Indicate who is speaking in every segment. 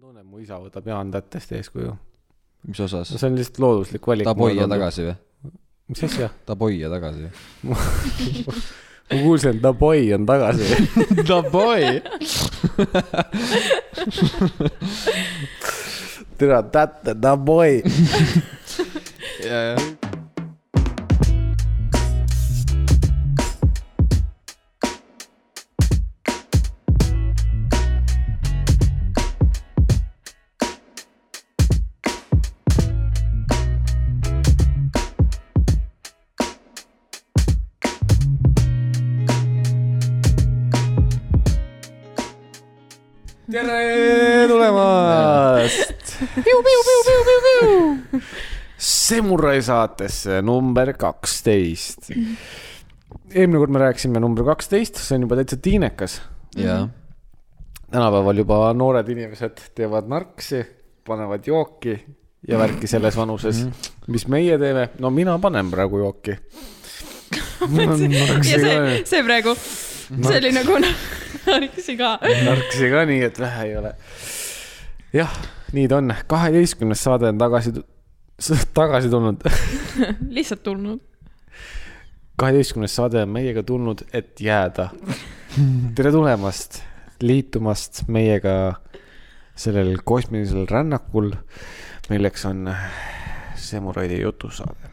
Speaker 1: tunnen , mu isa võtab Jaan Tättest eeskuju .
Speaker 2: mis osas
Speaker 1: no ? see on lihtsalt looduslik valik .
Speaker 2: tahab hoia . tagasi või ?
Speaker 1: mis asja ?
Speaker 2: tahab hoia tagasi või ?
Speaker 1: ma kuulsin , et Daboi on tagasi .
Speaker 2: The boy .
Speaker 1: türa Tätte , Daboi . tere tulemast . Semurai saatesse number kaksteist . eelmine kord me rääkisime number kaksteist , see on juba täitsa tiinekas .
Speaker 2: jaa ,
Speaker 3: Mhm.
Speaker 1: tänapäeval juba noored inimesed teevad narksi , panevad jooki ja värki selles vanuses ,
Speaker 3: Mhm.
Speaker 1: mis meie teeme , no mina panen praegu jooki .
Speaker 3: ja
Speaker 1: narksi ka
Speaker 3: see , see praegu , see oli nagu narksi ka .
Speaker 1: narksi ka nii , et vähe ei ole . jah , nii ta on , kaheteistkümnes saade on tagasi , tagasi tulnud .
Speaker 3: lihtsalt tulnud .
Speaker 1: kaheteistkümnes saade on meiega tulnud , et jääda . tere tulemast , liitumast meiega sellel kosmilisel rännakul , milleks on Semuraidi jutusaade .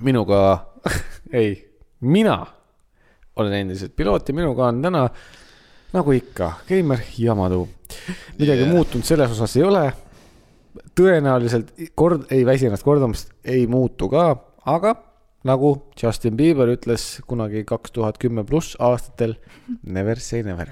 Speaker 1: minuga , ei , mina olen endiselt piloot ja minuga on täna nagu ikka , Keimer ja Madu . midagi
Speaker 2: Yeah.
Speaker 1: yeah. muutunud selles osas ei ole . tõenäoliselt kord , ei väsi ennast kordamast , ei muutu ka , aga nagu Justin Bieber ütles kunagi kaks tuhat kümme pluss aastatel , never say never .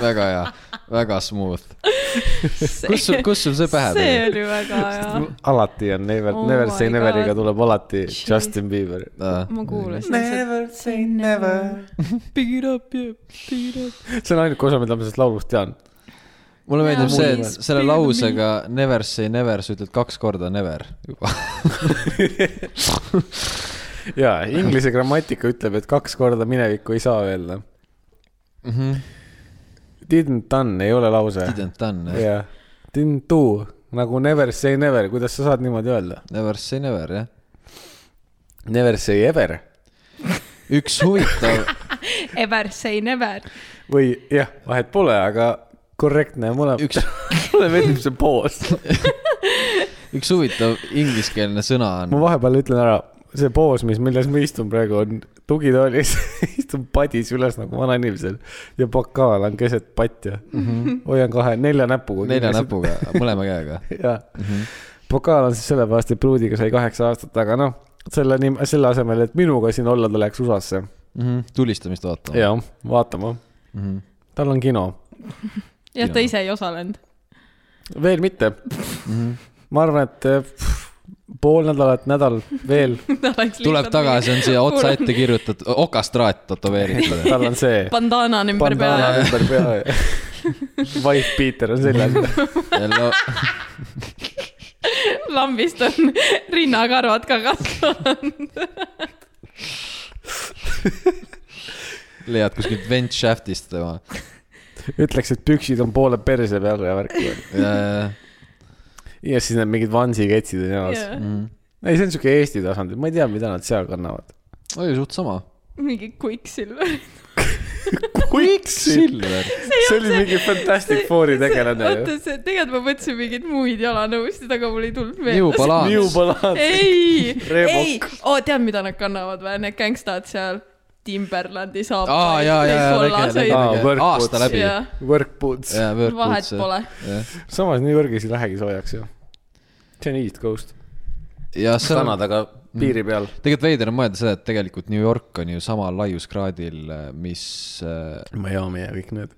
Speaker 2: väga hea , väga smooth . kus sul , kus sul see pähe
Speaker 3: see
Speaker 2: tuli ?
Speaker 3: oli väga hea .
Speaker 1: alati on never
Speaker 3: Ah. Oh
Speaker 1: oh , never
Speaker 3: my
Speaker 1: say neveriga
Speaker 3: God.
Speaker 1: tuleb alati
Speaker 3: Jeez.
Speaker 1: Justin Bieber .
Speaker 3: ma kuulasin seda .
Speaker 1: Never say never .
Speaker 3: Big it up ja big it up .
Speaker 1: see on ainuke osa , mida ma sellest laulust tean .
Speaker 2: mulle meeldib
Speaker 3: Jaa,
Speaker 2: see ,
Speaker 3: please
Speaker 2: et selle
Speaker 3: be
Speaker 2: lausega never say never , sa ütled kaks korda never juba .
Speaker 1: ja inglise grammatika ütleb , et kaks korda minevikku ei saa öelda .
Speaker 2: Mhm.
Speaker 1: Didn't done ei ole lause .
Speaker 2: Didn't done ,
Speaker 1: jah , didn't do nagu never say never , kuidas sa saad niimoodi öelda ?
Speaker 2: never say never , jah .
Speaker 1: Never say ever
Speaker 2: üks huvitav ,
Speaker 3: Ever say never .
Speaker 1: või jah , vahet pole , aga korrektne mulle
Speaker 2: üks ,
Speaker 1: mulle meeldib see poos .
Speaker 2: üks huvitav ingliskeelne sõna on
Speaker 1: ma , vahepeal ütlen ära , see poos , mis , milles ma istun praegu , on tugitoolis , istun padis üles nagu vanainimesel ja pakaal on keset patja mm . -hmm. hoian kahe , nelja näpuga .
Speaker 2: Mhm. nagu nelja . näpuga , Mhm. mõlema käega .
Speaker 1: jaa , pokaal on siis sellepärast , et pruudiga sai kaheksa aastat , aga noh , selle nim- , selle asemel , et minuga siin olla , ta läks USA-sse .
Speaker 2: Mhm. tulistamist vaatama .
Speaker 1: jah , vaatama ,
Speaker 2: Mhm.
Speaker 1: tal on kino ,
Speaker 3: jah , ta ise ei osalenud .
Speaker 1: veel mitte .
Speaker 2: Mhm.
Speaker 1: ma arvan , et eh, pff, pool nädalat , nädal veel
Speaker 2: tuleb tagasi , on siia otsa ette kirjutatud , okastraat
Speaker 1: Tal-
Speaker 2: tätoveeritud .
Speaker 1: tal on see
Speaker 3: bandana on ümber
Speaker 1: bandana
Speaker 3: pea .
Speaker 1: ümber pea ja Wife Peter on seljas .
Speaker 2: jälle
Speaker 3: lambist on rinnakarvad ka kasvanud .
Speaker 2: leiad kuskilt vent shaft'ist tema .
Speaker 1: ütleks , et püksid on poole perse peal ja värki . ja siis need mingid vansiketsid on jalas .
Speaker 2: mm.
Speaker 1: ei , see on siuke Eesti tasandil , ma ei tea , mida nad seal kannavad .
Speaker 2: oli suht sama .
Speaker 3: mingi Quicksilver .
Speaker 1: Quicksilver ,
Speaker 2: Silver .
Speaker 1: see oli mingi Fantastic Fouri tegelane ju
Speaker 3: oota ,. see , tegelikult ma mõtlesin mingeid muid jalanõusid , aga mul ei tulnud
Speaker 2: New
Speaker 3: meelde .
Speaker 1: New
Speaker 2: Balance .
Speaker 1: Balance ,
Speaker 3: ei ,
Speaker 1: Reebok.
Speaker 3: ei , oo , tead , mida nad kannavad või , need gängstad seal Timberlandi saapaid .
Speaker 2: aa , ja , ja , ja , väike ,
Speaker 1: Aa,
Speaker 2: väike ,
Speaker 1: võrkud.
Speaker 2: väike , aasta läbi .
Speaker 3: ja
Speaker 1: work boots .
Speaker 2: jaa ,
Speaker 3: vahet
Speaker 2: võrkpoots .
Speaker 3: pole .
Speaker 1: samas New Yorgis ei lähegi soojaks ju . see on East Coast .
Speaker 2: ja see on ,
Speaker 1: Kanadaga piiri peal .
Speaker 2: tegelikult veider on mõelda seda , et tegelikult New York on ju samal laiuskraadil , mis äh, ,
Speaker 1: Miami ja kõik need .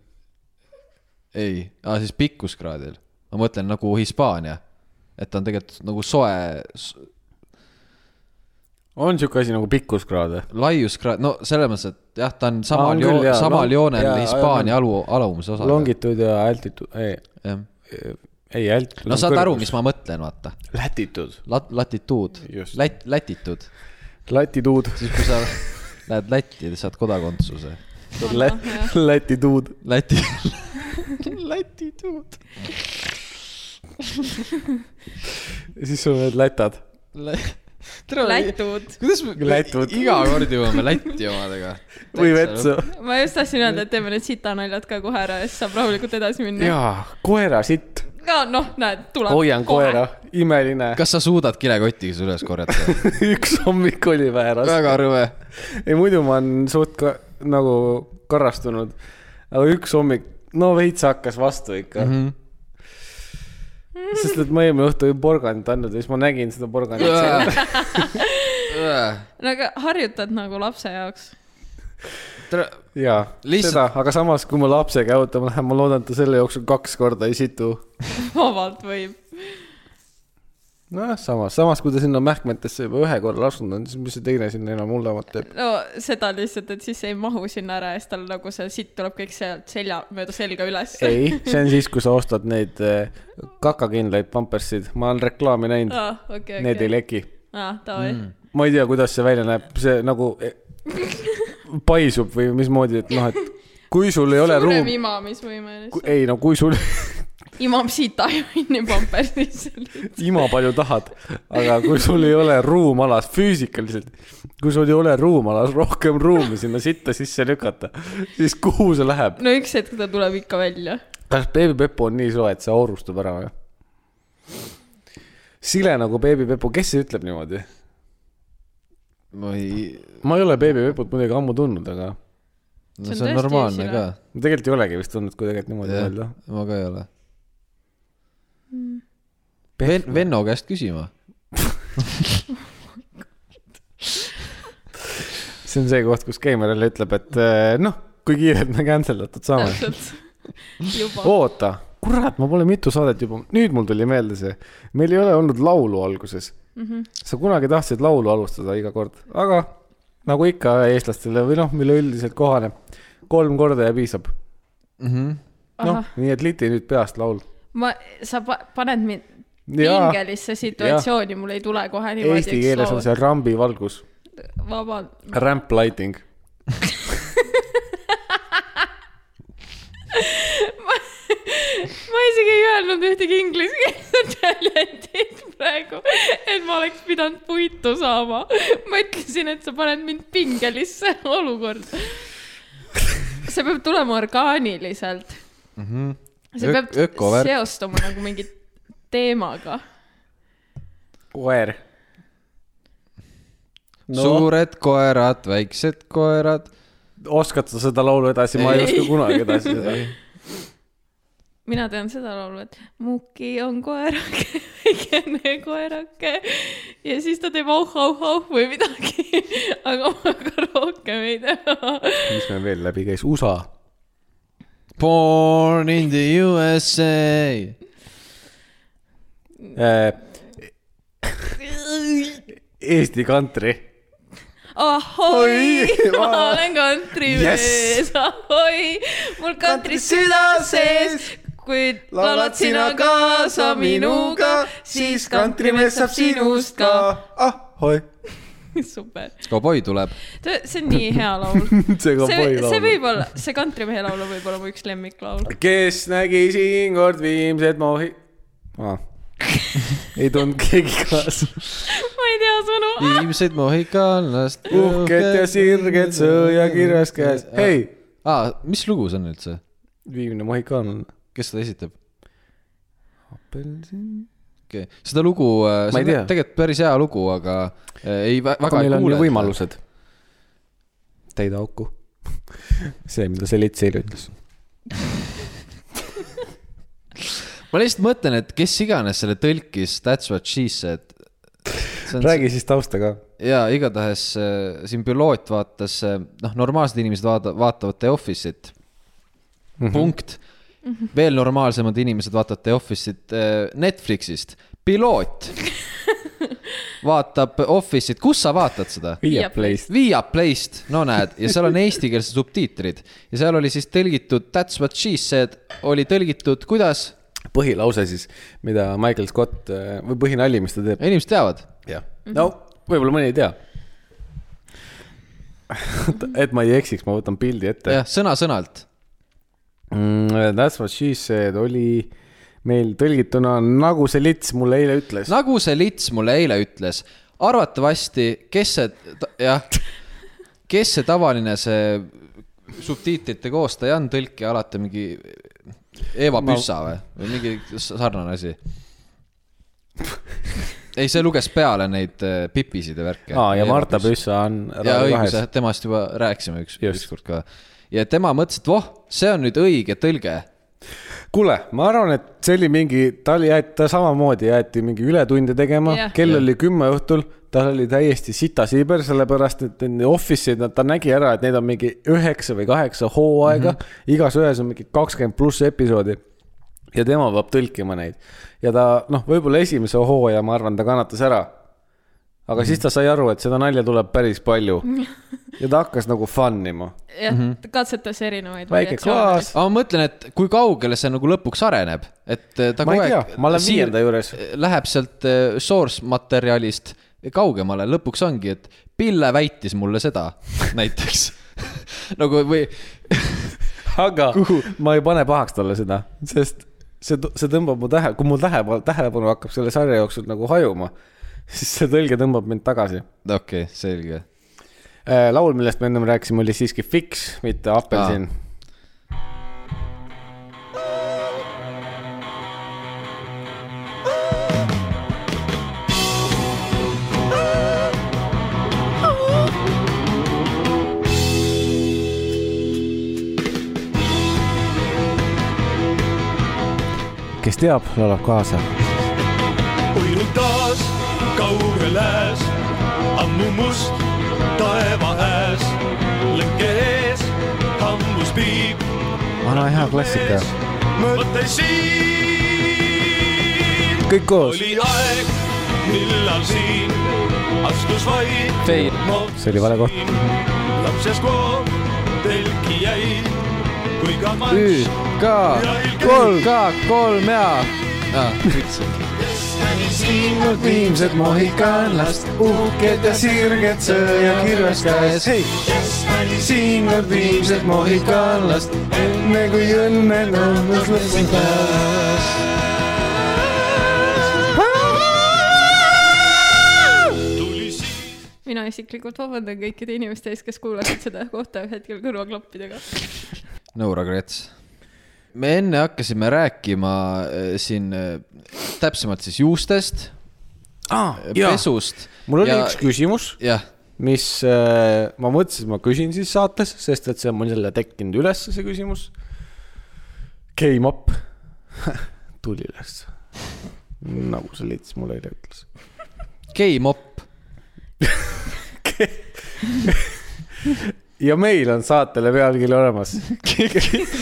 Speaker 2: ei , aa siis pikkuskraadil . ma mõtlen nagu Hispaania . et ta on tegelikult nagu soe ,
Speaker 1: on siuke asi nagu pikkuskraad või ?
Speaker 2: laiuskraad , no selles mõttes , et jah , ta on
Speaker 1: on
Speaker 2: samal
Speaker 1: küll,
Speaker 2: joon-
Speaker 1: jaa, ,
Speaker 2: samal
Speaker 1: long-
Speaker 2: joonel
Speaker 1: jaa,
Speaker 2: Hispaania alu , alumise osaga .
Speaker 1: Longitude ja altitude , ei ,
Speaker 2: no
Speaker 1: ei altitude .
Speaker 2: saad aru , mis ma mõtlen , vaata .
Speaker 1: Lätitud .
Speaker 2: Lat- , latituud ,
Speaker 1: Just.
Speaker 2: lät- , lätitud .
Speaker 1: Latituud .
Speaker 2: siis , kui sa lähed Lätti , saad kodakondsuse .
Speaker 1: Lätituud .
Speaker 2: Läti ,
Speaker 1: Läti dude . ja siis sul on need lätad .
Speaker 2: tere ,
Speaker 3: lätud .
Speaker 2: kuidas me
Speaker 1: Lätud.
Speaker 2: iga kord jõuame Läti omadega ?
Speaker 1: või vetsu .
Speaker 3: ma just tahtsin öelda , et teeme need sitanaljad ka kohe ära ja siis saab rahulikult edasi minna .
Speaker 1: jaa , koera sitt .
Speaker 3: no noh , näed , tuleb .
Speaker 1: hoian koera , imeline .
Speaker 2: kas sa suudad kilekoti üles korjata ?
Speaker 1: üks hommik oli vääras .
Speaker 2: väga rõve .
Speaker 1: ei , muidu ma olen suht ka, nagu karrastunud , aga üks hommik , no veits hakkas vastu ikka mm , -hmm. sest et ma eelmine õhtu olin porgandit andnud ja siis ma nägin seda porgandit seal .
Speaker 3: no aga harjutad nagu lapse jaoks .
Speaker 2: tere ,
Speaker 1: jaa ,
Speaker 2: Lihtsalt-
Speaker 1: seda , aga samas , kui ma lapsega jalutama lähen , ma loodan , et ta selle jooksul kaks korda ei situ .
Speaker 3: vabalt võib .
Speaker 1: nojah , samas , samas kui ta sinna mähkmetesse juba ühe korra laskunud on , siis mis see teine sinna enam hullemat teeb ?
Speaker 3: no seda lihtsalt , et siis ei mahu sinna ära ja siis tal nagu see sitt tuleb kõik sealt selja mööda selga üles .
Speaker 1: ei , see on siis , kui sa ostad neid eh, kakakindlaid pampersid , ma olen reklaami näinud ,
Speaker 3: aa , Ah, okei ,
Speaker 1: need ei
Speaker 3: okei .
Speaker 1: leki
Speaker 3: aa , davai .
Speaker 2: Mm.
Speaker 1: ma ei tea , kuidas see välja näeb , see nagu paisub või mismoodi , et noh , et kui sul ei ole
Speaker 3: suurem
Speaker 1: ruumi ,
Speaker 3: imamisvõime lihtsalt .
Speaker 1: ei no kui sul
Speaker 3: imab sita jonni pamperisse .
Speaker 1: ima palju tahad , aga kui sul ei ole ruumalas füüsikaliselt , kui sul ei ole ruumalas rohkem ruumi sinna sitta sisse lükata , siis kuhu see läheb ?
Speaker 3: no üks hetk ta tuleb ikka välja .
Speaker 1: kas Baby Pepo on nii soe , et see aurustub ära või ? sile nagu Baby Pepo , kes see ütleb niimoodi ?
Speaker 2: ma ei ,
Speaker 1: ma ei ole Baby Pepot muidugi ammu tundnud , aga
Speaker 2: no
Speaker 3: See on
Speaker 2: see on
Speaker 3: tõesti
Speaker 2: normaalne
Speaker 3: sina.
Speaker 2: ka .
Speaker 1: ma tegelikult ei olegi vist tundnud , kui tegelikult niimoodi öelda .
Speaker 2: ma ka ei ole . Ven- , Venno käest küsima .
Speaker 1: see on see koht , kus Keimerel ütleb , et eh, noh , kui kiirelt me cancel datud saame .
Speaker 3: täpselt . juba .
Speaker 1: oota , kurat , ma pole mitu saadet juba , nüüd mul tuli meelde see , meil ei ole olnud laulu alguses mm . -hmm. sa kunagi tahtsid laulu alustada iga kord , aga nagu ikka eestlastele või noh , mille üldiselt kohaneb , kolm korda ja piisab . noh , nii et liti nüüd peast laul .
Speaker 3: ma , sa pa- paned mind
Speaker 1: Jaa.
Speaker 3: pingelisse situatsiooni , mul ei tule kohe niimoodi .
Speaker 1: Eesti keeles on . see rambi valgus ,
Speaker 3: vabalt .
Speaker 1: ramp lighting .
Speaker 3: ma isegi ei öelnud ühtegi ingliskeelset väljendit praegu , et ma oleks pidanud puitu saama . ma ütlesin , et sa paned mind pingelisse olukorda . see peab tulema orgaaniliselt . see
Speaker 2: Ök-
Speaker 3: peab
Speaker 2: ökovärk.
Speaker 3: seostuma nagu mingi teemaga .
Speaker 1: koer .
Speaker 2: No. . suured koerad , väiksed koerad .
Speaker 1: oskad sa seda laulu edasi , ma ei
Speaker 3: Ei.
Speaker 1: oska kunagi edasi seda .
Speaker 3: mina tean seda laulu , et Muki on koerake , väikene koerake ja siis ta teeb auh-auh-auh või midagi . aga ma ka rohkem ei tea .
Speaker 1: mis meil veel läbi käis , USA
Speaker 2: Born in the USA .
Speaker 1: Äh, Eesti country .
Speaker 3: ahoi
Speaker 1: Oi, ,
Speaker 3: ma
Speaker 1: ma-
Speaker 3: olen kantrimees
Speaker 1: Yes! ,
Speaker 3: ahoi , mul kantri süda sees , kuid laulad sina kaasa minuga , siis kantrimees saab sinust ka ..
Speaker 1: Ah, ahoi .
Speaker 3: super ,
Speaker 2: kauboi tuleb .
Speaker 3: see on nii hea laul .
Speaker 1: see ka
Speaker 3: see ,
Speaker 1: poi
Speaker 3: see
Speaker 1: laul .
Speaker 3: võib olla , see kantrimehe laulu võib olla mu üks lemmiklaul .
Speaker 1: kes nägi siin kord Viimset mohi- ah. ? ei tundnud keegi kaasa .
Speaker 3: ma ei tea sõnu .
Speaker 2: viimseid mohikaanlast .
Speaker 1: uhked ja sirged , sõjakirves käes . hei ,
Speaker 2: aa , mis lugu see on üldse ?
Speaker 1: viimne mohikaan on .
Speaker 2: kes seda esitab ?
Speaker 1: apelsin .
Speaker 2: okei okay. , seda lugu ,
Speaker 1: Ma
Speaker 2: see
Speaker 1: ei
Speaker 2: on
Speaker 1: tea.
Speaker 2: tegelikult päris hea lugu , aga äh, ei ,
Speaker 1: aga
Speaker 2: väga ei
Speaker 1: meil on
Speaker 2: kuule
Speaker 1: ju . võimalused . täida auku . see , mida see lits eile ütles .
Speaker 2: ma lihtsalt mõtlen , et kes iganes selle tõlkis That's what she said .
Speaker 1: räägi siis tausta ka .
Speaker 2: ja igatahes äh, siin piloot vaatas , noh , normaalsed inimesed vaata- , vaatavad The Office'it mm . -hmm. punkt . veel normaalsemad inimesed vaatavad The Office'it äh, Netflixist . piloot vaatab Office'it , kus sa vaatad seda ?
Speaker 1: Via
Speaker 3: Via
Speaker 1: Playst .
Speaker 2: Via Playst , no näed , ja seal on eestikeelsed subtiitrid ja seal oli siis tõlgitud That's what she said oli tõlgitud , kuidas ,
Speaker 1: põhilause siis , mida Michael Scott äh, või põhinali , mis ta teeb .
Speaker 2: inimesed teavad .
Speaker 1: jah . no võib-olla mõni ei tea . et ma ei eksiks , ma võtan pildi ette .
Speaker 2: jah , sõna-sõnalt .
Speaker 1: mm, . That's what she said oli meil tõlgituna nagu see lits mulle eile ütles no. .
Speaker 2: nagu see lits mulle eile ütles , arvatavasti , kes see , jah , kes see tavaline see subtiitrite koostaja on , tõlkija alati mingi Eeva
Speaker 1: Ma-
Speaker 2: Püssa või , või mingi s- sarnane asi . ei , see luges peale neid eh, pipisid ja värke .
Speaker 1: aa , ja Marta . Püssa on
Speaker 2: ja
Speaker 1: Raadio kahes
Speaker 2: õigus , jah , temast juba rääkisime üks ,
Speaker 1: Just.
Speaker 2: ükskord ka . ja tema mõtles , et voh , see on nüüd õige tõlge .
Speaker 1: kuule , ma arvan , et see oli mingi , ta oli , ta samamoodi jäeti mingi ületunde tegema
Speaker 3: Jah.
Speaker 1: yeah. , kell
Speaker 2: Jah.
Speaker 1: yeah. oli kümme õhtul , tal oli täiesti sitasiiber , sellepärast et enne office'id , ta nägi ära , et neid on mingi üheksa või kaheksa hooaega mm ,
Speaker 2: Mhm.
Speaker 1: -hmm. igas ühes on mingi kakskümmend pluss episoodi ja tema peab tõlkima neid ja ta noh , võib-olla esimese hooaja , ma arvan , ta kannatas ära . aga mm
Speaker 2: Mhm.
Speaker 1: -hmm. siis ta sai aru , et seda nalja tuleb päris palju ja ta hakkas nagu fun ima .
Speaker 3: jah , katsetas erinevaid .
Speaker 1: Mhm. väike klaas ,
Speaker 2: aga ma mõtlen , et kui kaugele see nagu lõpuks areneb , et eh, ta
Speaker 1: ma
Speaker 2: kogu
Speaker 1: ei tea
Speaker 2: aeg ,
Speaker 1: ma olen
Speaker 2: siir-
Speaker 1: viienda juures .
Speaker 2: läheb sealt eh, source materjalist kaugemale , lõpuks ongi , et Pille väitis mulle seda näiteks . nagu või ,
Speaker 1: aga Kuhu? ma ei pane pahaks talle seda , sest see , see tõmbab mu tähe , kui mu tähelepanu , tähelepanu hakkab selle sarja jooksul nagu hajuma , siis see tõlge tõmbab mind tagasi .
Speaker 2: okei okay, , selge .
Speaker 1: Äh, laul , millest me ennem rääkisime , oli siiski Fix , mitte Apelsin . kes teab , laulab kaasa .
Speaker 4: uinub taas kaugel ääs , ammu must taeva hääs , lõkke ees hammus piip .
Speaker 1: vana hea klassika .
Speaker 4: mõte siin
Speaker 1: kõik koos .
Speaker 4: oli aeg , millal siin astus vaid .
Speaker 1: See oli vale koht. .
Speaker 4: lapses kool telki jäi , kui ka marss
Speaker 2: K , kolm , K , kolm ja .
Speaker 1: ilmud viimsed mohikanlast , uhked ja sirged sõjakirves käes . siin on viimsed mohikanlast , enne kui õnne nõudnud lõpuni pääs .
Speaker 4: tuli siin .
Speaker 3: mina isiklikult vabandan kõikide inimeste ees , kes kuulasid seda kohta hetkel kõrvaklappidega .
Speaker 2: no regrets . me enne hakkasime rääkima eh, siin eh, täpsemalt siis juustest ,
Speaker 1: aa , jaa ,
Speaker 2: pesust .
Speaker 1: mul oli üks . küsimus ,
Speaker 2: jah ,
Speaker 1: mis äh, ma mõtlesin , et ma küsin siis saates , sest et see on mul jälle tekkinud üles , see küsimus . Came up , tuli üles , nagu see lits mulle eile ütles .
Speaker 2: K-mop ,
Speaker 1: ja meil on saatele pealkiri olemas .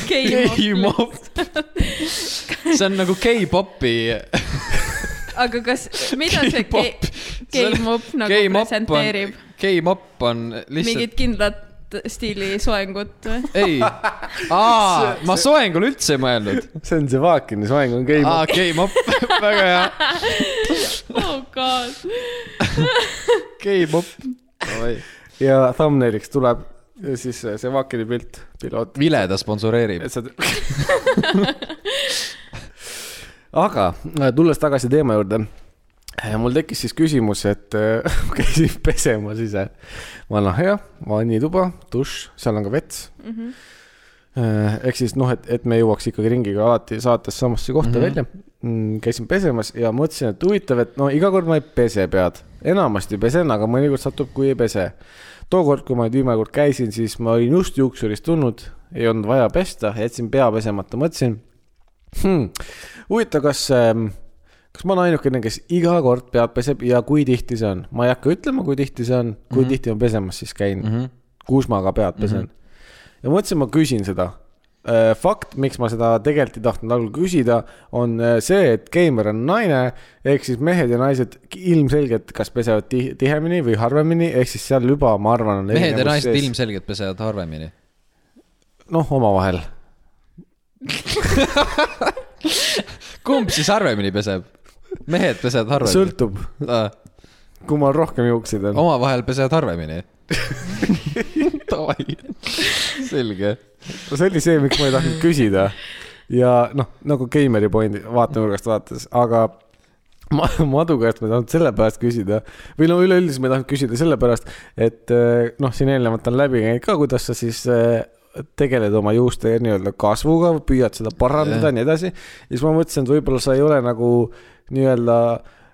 Speaker 2: K-mop. see on nagu K-popi ,
Speaker 3: aga kas , mida see
Speaker 2: K-pop.
Speaker 3: ge- K-mop nagu
Speaker 2: K-mop on
Speaker 3: presenteerib ,?
Speaker 2: K-mop on lihtsalt
Speaker 3: mingit kindlat stiilisoengut või ?
Speaker 2: ei , aa , ma soengule üldse ei mõelnud .
Speaker 1: see on Zevakini soeng on käima
Speaker 2: aa , K-mop , väga hea ,
Speaker 3: oh god .
Speaker 2: K-mop .
Speaker 1: ja thumbnailiks tuleb ja siis see Zevakini pilt , piloot .
Speaker 2: Vile ta sponsoreerib .
Speaker 1: et sa . aga äh, tulles tagasi teema juurde . mul tekkis siis küsimus , et äh, käisin pesemas ise . vana hea vannituba , dušš , seal on ka vets mm . -hmm. ehk siis noh , et , et me jõuaks ikkagi ringiga alati saates samasse kohta mm
Speaker 2: Mhm.
Speaker 1: -hmm. välja Mm, käisin pesemas ja mõtlesin , et huvitav , et no iga kord ma ei pese pead , enamasti pesen , aga mõnikord satub , kui ei pese . tookord , kui ma nüüd viimane kord käisin , siis ma olin just juuksurist tulnud , ei olnud vaja pesta , jätsin pea pesemata , mõtlesin hmm, . huvitav , kas , kas ma olen ainukene , kes iga kord pead peseb ja kui tihti see on , ma ei hakka ütlema , kui tihti see on ,
Speaker 2: Mhm.
Speaker 1: kui mm -hmm. tihti ma pesemas siis käin mm , -hmm. kus ma ka pead pesen mm . -hmm. ja mõtlesin , ma küsin seda . fakt , miks ma seda tegelikult ei tahtnud algul küsida , on äh, see , et geimer on naine ehk siis mehed ja naised ki- ilmselgelt kas pesevad ti- tihemini või harvemini , ehk siis seal juba , ma arvan , on .
Speaker 2: mehed ja naised . ilmselgelt pesevad harvemini .
Speaker 1: noh , omavahel
Speaker 2: kumb siis harvemini peseb ? mehed pesevad harvemini . Ah,
Speaker 1: sõltub , kui mul rohkem juukseid on .
Speaker 2: omavahel pesevad harvemini . davai , selge .
Speaker 1: no see oli see , miks ma ei tahtnud küsida . ja noh , nagu geimeri pointi vaatenurgast vaates , aga ma Madu käest ma ei tahtnud sellepärast küsida või no üleüldiselt ma ei tahtnud küsida sellepärast , et eh, noh , siin eelnevalt on läbi käinud ka , kuidas sa siis eh, tegeled oma juuste nii-öelda kasvuga , püüad seda parandada ja nii edasi . ja siis ma mõtlesin , et võib-olla sa ei ole nagu nii-öelda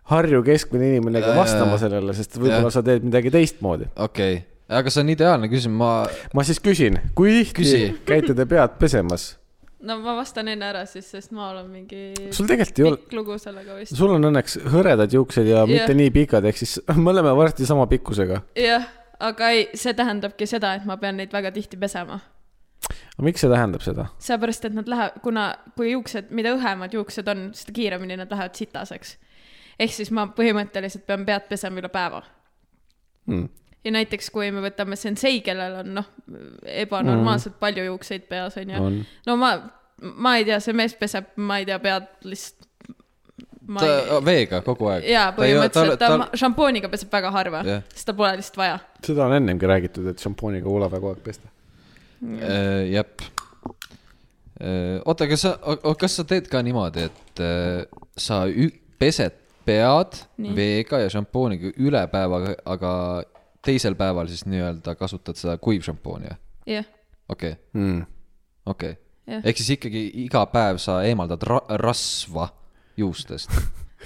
Speaker 1: Harju keskmine inimene ka
Speaker 2: Jaa,
Speaker 1: vastama
Speaker 2: jaa.
Speaker 1: sellele , sest võib-olla
Speaker 2: Jah.
Speaker 1: sa teed midagi teistmoodi .
Speaker 2: okei okay. , aga see on ideaalne küsimus , ma ,
Speaker 1: ma siis küsin , kui tihti
Speaker 2: Küsi.
Speaker 1: käite te pead pesemas ?
Speaker 3: no ma vastan enne ära siis , sest ma olen mingi
Speaker 1: sul tegelikult ei ole ,
Speaker 3: pikk lugu sellega vist .
Speaker 1: sul on õnneks hõredad juuksed ja
Speaker 3: Jah.
Speaker 1: mitte nii pikad , ehk siis me oleme varsti sama pikkusega .
Speaker 3: jah , aga ei , see tähendabki seda , et ma pean neid väga tihti pesema .
Speaker 1: aga miks see tähendab seda ?
Speaker 3: seepärast , et nad lähevad , kuna , kui juuksed , mida õhemad juuksed on , seda kiiremini nad lähevad sitaseks . ehk siis ma põhimõtteliselt pean pead pesema üle päeva .
Speaker 1: Hmm.
Speaker 3: ja näiteks , kui me võtame sensei , kellel on noh , ebanormaalselt mm. palju juukseid peas , onju .
Speaker 1: on ,
Speaker 3: no ma , ma ei tea , see mees peseb , ma ei tea , pead lihtsalt . ma
Speaker 2: ta
Speaker 3: ei ,
Speaker 2: veega kogu aeg .
Speaker 3: jaa , põhimõtteliselt ta, ta, ta šampooniga peseb väga harva
Speaker 2: Jah.
Speaker 3: yeah. , sest tal pole lihtsalt vaja .
Speaker 1: seda on ennemgi räägitud , et šampooniga ula väga aeg pesta .
Speaker 2: Äh, jep . oota , kas sa , kas sa teed ka niimoodi , et äh, sa ü- pesed pead
Speaker 3: Nii.
Speaker 2: veega ja šampooniga üle päeva , aga teisel päeval siis nii-öelda kasutad seda kuivšampooni või ?
Speaker 3: jah yeah. ,
Speaker 2: okei okay, , okei
Speaker 3: Jah.
Speaker 2: okay. . ehk siis ikkagi iga päev sa eemaldad ra rasva juustest .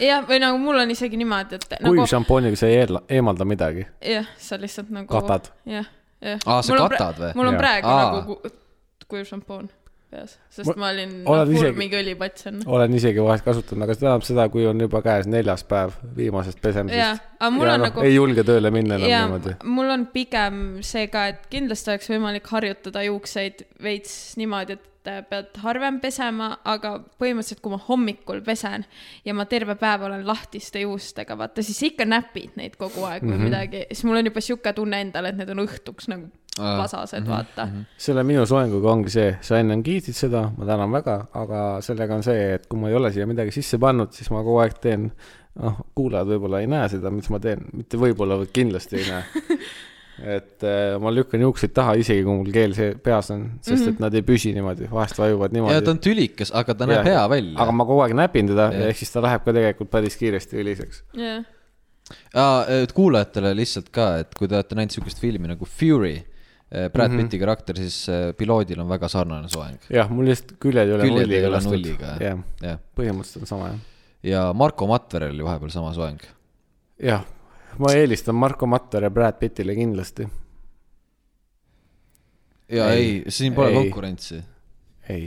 Speaker 3: jah , või nagu mul on isegi niimoodi , et
Speaker 1: kuiv
Speaker 3: nagu
Speaker 1: šampooniga sa ei eela- eemalda midagi .
Speaker 3: jah , sa lihtsalt nagu .
Speaker 1: Katad. .
Speaker 3: jah , jah .
Speaker 2: Aa, sa katad või?
Speaker 3: mul on
Speaker 1: Jaa.
Speaker 3: praegu
Speaker 2: Aa.
Speaker 3: Aa. nagu ku- kuiv šampoon peas , sest
Speaker 1: Ma-
Speaker 3: ma, ma olin
Speaker 1: oled
Speaker 3: full
Speaker 1: isegi-
Speaker 3: isegi... mingi õlipats enne .
Speaker 1: olen isegi vahest kasutanud , aga see tähendab seda , kui on juba käes neljas päev viimasest
Speaker 3: jaa
Speaker 1: pesemisest .,
Speaker 3: aga mul
Speaker 1: ja
Speaker 3: on
Speaker 1: noh
Speaker 3: nagu
Speaker 1: ei julge tööle minna enam
Speaker 3: ja
Speaker 1: niimoodi .
Speaker 3: mul on pigem see ka , et kindlasti oleks võimalik harjutada juukseid veits niimoodi , et äh, pead harvem pesema , aga põhimõtteliselt , kui ma hommikul pesen ja ma terve päev olen lahtiste juustega , vaata siis ikka näpid neid kogu aeg
Speaker 1: Mhm.
Speaker 3: või mm -hmm. midagi , siis mul on juba sihuke tunne endal , et need on õhtuks nagu
Speaker 2: Aa.
Speaker 1: Mhm.
Speaker 2: Mhm.
Speaker 3: vasased , vaata mm . -hmm.
Speaker 1: selle minu soenguga ongi see , sa ennem kiitsid seda , ma tänan väga , aga sellega on see , et kui ma ei ole siia midagi sisse pannud , siis ma kogu aeg teen , noh , kuulajad võib-olla ei näe seda , mis ma teen , mitte võib-olla , vaid kindlasti ei näe . et eh, ma lükkan juukseid taha , isegi kui mul keel see peas on , sest et nad ei püsi niimoodi , vahest vajuvad
Speaker 2: ja ta
Speaker 1: niimoodi .
Speaker 2: on tülikas , aga ta näeb hea välja
Speaker 1: aga . ma kogu aeg näpin teda
Speaker 2: Jah.
Speaker 1: ja ehk siis ta läheb ka tegelikult päris kiiresti õliseks .
Speaker 3: jah
Speaker 2: Aa, äh, et kuulajatele lihtsalt ka , et kui te olete näinud sihukest filmi nagu Fury , Brad
Speaker 1: Mhm.
Speaker 2: mm -hmm. Pitti karakter , siis eh, piloodil on väga sarnane soeng .
Speaker 1: jah , mul lihtsalt küljed ei ole
Speaker 2: Küljed ei
Speaker 1: nulliga
Speaker 2: ole
Speaker 1: lastud
Speaker 2: nulliga, . jah.
Speaker 1: jah ,
Speaker 2: jah ,
Speaker 1: põhimõtteliselt on sama jah .
Speaker 2: ja Marko Matverel oli vahepeal sama soeng .
Speaker 1: jah , ma eelistan Marko Mattar ja Brad Pittile kindlasti
Speaker 2: ja ei, ei , siin pole
Speaker 1: ei.
Speaker 2: ei. konkurentsi .
Speaker 1: ei .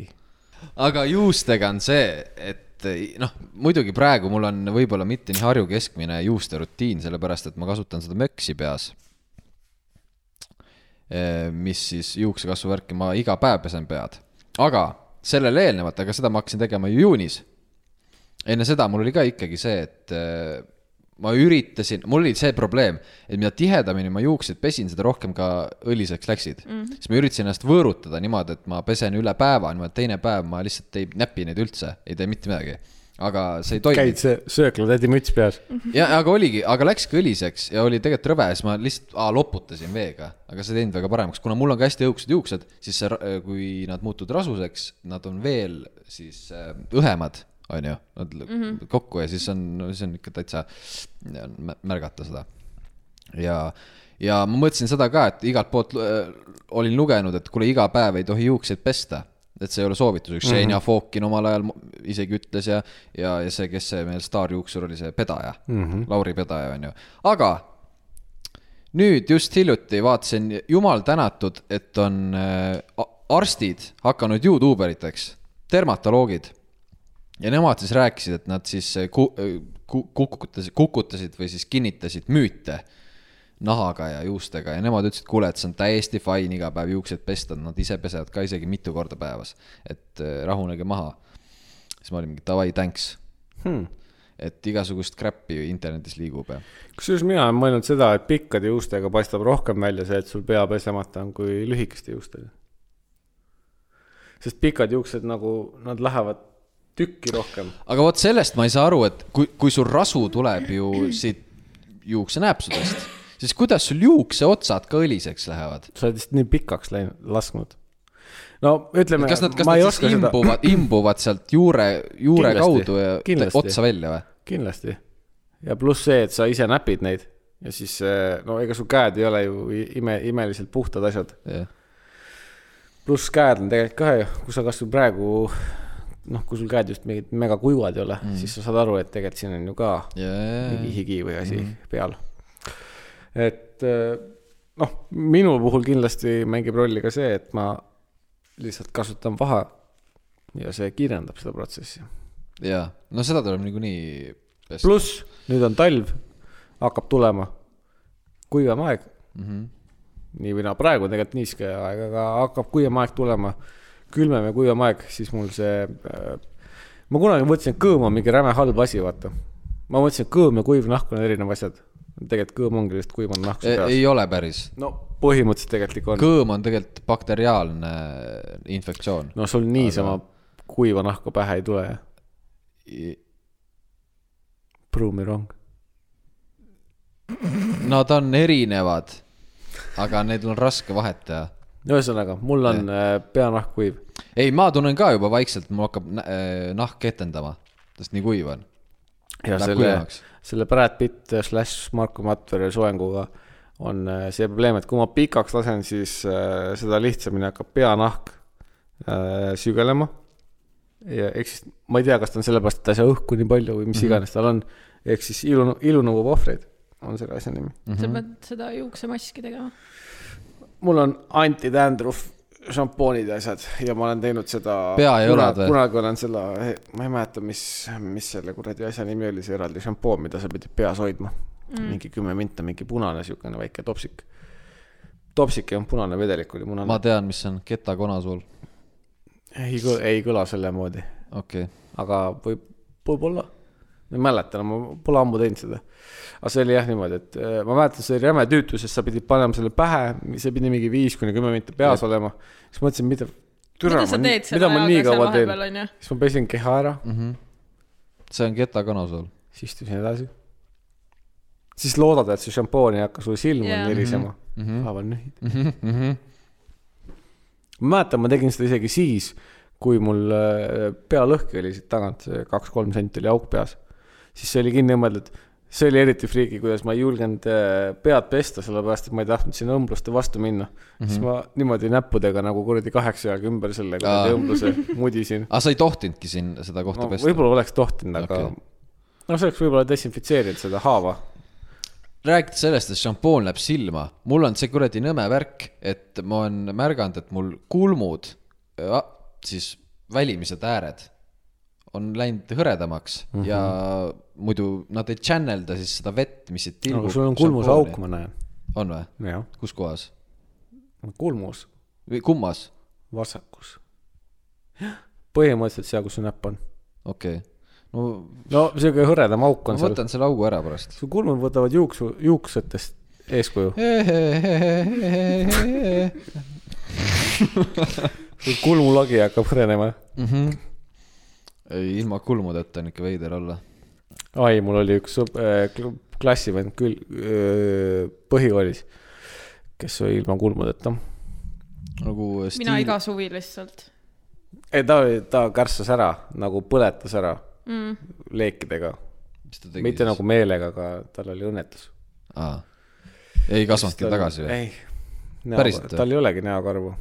Speaker 2: aga juustega on see , et eh, noh , muidugi praegu mul on võib-olla mitte nii Harju keskmine juuste rutiin , sellepärast et ma kasutan seda möksi peas . Äh, mis siis juuksekasvu värki , ma iga päev pesen pead , aga sellele eelnevalt , aga seda ma hakkasin tegema ju juunis . enne seda mul oli ka ikkagi see , et eh, ma üritasin , mul oli see probleem , et mida tihedamini ma juuksed pesin , seda rohkem ka õliseks läksid mm . -hmm. siis ma üritasin ennast võõrutada niimoodi , et ma pesen üle päeva , niimoodi teine päev ma lihtsalt ei näpi neid üldse , ei tee mitte midagi . aga see ei toimi
Speaker 1: käid . see sööklatädi müts peas ?
Speaker 2: ja , aga oligi , aga läkski õliseks ja oli tegelikult rõve , siis ma lihtsalt aa, loputasin veega , aga see ei teinud väga paremaks , kuna mul on ka hästi õhukesed juuksed , siis see , kui nad muutuvad rasuseks , nad on veel siis äh, õhemad , onju , nad mm -hmm. kokku ja siis on , see on ikka täitsa , märgata seda ja , ja ma mõtlesin seda ka , et igalt poolt äh, olin lugenud , et kuule , iga päev ei tohi juukseid pesta . et see ei ole soovitus , üks Xenia mm -hmm. Fokin omal ajal mu- isegi ütles ja , ja , ja see , kes see meil staarjuuksur oli , see Pedaja mm , -hmm. Lauri Pedaja on ju , aga nüüd just hiljuti vaatasin , jumal tänatud , et on äh, a- arstid hakanud Youtube eriteks , dermatoloogid ja nemad siis rääkisid , et nad siis eh, ku- , kukutasid , kukutasid või siis kinnitasid müüte nahaga ja juustega ja nemad ütlesid , kuule , et see on täiesti fine iga päev juuksed pesta , nad ise pesevad ka isegi mitu korda päevas , et eh, rahunege maha . siis ma olin mingi davai , thanks
Speaker 1: Hmm. .
Speaker 2: et igasugust crap'i internetis liigub ja ,
Speaker 1: kusjuures mina olen mõelnud seda , et pikkade juustega paistab rohkem välja see , et sul pea pesemata on , kui lühikeste juustega . sest pikad juuksed nagu , nad lähevad tükki rohkem .
Speaker 2: aga vot sellest ma ei saa aru , et kui , kui sul rasu tuleb ju siit juuksenääpsudest , siis kuidas sul juukseotsad ka õliseks lähevad ?
Speaker 1: sa oled lihtsalt nii pikaks läinud , lasknud . no ütleme .
Speaker 2: kas nad , kas nad siis imbuvad , imbuvad sealt juure , juure
Speaker 1: Kindlasti,
Speaker 2: kaudu ja
Speaker 1: kindlasti.
Speaker 2: otsa välja või ?
Speaker 1: kindlasti . ja pluss see , et sa ise näpid neid ja siis eh, no ega su käed ei ole ju i- ime , imeliselt puhtad asjad . pluss käed on tegelikult ka ju , kui sa kasvõi praegu noh , kui sul käed just mingid mega kuivad ei ole mm. , siis sa saad aru , et tegelikult siin on ju ka mingi higi või asi mm. peal . et eh, noh , minu puhul kindlasti mängib rolli ka see , et ma lihtsalt kasutan vaha ja see kiirendab seda protsessi .
Speaker 2: jaa , no seda tuleb niikuinii .
Speaker 1: pluss nüüd on talv , hakkab tulema kuivem aeg mm . -hmm. nii või naa , praegu on tegelikult niiske aeg , aga hakkab kuivem aeg tulema , külmem ja kuivem aeg , siis mul see äh, . ma kunagi mõtlesin , et kõõm on mingi räme halb asi , vaata . ma mõtlesin , et kõõm ja kuiv nahk on erinevad asjad . tegelikult kõõm ongi lihtsalt kuivanud nahk su peas .
Speaker 2: E- ei ole päris .
Speaker 1: no põhimõtteliselt tegelikult ikka on .
Speaker 2: kõõm on tegelikult bakteriaalne infektsioon .
Speaker 1: no sul niisama aga... kuiva nahku pähe ei tule , jah . Prove me wrong .
Speaker 2: Nad on erinevad , aga neil on raske vahet teha
Speaker 1: ühesõnaga , mul on äh, peanahk kuiv .
Speaker 2: ei , ma tunnen ka juba vaikselt , mul hakkab nä- äh, nahk ketendama , sest nii kuiv on .
Speaker 1: ja
Speaker 2: Läheb
Speaker 1: selle
Speaker 2: kuivemaks. ,
Speaker 1: selle Brad Pitt slaš Marko Matvere soenguga on äh, see probleem , et kui ma pikaks lasen , siis äh, seda lihtsamini hakkab peanahk äh, sügelema . ja ehk siis ma ei tea , kas ta on sellepärast , et ta ei saa õhku nii palju või mis iganes tal on , ehk siis ilu , ilu nõuab ohvreid , on selle asja nimi .
Speaker 3: sa pead seda juuksemaski tegema .
Speaker 1: mul on antitandruf šampoonid ja asjad ja ma olen teinud seda .
Speaker 2: Pea ja õlad või?
Speaker 1: kunagi olen selle , ma ei mäleta , mis , mis selle kuradi asja nimi oli , see eraldi šampoon , mida sa pidid peas hoidma mm. . mingi kümme minta , mingi punane siukene väike topsik . topsik ei olnud punane , vedelik oli punane
Speaker 2: ma
Speaker 1: ma... .
Speaker 2: tean , mis on ketakonasool ,
Speaker 1: ei kõla , ei kõla selle moodi ,
Speaker 2: okei okay. .
Speaker 1: aga võib , võib-olla . ma ei mäleta enam no, , ma pole ammu teinud seda . aga see oli jah niimoodi , et äh, ma mäletan , see oli räme tüütu , sest sa pidid panema selle pähe , see pidi mingi viis kuni kümme minta peas ja. olema . siis mõtlesin , mida .
Speaker 3: mida sa teed selle ajaga seal vahepeal , onju ?
Speaker 1: siis ma pesin keha ära ,
Speaker 2: Mhm. see on ketakonasool .
Speaker 1: siis istusin edasi . siis loodad , et see šampoon ei hakka sulle silma
Speaker 3: Jaa.
Speaker 1: yeah. nirisema mm .
Speaker 2: Mhm.
Speaker 1: -hmm. vahepeal nühid mm . -hmm. ma mäletan , ma tegin seda isegi siis , kui mul äh, pea lõhki oli siit tagant , kaks-kolm senti oli auk peas . siis see oli kinni õmmeldud , see oli eriti friigi , kuidas ma ei julgenud äh, pead pesta , sellepärast et ma ei tahtnud sinna õmbluste vastu minna mm . -hmm. siis ma niimoodi näppudega nagu kuradi kaheksa jagu ümber selle
Speaker 2: Mhm. Aa.
Speaker 1: kuradi õmbluse mudisin .
Speaker 2: aga Ah, sa ei tohtinudki siin seda kohta
Speaker 1: no,
Speaker 2: no, pesta ?
Speaker 1: võib-olla oleks tohtinud , aga
Speaker 2: Okei.
Speaker 1: okay. no see oleks võib-olla desinfitseerinud seda haava .
Speaker 2: rääkides sellest , et šampoon läheb silma , mul on see kuradi nõme värk , et ma olen märganud , et mul kulmud , siis välimised ääred on läinud hõredamaks
Speaker 1: Mhm.
Speaker 2: mm -hmm. ja muidu nad ei channelda siis seda vett , mis siit tilgub
Speaker 1: no sul on kulmus
Speaker 2: šampooni.
Speaker 1: auk , ma näen .
Speaker 2: on või ?
Speaker 1: jah ,
Speaker 2: kus kohas ?
Speaker 1: kulmus ,
Speaker 2: või kummas ?
Speaker 1: vasakus . põhimõtteliselt seal , kus su näpp on .
Speaker 2: okei okay. . no
Speaker 1: no siuke hõredam auk
Speaker 2: ma
Speaker 1: on seal .
Speaker 2: võtan selle augu ära pärast .
Speaker 1: su kulmud võtavad juuksu , juuksetest eeskuju . su kulmulagi hakkab hõrenema .
Speaker 2: ei , ilma kulmudeta on ikka veider olla .
Speaker 1: ai , mul oli üks sõb- äh, kl- klassivend küll äh, põhikoolis , kes oli ilma kulmudeta .
Speaker 2: nagu
Speaker 3: mina
Speaker 2: stiil
Speaker 3: iga , suvi lihtsalt .
Speaker 1: ei , ta , ta kärssas ära nagu põletas ära mm. leekidega
Speaker 2: mis ta tegi
Speaker 1: mitte
Speaker 2: siis?
Speaker 1: nagu meelega , aga tal oli õnnetus .
Speaker 2: aa. ei kasvanudki tagasi või ?
Speaker 1: ei ,
Speaker 2: Päriselt või?
Speaker 1: tal ei olegi näokarvu .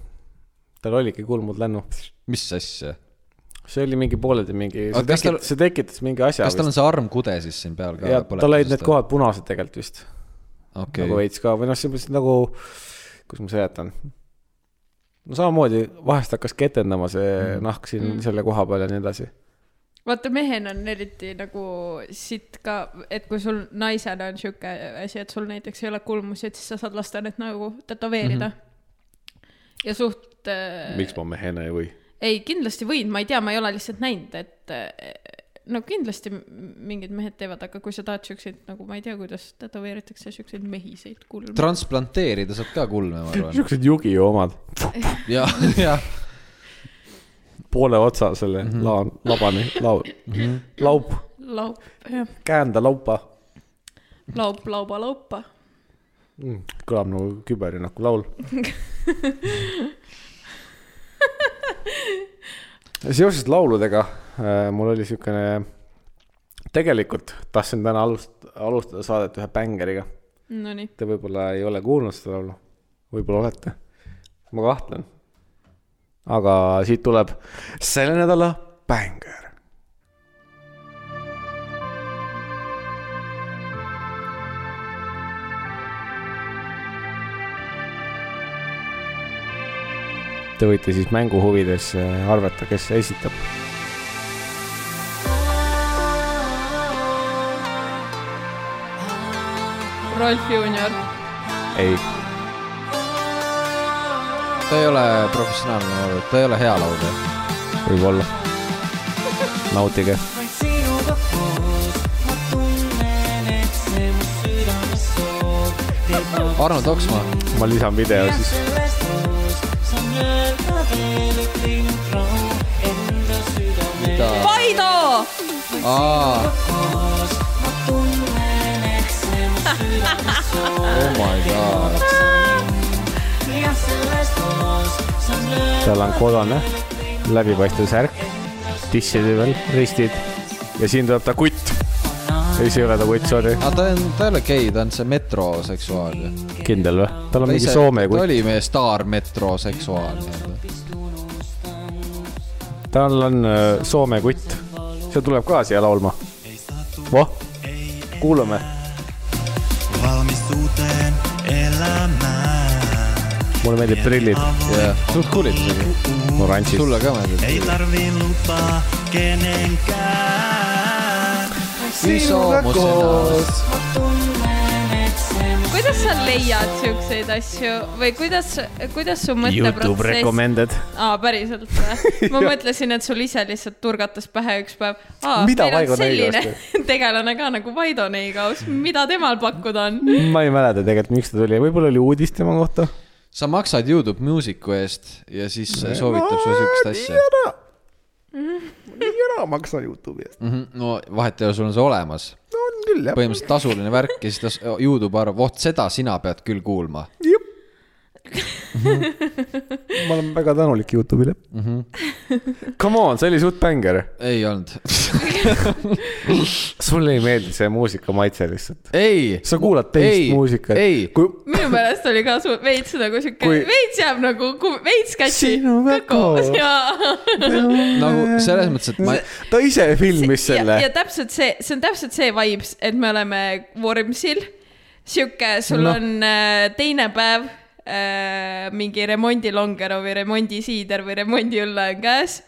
Speaker 1: tal oligi kulmud lännu .
Speaker 2: mis asja ?
Speaker 1: see oli mingi pooleldi mingi , see
Speaker 2: Aga kas
Speaker 1: tekitas
Speaker 2: tal- ,
Speaker 1: see tekitas mingi asja
Speaker 2: kas tal
Speaker 1: vist .
Speaker 2: on see armkude siis siin peal ka
Speaker 1: ja ? tal olid need . kohad punased tegelikult vist okay. , nagu
Speaker 2: okei ,
Speaker 1: veits ka või noh , see mõttes nagu , kuidas ma seletan . no samamoodi vahest hakkas ketendama see mm. nahk siin mm. selle koha peal ja nii edasi .
Speaker 3: vaata , mehena on eriti nagu sitt ka , et kui sul naisena on sihuke asi , et sul näiteks ei ole kulmusi , et siis sa saad lasta need nagu tätoveerida mm . -hmm. ja suht äh,
Speaker 1: miks ma mehena ei või ?
Speaker 3: ei , kindlasti võin , ma ei tea , ma ei ole lihtsalt näinud , et äh, no kindlasti m- mingid mehed teevad , aga kui sa tahad siukseid nagu ma ei tea , kuidas tätoveeritakse siukseid mehiseid kulme .
Speaker 2: transplanteerida saab ka kulme , ma arvan .
Speaker 1: siuksed Yugi-Oh omad ,
Speaker 2: jah , jah .
Speaker 1: poole otsa selle mm -hmm. laan , labani , laud mm , -hmm. laup ,
Speaker 3: laub , jah ,
Speaker 1: käända laupa
Speaker 3: laub , lauba , laupa .
Speaker 1: mm, . kõlab nagu küberrünnaku laul . seoses lauludega äh, mul oli siukene , tegelikult tahtsin täna alust- , alustada saadet ühe bängeriga .
Speaker 3: Nonii ,
Speaker 1: Te võib-olla ei ole kuulnud seda laulu , võib-olla olete , ma kahtlen . aga siit tuleb selle nädala bängar . Te võite siis mängu huvides äh, arvata , kes esitab .
Speaker 3: Rolf Junior .
Speaker 1: ei ,
Speaker 2: ta ei ole professionaalne laulja , ta ei ole hea laulja .
Speaker 1: võib-olla . nautige .
Speaker 5: vaid sinuga koos ma tunnen , et see mu südame soov teeb ma
Speaker 2: Arnold Oksmaa ,
Speaker 1: ma lisan video siis .
Speaker 5: sellest koos saan öelda veel , et teinud rahu enda südame
Speaker 2: ta ,
Speaker 3: Aido ,
Speaker 2: aa ,
Speaker 5: koos ma tunnen , et see mu südame soov
Speaker 2: oh my god .
Speaker 5: ja sellest koos saan öelda
Speaker 1: tal on kollane läbipaistev särk , tisside peal ristid ja siin tuleb ta kutt . ei , see ei ole ta kutt , sorry .
Speaker 2: aga Ah, ta on , ta ei ole gei , ta on see metroseksuaal ju .
Speaker 1: kindel või ? tal on
Speaker 2: ta
Speaker 1: mingi Soome
Speaker 2: ta
Speaker 1: kutt .
Speaker 2: oli meie staar metroseksuaal nii-öelda .
Speaker 1: tal on öö, Soome kutt . see tuleb ka siia laulma . voh , kuulame .
Speaker 6: valmis uuteen elämään.
Speaker 1: mulle meeldib prillid ,
Speaker 2: jah , suht cool'id isegi .
Speaker 1: oranžid .
Speaker 2: sulle ka
Speaker 6: Ei
Speaker 2: meeldib .
Speaker 6: tarvi lupaa kenenkään.
Speaker 2: isomus ,
Speaker 3: kuidas sa leiad siukseid asju või kuidas , kuidas su
Speaker 1: Youtube
Speaker 3: mõtteprotsess ,
Speaker 1: recommended .
Speaker 3: aa päriselt või ? ma mõtlesin , et sul ise lihtsalt turgatas pähe üks päev . aa ,
Speaker 1: Mida
Speaker 3: meil
Speaker 1: Vaigo
Speaker 3: on selline
Speaker 1: Neigaus
Speaker 3: tegelane ka nagu Vaido Neigaus , mida temal pakkuda on ?
Speaker 1: ma ei mäleta tegelikult , miks ta tuli , võib-olla oli uudis tema kohta .
Speaker 2: sa maksad Youtube Musicu eest ja siis soovitab sulle siukest asja .
Speaker 1: ära , nii ära maksa Youtube'i eest .
Speaker 2: Mhm. no vahet ei ole , sul on see olemas .
Speaker 1: on küll jah .
Speaker 2: põhimõtteliselt tasuline värk ja siis ta , Youtube arvab , vot seda sina pead küll kuulma .
Speaker 1: ma olen väga tänulik Youtube'ile mm .
Speaker 2: Mhm.
Speaker 1: -hmm. Come on , see oli suht bänger .
Speaker 2: ei olnud .
Speaker 1: sulle ei meeldi see muusika maitse lihtsalt ?
Speaker 2: ei ,
Speaker 1: sa kuulad teist
Speaker 2: Ei,
Speaker 1: muusikat .
Speaker 2: ei.
Speaker 1: kui
Speaker 3: minu meelest oli ka su- veits nagu siuke
Speaker 1: Kui-
Speaker 3: Kui... , veits jääb nagu , veits kätsi .
Speaker 1: Sinuga koos.
Speaker 3: jaa .
Speaker 2: nagu selles mõttes , et ma ,
Speaker 1: ta ise filmis selle
Speaker 3: ja, . ja täpselt see , see on täpselt see vibes , et me oleme Vormsil . sihuke , sul
Speaker 1: Noh.
Speaker 3: no. on äh, teine päev äh, mingi remondilongero või remondisiider või remondiõlle on käes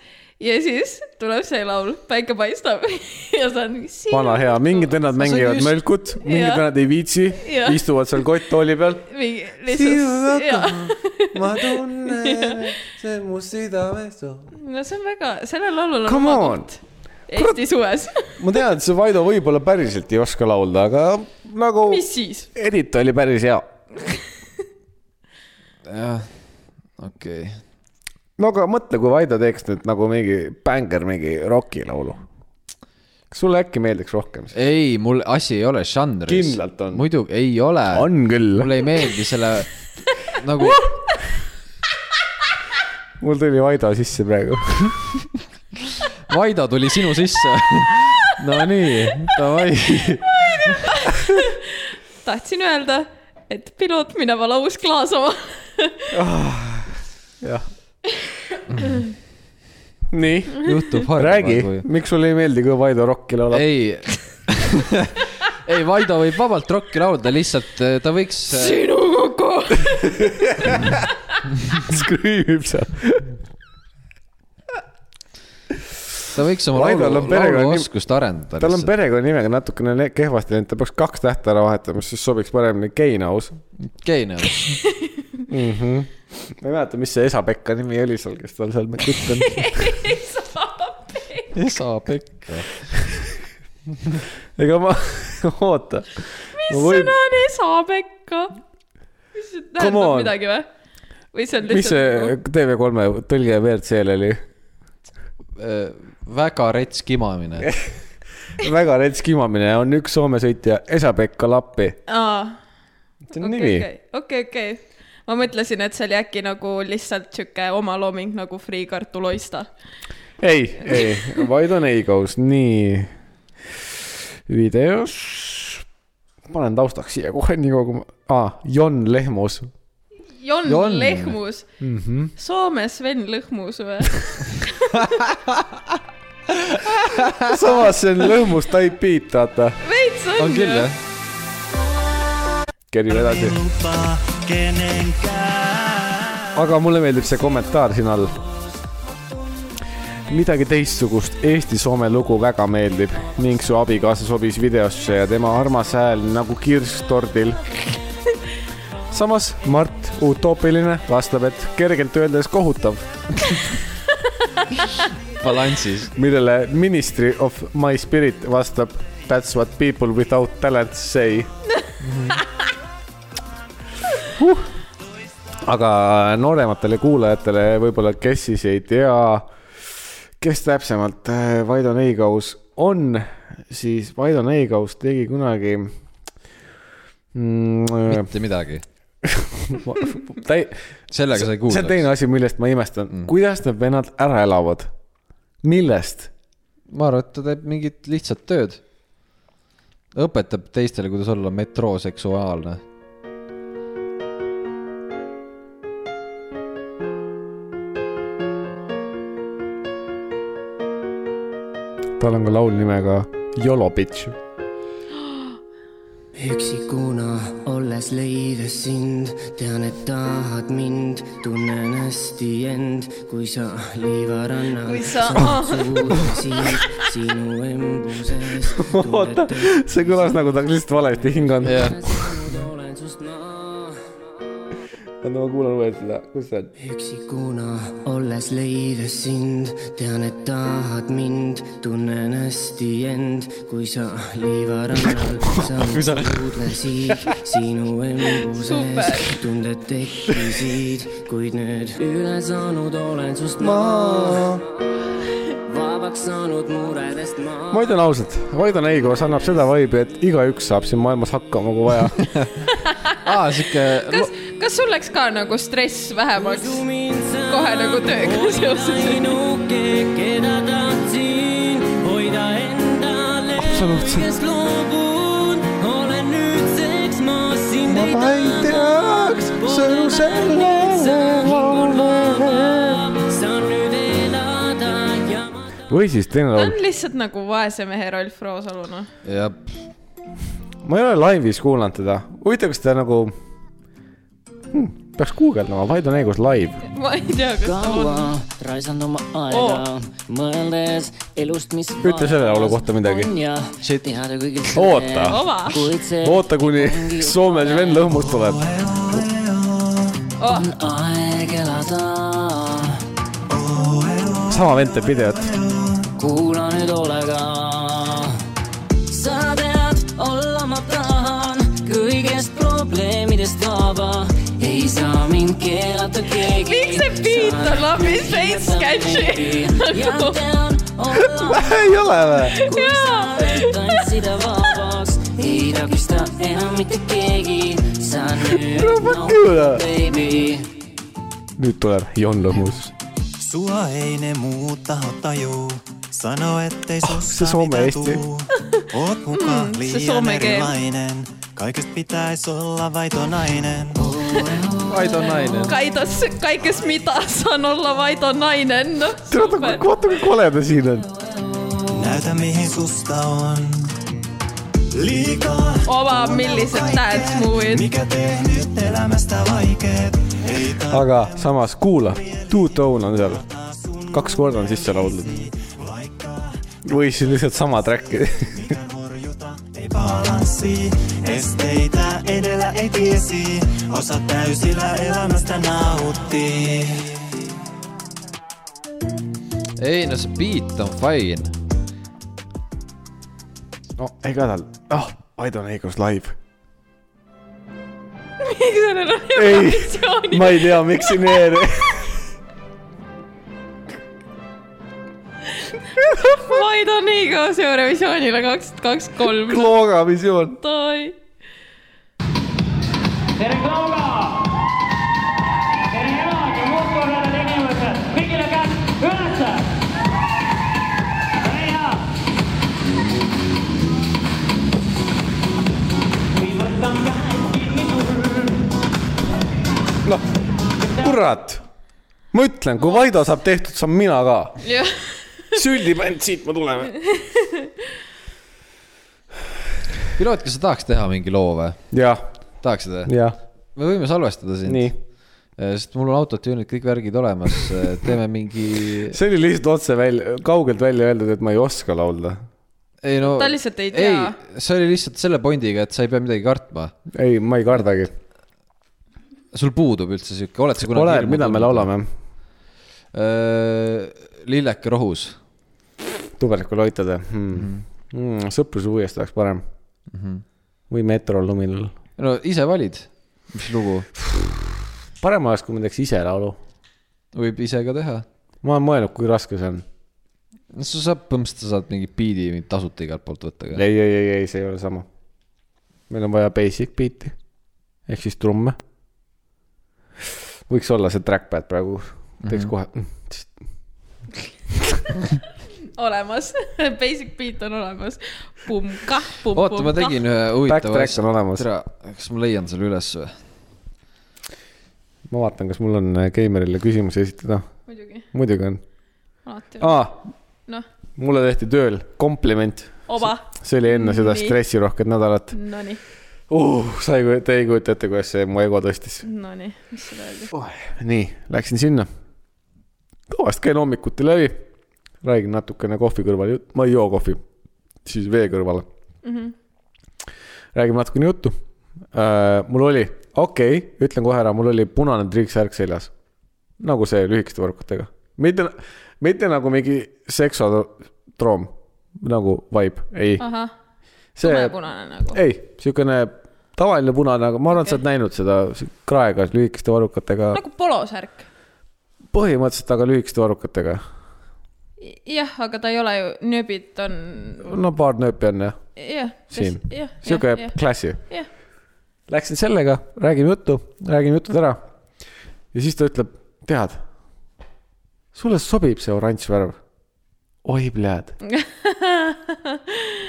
Speaker 3: ja siis tuleb see laul , päike paistab ja sa oled mingi .
Speaker 1: vana hea , mingid vennad mängivad
Speaker 2: just-
Speaker 1: mölkut , mingid
Speaker 3: Jah.
Speaker 1: vennad ei viitsi
Speaker 3: Jah. ,
Speaker 1: istuvad seal kotttooli peal .
Speaker 3: mingi
Speaker 1: Sinuga
Speaker 3: lihtsalt , jaa .
Speaker 1: ma tunnen , see mu südames on .
Speaker 3: no see on väga , sellel laulul on
Speaker 1: Come
Speaker 3: oma
Speaker 1: on
Speaker 3: koht Eesti suves .
Speaker 1: ma tean , et see Vaido võib-olla päriselt ei oska laulda , aga nagu
Speaker 3: mis siis ?
Speaker 1: edit oli päris hea .
Speaker 2: jah , okei okay. .
Speaker 1: no aga mõtle , kui Vaido teeks nüüd nagu mingi bänger , mingi rokilaulu . kas sulle äkki meeldiks rohkem see ?
Speaker 2: ei , mul asi ei ole žanris .
Speaker 1: Kindlalt on.
Speaker 2: muidugi ei ole .
Speaker 1: on küll .
Speaker 2: mulle ei meeldi selle nagu ,
Speaker 1: mul tuli Vaido sisse praegu .
Speaker 2: Vaido tuli sinu sisse . Nonii , davai .
Speaker 3: tahtsin öelda , et piloot minema laus klaasama
Speaker 1: jah . nii ,
Speaker 2: juhtub
Speaker 1: räägi , miks sulle ei meeldi , kui Vaido rokki laulab ?
Speaker 2: ei , ei Vaido võib vabalt rokki laulda , lihtsalt eh, ta võiks ,
Speaker 3: sinu kokku
Speaker 1: skrüüb seal .
Speaker 2: ta võiks oma
Speaker 1: Vaidol
Speaker 2: laulu
Speaker 1: on , perekonnanimi-
Speaker 2: lauluoskust arendada
Speaker 1: tal on
Speaker 2: lihtsalt .
Speaker 1: perekonnanimega natukene ne- kehvasti läinud , ta peaks kaks tähte ära vahetama , siis sobiks paremini Keinaus .
Speaker 2: okei , no
Speaker 1: ma ei mäleta , mis see Esa-Pekka nimi oli seal , kes tal seal kütt on .
Speaker 2: Esa-Pekka .
Speaker 1: ega ma , oota .
Speaker 3: mis sõna on esapekka ? mis see
Speaker 1: Come
Speaker 3: tähendab
Speaker 1: on.
Speaker 3: midagi või ? või see on
Speaker 1: mis see
Speaker 3: lihtsalt . nagu-
Speaker 1: TV3-e tõlge WRC-l oli ?
Speaker 2: eh, väga rets kimamine .
Speaker 1: väga rets kimamine on üks Soome sõitja Esa-Pekka Lappi .
Speaker 3: aa ,
Speaker 1: see on okay, nimi
Speaker 3: okei
Speaker 1: okay. .,
Speaker 3: okei , okei . ma mõtlesin , et see oli äkki nagu lihtsalt sihuke omalooming nagu Freeh kartul oista .
Speaker 1: ei , ei , vaid on Eigos , nii . videos , panen taustaks siia kohe nii kogu , aa , Jon Lehmus
Speaker 3: Jon,
Speaker 2: Jon.
Speaker 3: Jon. Lehmus ,
Speaker 1: mm . -hmm.
Speaker 3: Soome Sven Lõhmus või ?
Speaker 1: samas see on Lõhmus type beat , vaata .
Speaker 3: veits on,
Speaker 2: on küll jah .
Speaker 1: kerime edasi .
Speaker 6: lupa kenenkään.
Speaker 1: aga mulle meeldib see kommentaar siin all . midagi teistsugust Eesti-Soome lugu väga meeldib ning su abikaasa sobis videosse ja tema armas hääl nagu kirss tordil . samas Mart , utoopiline , vastab , et kergelt öeldes kohutav ,
Speaker 2: balansis .
Speaker 1: millele Ministry of My Spirit vastab That's what people without talent say huh. . aga noorematele kuulajatele võib-olla , kes siis ei tea , kes täpsemalt äh, Vaido Neigaus on , siis Vaido Neigaus tegi kunagi mm, .
Speaker 2: mitte midagi .
Speaker 1: ta ei ,
Speaker 2: sellega sai
Speaker 1: see on teine
Speaker 2: kuulda .
Speaker 1: asi , millest ma imestan mm. , kuidas need vennad ära elavad , millest ?
Speaker 2: ma arvan , et ta teeb mingit lihtsat tööd . õpetab teistele , kuidas olla metrooseksuaalne .
Speaker 1: tal on ka laul nimega YOLO bitch .
Speaker 7: üksikuna olles leides sind , tean , et tahad mind , tunnen hästi end , kui sa liivarannal .
Speaker 3: Kui sa-
Speaker 7: siin sinu embuses .
Speaker 1: oota , see kõlas nagu ta oleks lihtsalt valesti hinganud yeah. .
Speaker 7: olen sust ma
Speaker 1: oota , ma kuulan uuesti seda , kus see on ?
Speaker 7: üksikuna olles leides sind , tean , et tahad mind , tunnen hästi end , kui sa liivarannal sammudlesid sinu
Speaker 3: Super.
Speaker 7: embuses , tunded tekkisid , kuid nüüd üle saanud olen sust ma , vabaks saanud muredest ma .
Speaker 1: ma ütlen ausalt , Vaido Neigos annab seda vibe'i , et igaüks saab siin maailmas hakkama , kui vaja .
Speaker 2: aa , Ah, sihuke
Speaker 3: kas , kas sul läks ka nagu stress vähemaks kohe nagu tööga seoses ?
Speaker 7: ainuke , keda tahtsin hoida endale .
Speaker 1: Absoluutselt.
Speaker 7: kes loobun , olen nüüdseks ma siin .
Speaker 1: ma ei teaks sõnu sellele .
Speaker 7: saan nüüd elada ja ma .
Speaker 1: või siis teine
Speaker 3: ta
Speaker 1: laul
Speaker 3: on , lihtsalt nagu vaese mehe Rolf Roosaluna .
Speaker 2: ja
Speaker 1: ma ei ole live'is kuulanud teda , huvitav , kas ta nagu hmm, , peaks guugeldama , Vaido Neigos live .
Speaker 3: ma ei tea , kas ta on .
Speaker 7: kaua raisanud oma aega oh. , mõeldes elust , mis .
Speaker 1: Ütle selle laulu kohta midagi.
Speaker 2: Shit.
Speaker 1: Oota.
Speaker 3: oma
Speaker 7: kuid see
Speaker 1: oota , kuni Soome Sven Lõhmus tuleb .
Speaker 3: oh, .
Speaker 7: on aeg elada
Speaker 1: sama vend teeb videot .
Speaker 7: kuula nüüd hoolega . sa tead , olla ma tahan , kõigest probleemidest vaba , ei saa mind keelata keegi .
Speaker 3: miks see beat on abis veits sketši ?
Speaker 7: ja tean , olla ma
Speaker 1: ei ole või ?
Speaker 3: jaa ,
Speaker 7: tantsida vabaks , ei takista enam mitte keegi , sa nüüd
Speaker 1: kuule.
Speaker 7: baby .
Speaker 1: noh. nüüd tuleb Jon Lõhmus .
Speaker 6: Sua ei ne muut taho tajuu. Sano, ettei
Speaker 3: Ah,
Speaker 6: oh,
Speaker 1: se
Speaker 6: susta
Speaker 1: some
Speaker 6: mitä
Speaker 1: esti.
Speaker 6: tuu. Oot muka
Speaker 3: Mm, se
Speaker 6: liian
Speaker 3: some game.
Speaker 6: erilainen. Kaikesta pitäis olla vaitonainen.
Speaker 2: Aido naine .
Speaker 3: Kaidos , kaikes mida saan olla Vaido nainen .
Speaker 1: vaata , vaata kui kole ta siin on .
Speaker 6: Näytä mihin susta on. Liikaa.
Speaker 3: oma , millised dance move'id .
Speaker 6: Mikä tehnyt elämästä vaikeet. Ei ta
Speaker 1: aga samas kuula , Two Tone on seal , kaks korda on sisse lauldud . või siis lihtsalt sama track'i .
Speaker 6: ei balanssi. Esteitä edellä ei tiesi. Osa täysillä elämästä nauttii.
Speaker 2: ei no see beat on fine .
Speaker 1: no ega tal , ah , Vaido Neigos live .
Speaker 3: miks sellel on
Speaker 1: ei ,
Speaker 3: emotsioonid ?
Speaker 1: ma ei tea , miks siin ER-i .
Speaker 3: Vaido Neigos Eurovisioonile kaks , kaks , kolm .
Speaker 1: Klooga visioon .
Speaker 3: Toi.
Speaker 8: tere Kauga , tere elage , muudkui oleme tegemas , kõigile käed ülesse .
Speaker 1: kurat , ma ütlen , kui Vaido saab tehtud , saan mina ka .
Speaker 3: jah ,
Speaker 1: süldib end siit , ma tulen .
Speaker 2: piloot , kas sa tahaks teha mingi loo või ?
Speaker 1: jah ,
Speaker 2: tahaksid või ?
Speaker 1: jah ,
Speaker 2: me võime salvestada sind .
Speaker 1: nii .
Speaker 2: sest mul on autotune'id , kõik värgid olemas , teeme mingi .
Speaker 1: see oli lihtsalt otse välja , kaugelt välja öeldud , et ma ei oska laulda .
Speaker 2: ei no .
Speaker 3: Ta lihtsalt ei
Speaker 2: ei
Speaker 3: tea. ,
Speaker 2: see oli lihtsalt selle pointiga , et sa ei pea midagi kartma .
Speaker 1: ei , ma ei kardagi .
Speaker 2: sul puudub üldse sihuke , oled sa kunagi .
Speaker 1: ole , mida me ? laulame ?
Speaker 2: Eh, lilleke rohus .
Speaker 1: tuberkuloitade hmm. . Hmm, sõpruse uuesti oleks parem . või Metrol Luminal .
Speaker 2: no ise valid , mis lugu ,
Speaker 1: parem oleks , kui ma teeks ise laulu .
Speaker 2: võib ise ka teha .
Speaker 1: ma olen mõelnud , kui raske see on .
Speaker 2: no sa saad , põhimõtteliselt sa saad mingi beat'i mingi tasuta igalt poolt võtta ka .
Speaker 1: ei , ei , ei , ei , see ei ole sama . meil on vaja basic beat'i ehk siis trumme . võiks olla see trackpad praegu , teeks mm -hmm. kohe .
Speaker 3: olemas . Basic beat on olemas . pumm kah , pumm , pumm .
Speaker 2: oota , ma tegin ühe huvitava
Speaker 1: Backtrack on olemas.
Speaker 2: tere , kas ma leian selle üles või ?
Speaker 1: ma vaatan , kas mul on Keimerile küsimusi esitada .
Speaker 3: muidugi ,
Speaker 1: muidugi on .
Speaker 3: alati .
Speaker 2: Ah.
Speaker 1: aa ,
Speaker 3: noh ,
Speaker 1: mulle tehti tööl kompliment .
Speaker 3: oba ,
Speaker 1: see oli enne seda
Speaker 3: Nii.
Speaker 1: stressirohket nädalat
Speaker 3: nonii ,
Speaker 1: uh, . sa ei kujuta , te ei kujuta ette , kuidas see mu ego tõstis
Speaker 3: nonii , mis sulle öeldi ?
Speaker 1: oh, . nii , läksin sinna . tavaliselt käin hommikuti läbi , räägin natukene kohvi kõrval , ma ei joo kohvi , siis vee kõrvale mm . -hmm. räägime natukene juttu uh, . mul oli , okei okay, , ütlen kohe ära , mul oli punane triiksärk seljas . nagu see lühikeste varrukatega , mitte , mitte nagu mingi seksotroom nagu vibe , ei .
Speaker 3: ahah ,
Speaker 1: see
Speaker 3: tumepunane nagu .
Speaker 1: ei , siukene tavaline punane , aga ma arvan , et sa oled näinud seda si- kraega lühikeste varrukatega ,
Speaker 3: nagu polosärk .
Speaker 1: põhimõtteliselt aga lühikeste varrukatega .
Speaker 3: jah , aga ta ei ole ju , nööbid on ,
Speaker 1: no paar nööpi on jah ,
Speaker 3: jah .
Speaker 1: Siin.
Speaker 3: jah , jah ,
Speaker 1: siuke
Speaker 3: jah ,
Speaker 1: klassi .
Speaker 3: jah ,
Speaker 1: Läksin sellega , räägime juttu , räägime jutud ära . ja siis ta ütleb , tead , sulle sobib see oranž värv . oi , pljääd .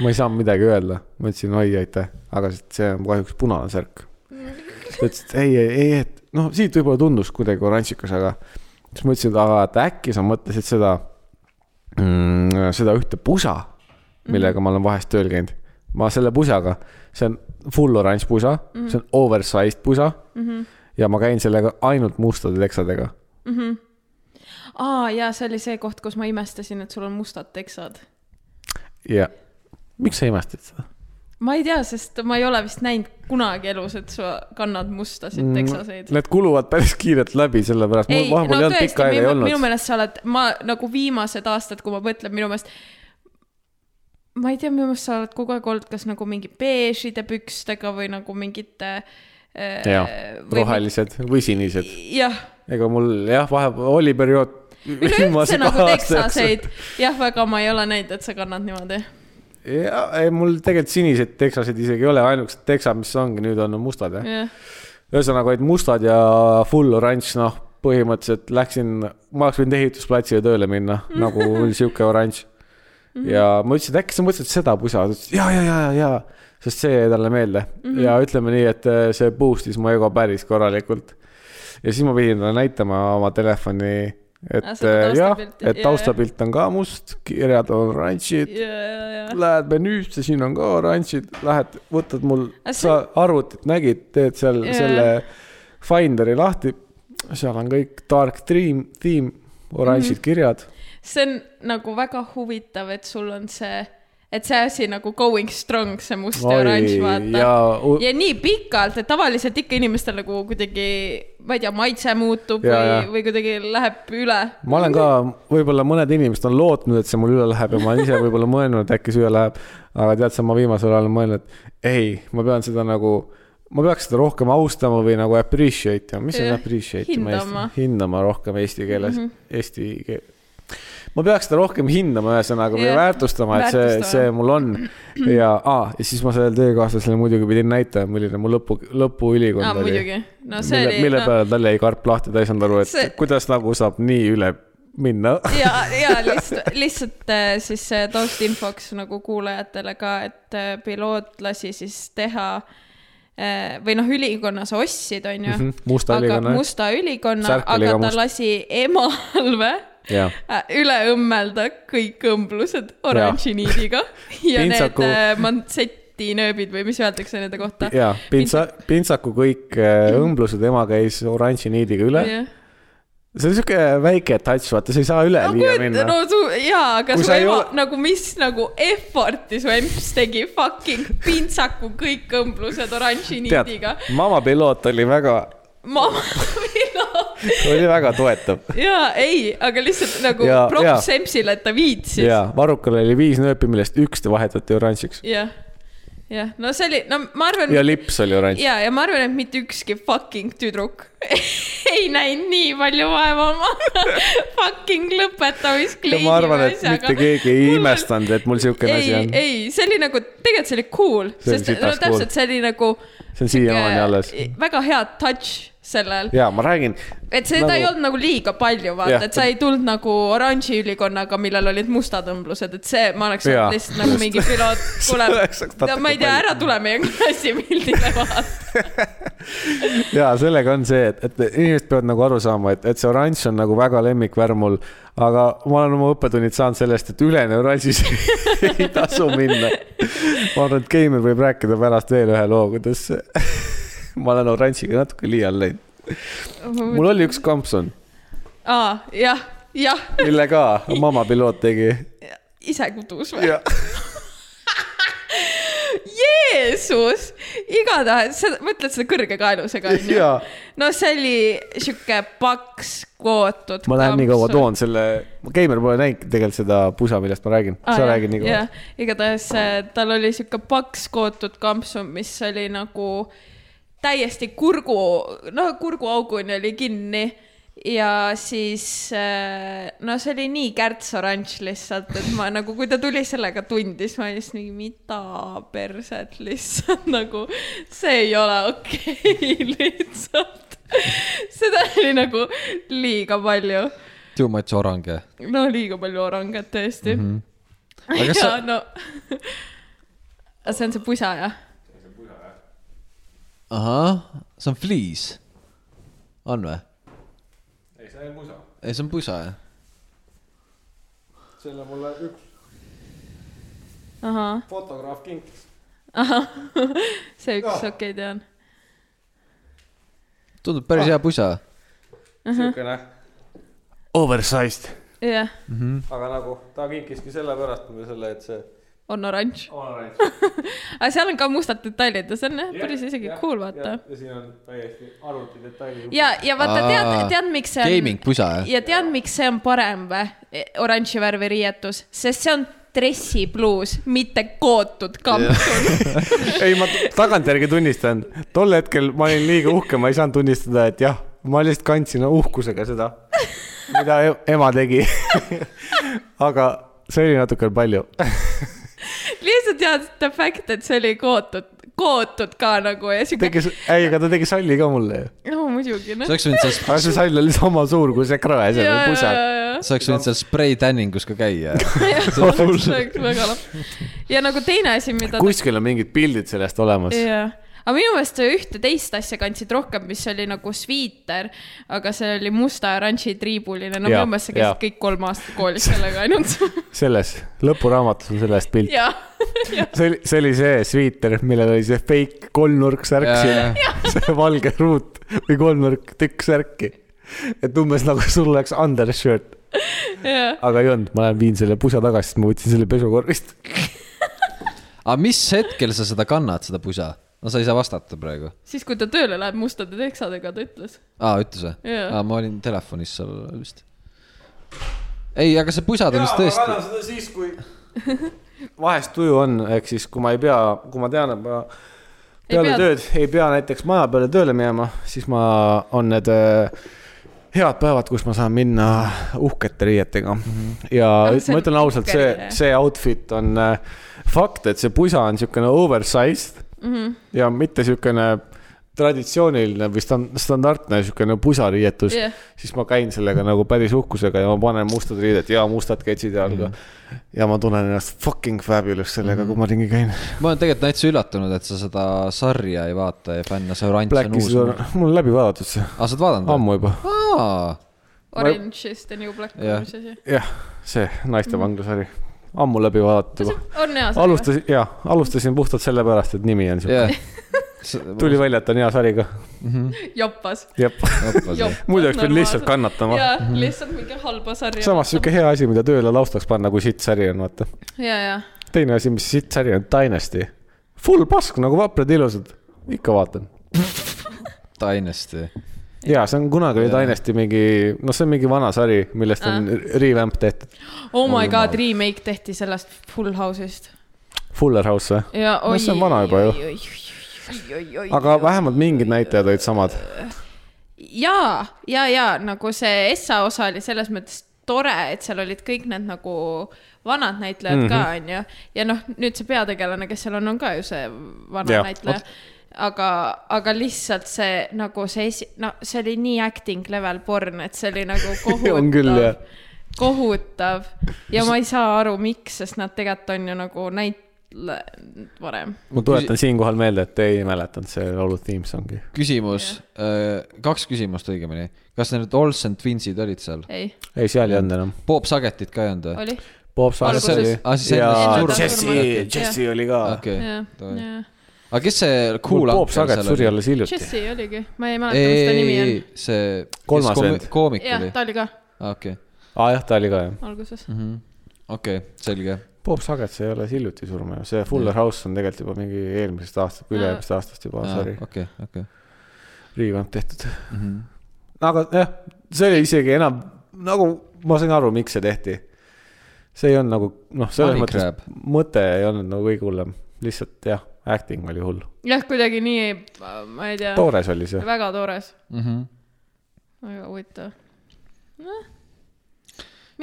Speaker 1: ma ei saanud midagi öelda , ma ütlesin oi , aitäh , aga see on kahjuks punane särk . ta ütles , et ei , ei , ei , et noh , siit võib-olla tundus kuidagi oranžikas , aga siis ma ütlesin , et aga et äkki sa mõtlesid seda mm, , seda ühte pusa ,
Speaker 3: Mhm.
Speaker 1: millega ma olen vahest tööl käinud . ma selle pusaga , see on full oranž pusa mm ,
Speaker 3: Mhm.
Speaker 1: -hmm. see on oversized pusa mm . -hmm. ja ma käin sellega ainult mustade teksadega .
Speaker 3: aa jaa , see oli see koht , kus ma imestasin , et sul on mustad teksad .
Speaker 1: ja miks sa imestad seda ?
Speaker 3: ma ei tea , sest ma ei ole vist näinud kunagi elus , et sa kannad mustasid teksaseid .
Speaker 1: Need kuluvad päris kiirelt läbi , sellepärast Mm. mul vahepeal ei olnud pikka aega ei
Speaker 3: minu, minu
Speaker 1: olnud .
Speaker 3: meelest sa oled , ma nagu viimased aastad , kui ma mõtlen , minu meelest , ma ei tea , minu meelest sa oled kogu aeg olnud kas nagu mingi beežide pükstega või nagu mingite äh,
Speaker 1: jah , rohelised või sinised .
Speaker 3: jah ,
Speaker 1: ega mul jah , vahepeal oli periood . Mhm.
Speaker 3: üleüldse nagu teksaseid , jah , väga ma ei ole näinud , et sa kannad niimoodi .
Speaker 1: ja ei, mul tegelikult sinised teksasid isegi ei ole , ainukesed teksad , mis ongi nüüd on mustad jah .
Speaker 3: jah ,
Speaker 1: ühesõnaga olid mustad ja full oranž , noh , põhimõtteliselt läksin , ma oleks võinud ehitusplatsile tööle minna ,
Speaker 3: Mm.
Speaker 1: nagu oli sihuke oranž .
Speaker 3: Mhm.
Speaker 1: ja ma ütlesin , et äkki sa mõtlesid seda pusa , ta ütles ja , ja , ja , ja , ja , sest see jäi talle meelde mm
Speaker 3: Mhm.
Speaker 1: -hmm. ja ütleme nii , et eh, see boost'is mu ego päris korralikult . ja siis ma pidin talle näitama oma telefoni ,
Speaker 3: Ah,
Speaker 1: et
Speaker 3: seda
Speaker 1: eh, jah , et
Speaker 3: taustapilt- jajah.
Speaker 1: taustapilt on ka must , kirjad on oranžid ,
Speaker 3: ja , ja , ja .
Speaker 1: lähed menüüsse , siin on ka oranžid , lähed , võtad mul ,
Speaker 3: Aga see-
Speaker 1: sa arvutit nägid , teed seal
Speaker 3: Jaa.
Speaker 1: yeah. selle Finderi lahti , seal on kõik dark dream , theme ,
Speaker 3: Mhm.
Speaker 1: oranžid mm -hmm. kirjad .
Speaker 3: see on nagu väga huvitav , et sul on see , et see asi nagu going strong , see must ja
Speaker 1: Oi,
Speaker 3: oranž , vaata .
Speaker 1: ja u-
Speaker 3: ja nii pikalt , et tavaliselt ikka inimestel nagu kuidagi , ma ei tea , maitse muutub
Speaker 1: Ja,
Speaker 3: ja, või
Speaker 1: ja. ,
Speaker 3: või kuidagi läheb üle .
Speaker 1: ma olen ka , võib-olla mõned inimesed on lootnud , et see mul üle läheb ja ma olen ise võib-olla mõelnud , et äkki see üle läheb . aga tead sa , ma viimasel ajal olen mõelnud , et ei , ma pean seda nagu , ma peaks seda rohkem austama või nagu appreciate ima , mis on
Speaker 3: Jah,
Speaker 1: appreciate ima eesti
Speaker 3: hindama. , Mhm.
Speaker 1: hindama rohkem eesti keeles mm , -hmm. eesti keel ma peaks seda rohkem hindama , ühesõnaga või
Speaker 3: Jah,
Speaker 1: väärtustama , et see ,
Speaker 3: väärtustama.
Speaker 1: see mul on . ja ah, , ja siis ma sellele töökaaslasele muidugi pidin näitama , milline mu lõpu , lõpuülikond
Speaker 3: aa ,
Speaker 1: oli
Speaker 3: muidugi . no see
Speaker 1: mille , mille
Speaker 3: oli ,
Speaker 1: peale tal jäi karp lahti , ta ei saanud aru , et see...
Speaker 3: See-
Speaker 1: kuidas nagu saab nii üle minna .
Speaker 3: ja , ja lihtsalt , lihtsalt äh, siis äh, taustinfoks nagu kuulajatele ka , et äh, piloot lasi siis teha või noh , ülikonna sa ostsid , onju .
Speaker 1: Mhm, musta ülikonna, jah.
Speaker 3: musta ülikonna ,
Speaker 1: Särk oli
Speaker 3: aga
Speaker 1: ka
Speaker 3: ta
Speaker 1: must.
Speaker 3: lasi emalve
Speaker 1: Jaa.
Speaker 3: äh, üle õmmelda kõik õmblused oranži niidiga ja need
Speaker 1: Pintsaku-
Speaker 3: äh, mantseti nööbid või mis öeldakse nende kohta .
Speaker 1: ja pintsa , pintsaku kõik äh, õmblused , ema käis oranži niidiga üle .
Speaker 3: no
Speaker 1: see on siuke äh, väike touch , vaata , sa ei saa üle no, liia
Speaker 3: kujuta ,
Speaker 1: minna
Speaker 3: no
Speaker 1: no. .
Speaker 3: su , jaa , aga
Speaker 1: Kui
Speaker 3: su
Speaker 1: sa ei
Speaker 3: ema
Speaker 1: ole-
Speaker 3: nagu , mis nagu effort'i su emps tegi , fucking pintsaku kõik õmblused oranži
Speaker 1: tead
Speaker 3: niidiga .,
Speaker 1: Mama Piloot oli väga ,
Speaker 3: ma , millal ?
Speaker 1: oli väga toetav .
Speaker 3: jaa , ei , aga lihtsalt nagu
Speaker 1: Jaa,
Speaker 3: props
Speaker 1: jaa.
Speaker 3: empsile , et ta viitsis .
Speaker 1: ja varrukal oli viis nööpi , millest üks vahetati oranžiks
Speaker 3: jah , jah , no see oli , no ma arvan .
Speaker 1: ja lips oli oranž .
Speaker 3: ja , ja ma arvan , et mitte ükski fucking tüdruk ei näinud nii palju vaeva oma fucking
Speaker 1: ja
Speaker 3: lõpetamiskliini .
Speaker 1: ma arvan , et mitte keegi ei imestanud , et mul siukene asi
Speaker 3: ei
Speaker 1: on .,
Speaker 3: ei , see oli nagu , tegelikult see oli cool ,
Speaker 1: See oli
Speaker 3: sest no
Speaker 1: sitaks cool.
Speaker 3: täpselt , see oli nagu .
Speaker 1: see on siiamaani alles .
Speaker 3: väga hea touch sellel ,
Speaker 1: ja ma räägin ,
Speaker 3: et seda nagu... ei
Speaker 1: Nagu-
Speaker 3: olnud nagu liiga palju ,
Speaker 1: Jah.
Speaker 3: vaata , et sa ei tulnud nagu oranži ülikonnaga , millel olid mustad õmblused , et see , ma oleks
Speaker 1: Jaa.
Speaker 3: olnud lihtsalt nagu mingi piloot , kuule
Speaker 1: oleks olnud , natuke
Speaker 3: ma ei tea ,
Speaker 1: palju.
Speaker 3: ära tule meie klassipildile vaata .
Speaker 1: ja sellega on see , et , et inimesed peavad nagu aru saama , et , et see oranž on nagu väga lemmikvärv mul , aga ma olen oma õppetunnid saanud sellest , et ülene oranžis ei tasu minna . ma arvan , et Keimel võib rääkida pärast veel ühe loo , kuidas ma olen oranžiga natuke liial läinud . mul oli üks kampsun ,
Speaker 3: Mhm. aa , jah , jah ,
Speaker 1: mille ka Mama Piloot tegi .
Speaker 3: ise kudus või ?
Speaker 1: ja ,
Speaker 3: Jeesus , igatahes , sa mõtled seda kõrge kaelusega onju
Speaker 1: ja .?
Speaker 3: no see oli sihuke paks kootud .
Speaker 1: ma lähen nii kaua . toon selle , Keimel pole näinud tegelikult seda pusa , millest ma räägin ,
Speaker 3: Ah,
Speaker 1: Ah, sa räägid nii kaua ..
Speaker 3: igatahes äh, tal oli sihuke paks kootud kampsu , mis oli nagu täiesti kurgu , no kurguauguni oli kinni ja siis äh, no see oli nii kärts oranž lihtsalt , et ma nagu , kui ta tuli sellega tundi , siis ma olin just nii , mida perset lihtsalt nagu , see ei ole okei okay, lihtsalt . seda oli nagu liiga palju ,
Speaker 2: Too much orange .
Speaker 3: no liiga palju orangat tõesti mm . -hmm
Speaker 2: Mhm. aga kas
Speaker 3: ja
Speaker 2: sa
Speaker 3: sa... , no . see on see pusa jah ?
Speaker 2: ahah , see on fliis . on või ? ei , see on pusa jah .
Speaker 1: selle mulle üks
Speaker 3: ahah ,
Speaker 1: fotograaf kinkis .
Speaker 3: ahah , see üks , okei , tean .
Speaker 2: tundub päris hea pusa .
Speaker 1: siukene oversized .
Speaker 3: jah ,
Speaker 1: aga nagu ta kinkiski sellepärast mulle selle , et see
Speaker 3: on oranž .
Speaker 1: oranž .
Speaker 3: aga seal on ka mustad detailid ja see on jah , päris isegi cool , vaata .
Speaker 1: ja siin on täiesti arvuti detaili .
Speaker 3: ja , ja vaata , tead
Speaker 2: Aa, ,
Speaker 3: tead , miks see on .
Speaker 2: gaming pusa jah ?
Speaker 3: ja tead , miks see on parem või ? oranži värvi riietus , sest see on dressipluus , mitte kootud kampsun .
Speaker 1: ei , ma tagantjärgi tunnistan , tol hetkel ma olin liiga uhke , ma ei saanud tunnistada , et jah , ma lihtsalt kandsin uhkusega seda , mida e- ema tegi . aga see oli natuke palju .
Speaker 3: lihtsalt tead , the fact , et see oli kootud , kootud ka nagu ja siuke ,
Speaker 1: tegi , ei , aga ta tegi salli ka mulle ju .
Speaker 3: no muidugi
Speaker 2: sa
Speaker 3: noh .
Speaker 2: oleks võinud seal ,
Speaker 1: aga see sall oli sama suur kui see krõe , see oli pusa .
Speaker 2: sa oleks võinud seal spray tanning us ka käia .
Speaker 3: see oleks väga lahe . ja nagu teine asi , mida .
Speaker 1: kuskil on mingid pildid sellest olemas .
Speaker 3: jah , aga minu meelest ühte teist asja kandsid rohkem , mis oli nagu sviiter , aga see oli musta ja oranži triibuline , no
Speaker 1: Jaa,
Speaker 3: minu meelest sa käisid
Speaker 1: jaa.
Speaker 3: kõik kolm aastat koolis sellega ainult .
Speaker 1: selles , lõpuraamatus on sellest pilt .
Speaker 3: ja ,
Speaker 1: see oli , see oli see sviiter , millel oli see fake kolmnurksärk
Speaker 2: Jaa,
Speaker 1: siin , see valge ruut või kolmnurk tükk särki . et umbes nagu sul oleks undershirt ,
Speaker 3: ja ,
Speaker 1: aga ei olnud , ma lähen viin selle pusa tagasi , sest ma võtsin selle pesukorvist .
Speaker 2: aga mis hetkel sa seda kannad , seda pusa ? no sa ei saa vastata praegu .
Speaker 3: siis kui ta tööle läheb mustade teksadega , ta ütles .
Speaker 2: aa , ütles või ?
Speaker 3: Jaa.
Speaker 2: aa , ma olin telefonis seal vist . ei , aga see pusa ta vist tõesti .
Speaker 1: seda siis , kui vahest tuju on , ehk siis kui ma ei pea , kui ma tean , et ma
Speaker 3: Ei
Speaker 1: peale
Speaker 3: pea-
Speaker 1: tööd ei pea näiteks maja peale tööle minema , siis ma , on need öö, head päevad , kus ma saan minna uhkete riietega mm . -hmm. ja
Speaker 3: Ah,
Speaker 1: ah,
Speaker 3: see on
Speaker 1: ma ütlen ausalt , see
Speaker 3: uhke riie. ,
Speaker 1: see outfit on äh,
Speaker 3: Mhm.
Speaker 1: fakt , et see pusa on niisugune oversized mm -hmm. ja mitte niisugune traditsiooniline või stand- , standardne siukene pusariietus
Speaker 3: Jah.
Speaker 1: siis ma käin sellega nagu päris uhkusega ja ma panen mustad riided ja mustad ketsid jalga
Speaker 2: Mhm.
Speaker 1: mm. . ja ma tunnen ennast fucking fabulous sellega mm. , kui ma ringi käin .
Speaker 2: ma olen tegelikult täitsa üllatunud , et sa seda sarja ei vaata ja fänna , see oranž on uus
Speaker 1: Blackis . on , mul on läbi vaadatud see ,
Speaker 2: aa , sa oled vaadanud või ?
Speaker 1: ammu juba .
Speaker 2: aa ,
Speaker 3: Orange is the new black
Speaker 2: Jah.
Speaker 3: on mis asi .
Speaker 1: jah , see
Speaker 2: Mhm.
Speaker 1: naistevanglasari , ammu läbi vaadatud juba .
Speaker 3: on hea sari või ?
Speaker 1: alustasin , jaa , alustasin puhtalt sellepärast , et nimi on siuke yeah. .
Speaker 2: jah .
Speaker 1: tuli välja , et on hea sari ka .
Speaker 3: jopas .
Speaker 1: jep , muidu oleks pidanud lihtsalt . kannatama .
Speaker 3: jaa , lihtsalt mingi halba sarja .
Speaker 1: samas siuke . hea asi , mida tööle laustaks panna , kui sitt sari on , vaata .
Speaker 3: jaa , jaa .
Speaker 1: teine asi , mis sitt sari on , Dynasty . Full pask nagu vaprad ilusad , ikka vaatan
Speaker 2: Dynasty .
Speaker 1: ja see on kunagi oli Dynasty mingi , noh , see on mingi vana sari , millest on revamp tehtud .
Speaker 3: Oh my god , remake tehti sellest Full House'ist .
Speaker 1: Fuller House või ?
Speaker 3: ja
Speaker 1: No
Speaker 3: oi .
Speaker 1: see on vana juba ju. . aga vähemalt mingid näitajad olid samad .
Speaker 3: ja , ja , ja nagu see Essa osa oli selles mõttes tore , et seal olid kõik need nagu vanad näitlejad mm -hmm.
Speaker 1: Mhm.
Speaker 3: ka , onju . ja noh , nüüd see peategelane , kes seal on , on ka ju see vana ja,
Speaker 1: Jah,
Speaker 3: näitleja . aga , aga lihtsalt see nagu see esi- , no see oli nii acting level porn , et see oli nagu
Speaker 1: On küll, jah.
Speaker 3: kohutav , kohutav . ja ma ei saa aru , miks , sest nad tegelikult on ju nagu näitle- , varem .
Speaker 1: ma tuletan siinkohal meelde , et ei mäletanud see laulu theme song'i .
Speaker 2: küsimus , kaks küsimust õigemini . kas need Olsen Twinsid olid seal ?
Speaker 3: ei ,
Speaker 1: ei , seal ei olnud enam .
Speaker 2: Bob Sagetit ka ei olnud või ?
Speaker 3: oli ,
Speaker 1: Bob Saar
Speaker 3: Alguses-
Speaker 1: oli
Speaker 2: aa, siis
Speaker 1: ja
Speaker 2: enne
Speaker 3: surma.
Speaker 1: Jesse , Jesse oli ka .
Speaker 2: okei ,
Speaker 3: jah , jah .
Speaker 2: aga kes see
Speaker 1: mul
Speaker 2: cool
Speaker 1: Bob Saget suri alles hiljuti .
Speaker 3: Jesse oligi , ma ei mäleta , mis ta nimi on
Speaker 2: ei , see .
Speaker 1: Kolmas vend.
Speaker 2: koomik
Speaker 3: jah
Speaker 2: oli ,?
Speaker 3: ta oli ka
Speaker 2: okei ,
Speaker 1: aa Ah, jah , ta oli ka jah .
Speaker 3: alguses .
Speaker 2: okei , selge .
Speaker 1: Bob Saget sai alles hiljuti surma ju , see Fuller House on tegelikult juba mingi eelmisest aastast , üle-eelmisest aastast juba sari ,
Speaker 2: okei , okei . Mhm.
Speaker 1: revamp tehtud . aga jah , see oli isegi enam nagu ma sain aru , miks see tehti . see ei olnud nagu noh , selles
Speaker 2: Money
Speaker 1: mõttes
Speaker 2: grab.
Speaker 1: mõte ei olnud nagu kõige hullem , lihtsalt jah , acting oli hull ,
Speaker 3: jah , kuidagi nii ei , ma ei tea ,
Speaker 1: toores oli see .
Speaker 3: väga toores ,
Speaker 2: Mhm.
Speaker 3: väga huvitav . noh .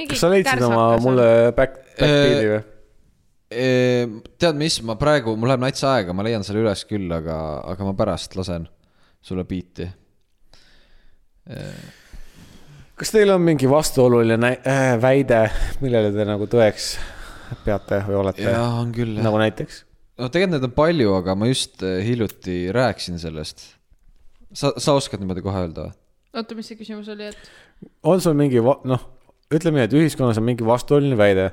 Speaker 1: kas sa leidsid oma mulle back ,
Speaker 2: Äh,
Speaker 1: backbeat'i või ?
Speaker 2: Ehm, tead mis , ma praegu , mul läheb natsa aega , ma leian selle üles küll , aga , aga ma pärast lasen sulle biiti .
Speaker 1: kas teil on mingi vastuoluline näi- äh, väide , millele te nagu tõeks peate või olete ?
Speaker 2: jaa , on küll .
Speaker 1: nagu näiteks ?
Speaker 2: no tegelikult neid on palju , aga ma just eh, hiljuti rääkisin sellest . sa , sa oskad niimoodi kohe öelda või ?
Speaker 3: oota , mis see küsimus oli , et
Speaker 1: on sul mingi va- noh , ütleme nii , et ühiskonnas on mingi vastuoluline väide ,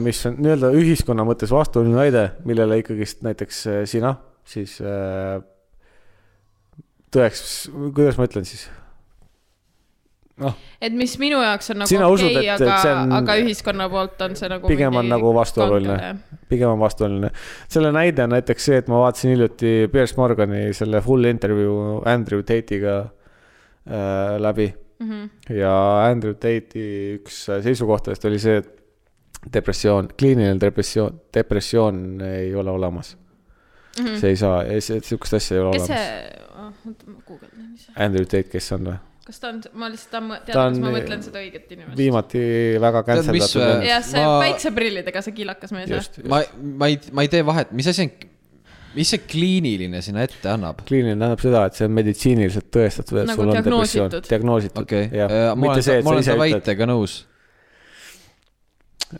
Speaker 1: mis on nii-öelda ühiskonna mõttes vastuoluline väide , millele ikkagist näiteks äh, sina siis äh, tõeks , kuidas ma ütlen siis ,
Speaker 3: et mis minu jaoks on nagu
Speaker 1: Sina usud,
Speaker 3: okei ,
Speaker 1: et- et
Speaker 3: aga
Speaker 1: see , on-
Speaker 3: aga ühiskonna poolt on see nagu
Speaker 1: pigem on
Speaker 3: mingi
Speaker 1: nagu vastuoluline.
Speaker 3: kangelane.
Speaker 1: pigem on vastuoluline . selle näide on näiteks see , et ma vaatasin hiljuti Piers Morgani selle full intervjuu Andrew Tate'iga äh, läbi
Speaker 3: Mhm.
Speaker 1: ja Andrew Tate'i üks seisukohtadest oli see , et depressioon , kliiniline depressioon , depressioon ei ole olemas mm . -hmm. see ei saa , sihukest asja ei ole
Speaker 3: Mhm. kes see oh,
Speaker 1: olemas .,
Speaker 3: oota , ma guugeldan ise ,
Speaker 1: Andrew Tate , kes on või ?
Speaker 3: kas ta on , ma lihtsalt tahan mõ-
Speaker 1: Ta
Speaker 3: teada , kas
Speaker 1: on,
Speaker 3: ma
Speaker 1: eh,
Speaker 3: mõtlen seda õiget inimest .
Speaker 1: viimati väga
Speaker 2: Tead, mis äh,
Speaker 1: canceldatud
Speaker 2: või?
Speaker 1: vend.
Speaker 3: jah , see
Speaker 2: Ma-
Speaker 3: päikseprillidega , see kiilakas mees , jah .
Speaker 1: just ,
Speaker 2: ma , ma ei , ma ei tee vahet , mis asi on , mis see kliiniline sinna ette annab ?
Speaker 1: kliiniline tähendab seda , et see on meditsiiniliselt tõestatud , et
Speaker 3: Nagu
Speaker 1: sul on
Speaker 3: diagnoositud.
Speaker 1: depressioon , diagnoositud
Speaker 2: okei ,
Speaker 1: jah
Speaker 2: ma
Speaker 1: mitte
Speaker 2: olen
Speaker 1: see , et ,
Speaker 2: ma
Speaker 1: sa
Speaker 2: olen
Speaker 1: ise
Speaker 2: ta
Speaker 1: ütled ,
Speaker 2: väitega nõus .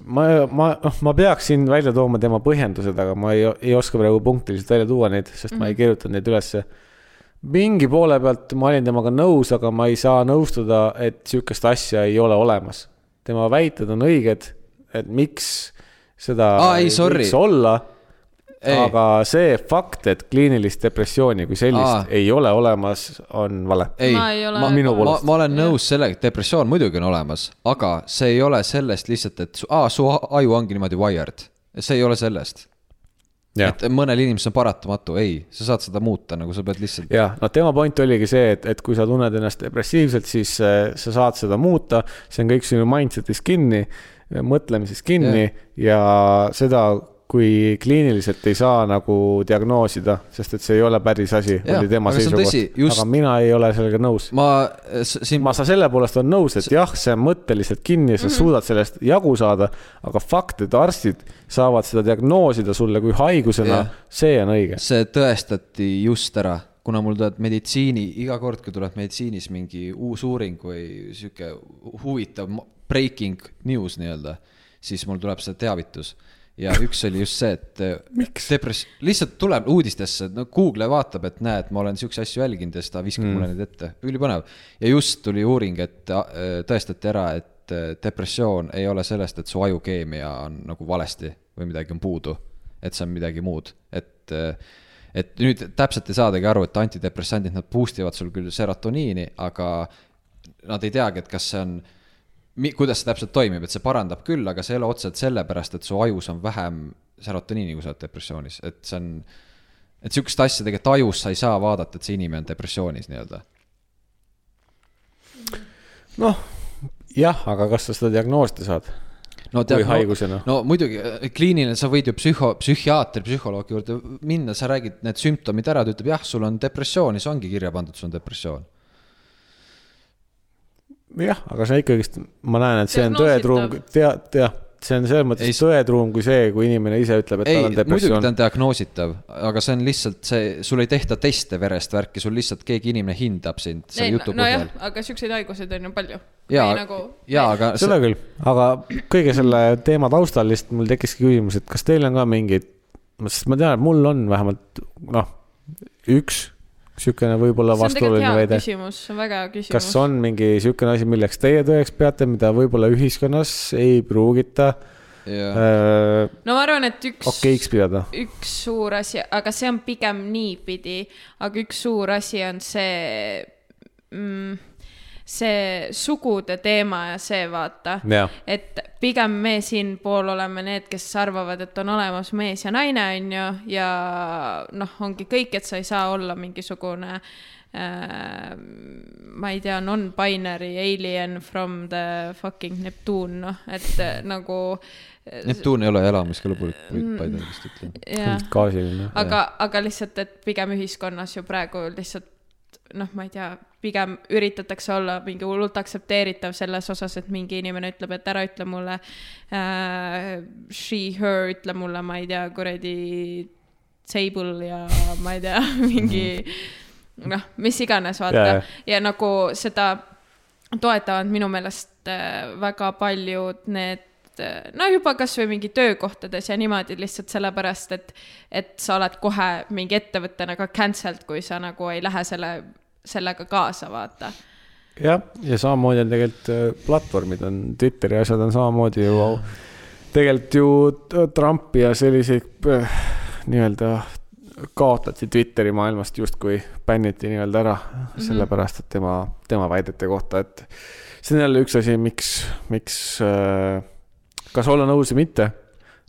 Speaker 1: ma , ma , noh , ma peaks siin välja tooma tema põhjendused , aga ma ei , ei oska praegu punktiliselt välja tuua neid , sest mm -hmm. ma ei kirjutanud neid ülesse . mingi poole pealt ma olin temaga nõus , aga ma ei saa nõustuda , et sihukest asja ei ole olemas . tema väited on õiged , et miks seda
Speaker 2: Aa, ei, sorry.
Speaker 1: võiks olla .
Speaker 2: Ei.
Speaker 1: aga see fakt , et kliinilist depressiooni kui sellist
Speaker 2: Aa.
Speaker 1: Aa. ei ole olemas , on vale .
Speaker 2: ei ,
Speaker 3: Ma ei ole-
Speaker 2: ma,
Speaker 3: Minu
Speaker 2: ma,
Speaker 1: poolest.
Speaker 2: ma olen nõus sellega , et depressioon muidugi on olemas , aga see ei ole sellest lihtsalt , et su, aa, su aju ongi niimoodi wired . see ei ole sellest ,
Speaker 1: jah ,
Speaker 2: et mõnel inimesel on paratamatu , ei , sa saad seda muuta , nagu sa pead lihtsalt .
Speaker 1: jah , no tema point oligi see , et , et kui sa tunned ennast depressiivselt , siis äh, sa saad seda muuta , see on kõik sinu mindset'is kinni , mõtlemises kinni ja seda , kui kliiniliselt ei saa nagu diagnoosida , sest et see ei ole päris asi ,
Speaker 2: Jah,
Speaker 1: oli tema
Speaker 2: aga see on
Speaker 1: seisukoht
Speaker 2: tõsi, . just-
Speaker 1: aga mina ei ole sellega nõus .
Speaker 2: ma s- siin
Speaker 1: ma , sa selle poolest olen nõus , et jah , see on mõtteliselt kinni ja
Speaker 2: Mhm.
Speaker 1: sa mm -hmm. suudad sellest jagu saada , aga fakt , et arstid saavad seda diagnoosida sulle kui haigusena
Speaker 2: Jah.
Speaker 1: yeah. , see on õige .
Speaker 2: see tõestati just ära kuna mul tuleb meditsiini , iga kord , kui tuleb meditsiinis mingi uus uuring või sihuke huvitav mo- breaking news nii-öelda , siis mul tuleb see teavitus . ja üks oli just see , et depress- , lihtsalt tuleb uudistesse , no Google vaatab , et näed , ma olen siukseid asju jälginud ja siis ta viskab mm. mulle need ette , ülipõnev . ja just tuli uuring , et äh, tõestati ära , et äh, depressioon ei ole sellest , et su ajukeemia on nagu valesti või midagi on puudu , et see on midagi muud , et äh, et nüüd täpselt ei saadagi aru , et antidepressandid , nad boost ivad sul küll serotoniini , aga nad ei teagi , et kas see on , kuidas see täpselt toimib , et see parandab küll , aga see ei ole otseselt sellepärast , et su ajus on vähem serotoniini , kui sa oled depressioonis , et see on , et sihukest asja tegelikult ajus sa ei saa vaadata , et see inimene on depressioonis nii-öelda .
Speaker 1: noh , jah , aga kas sa seda diagnoosida saad ?
Speaker 2: no
Speaker 1: Kui noh. haigusena.
Speaker 2: no muidugi , kliiniline , sa võid ju psühho , psühhiaater , psühholoogi juurde minna , sa räägid need sümptomid ära , ta ütleb jah , sul on depressioon ja see ongi kirja pandud , sul on depressioon .
Speaker 1: jah , aga see ikkagist , ma näen , et see on tõetruum ,
Speaker 3: Diagnoositav.
Speaker 1: tea , jah , see on selles mõttes
Speaker 2: Ei,
Speaker 1: ei, tõetruum kui see , kui inimene ise ütleb , et
Speaker 2: ei ,
Speaker 1: tal on
Speaker 2: muidugi ta
Speaker 1: depressioon
Speaker 2: on . diagnoositav , aga see on lihtsalt see , sul ei tehta teste verest värki , sul lihtsalt keegi inimene hindab sind selle jutu
Speaker 3: nojah
Speaker 2: põhjal ,.
Speaker 3: aga siukseid haiguseid on ju palju . nagu-
Speaker 2: ja , ja aga
Speaker 1: seda küll , aga kõige selle teema taustal lihtsalt mul tekkiski küsimus , et kas teil on ka mingeid , sest ma tean , et mul on vähemalt noh , üks siukene võib-olla
Speaker 3: see on tegelikult
Speaker 1: vastuoluline
Speaker 3: hea
Speaker 1: väide .
Speaker 3: küsimus , see on väga hea küsimus .
Speaker 1: kas on mingi siukene asi , milleks teie tõeks peate , mida võib-olla ühiskonnas ei pruugita
Speaker 2: see...
Speaker 1: äh,
Speaker 3: no ma arvan , et üks
Speaker 1: okeiks pidada ?
Speaker 3: üks suur asi , aga see on pigem niipidi , aga üks suur asi on see mm, , see sugude teema ja see vaata
Speaker 1: Jah. ,
Speaker 3: et pigem me siinpool oleme need , kes arvavad , et on olemas mees ja naine , on ju , ja noh , ongi kõik , et sa ei saa olla mingisugune äh, ma ei tea , non-binary alien from the fucking Neptune , noh , et äh, nagu
Speaker 2: Neptun ei ole elamiskõlbulik puit , Biden vist ütleb .
Speaker 3: jah
Speaker 1: gaasiline .
Speaker 3: aga , aga lihtsalt , et pigem ühiskonnas ju praegu lihtsalt noh , ma ei tea , pigem üritatakse olla mingi hullult aktsepteeritav selles osas , et mingi inimene ütleb , et ära ütle mulle äh, she , her , ütle mulle , ma ei tea , kuradi table ja ma ei tea , mingi noh , mis iganes , vaata
Speaker 1: Mhm. Jaa,
Speaker 3: ja,
Speaker 1: jaa.
Speaker 3: ja nagu seda toetavad minu meelest äh, väga paljud need äh, no juba kasvõi mingi töökohtades ja niimoodi lihtsalt sellepärast , et , et sa oled kohe mingi ettevõttena ka cancelled , kui sa nagu ei lähe selle , sellega kaasa , vaata .
Speaker 1: jah , ja samamoodi on tegelikult äh, platvormid on , Twitteri asjad on samamoodi ju , tegelikult ju t- Trumpi ja selliseid äh, nii-öelda kaotati Twitteri maailmast justkui , bänniti nii-öelda ära ,
Speaker 3: Mhm.
Speaker 1: sellepärast et tema , tema väidete kohta , et see on jälle üks asi , miks , miks , kas olla nõus või mitte .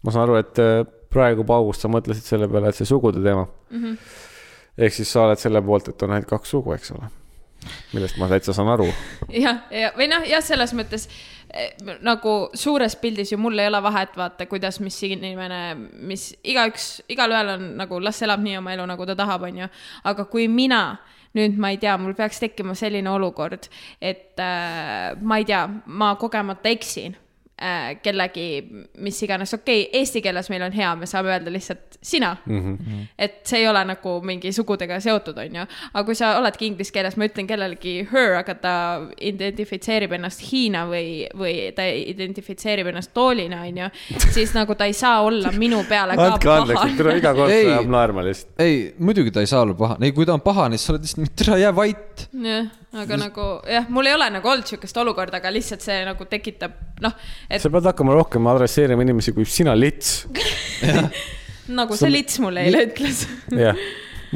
Speaker 1: ma saan aru , et äh, praegu Paulus sa mõtlesid selle peale , et see sugude teema mm .
Speaker 3: Mhm.
Speaker 1: -hmm. ehk siis sa oled selle poolt , et on ainult kaks sugu , eks ole millest ma täitsa saan aru .
Speaker 3: jah , ja või noh , jah , selles mõttes eh, nagu suures pildis ju mul ei ole vahet , vaata , kuidas , mis inimene , mis igaüks , igalühel on nagu las elab nii oma elu , nagu ta tahab , onju . aga kui mina nüüd ma ei tea , mul peaks tekkima selline olukord , et äh, ma ei tea , ma kogemata eksin äh, kellegi , mis iganes , okei okay, , eesti keeles meil on hea , me saame öelda lihtsalt sina mm . -hmm. et see ei ole nagu mingi sugudega seotud , onju . aga kui sa oledki inglise keeles , ma ütlen kellelegi her , aga ta identifitseerib ennast Hiina või , või ta identifitseerib ennast toolina , onju , siis nagu ta ei saa olla minu peale ka
Speaker 1: andke andeks , et tule iga kord
Speaker 2: Ei.
Speaker 1: ajab naerma lihtsalt .
Speaker 2: ei , muidugi ta ei saa olla pahane , ei kui ta on pahane , siis sa oled lihtsalt , tere , jää vait .
Speaker 3: jah , aga nagu jah , mul ei ole nagu olnud sihukest olukorda , aga lihtsalt see nagu tekitab noh , et
Speaker 1: sa pead hakkama rohkem adresseerima inimesi kui sina , lits .
Speaker 3: nagu see lits mulle eile ütles .
Speaker 1: jah ,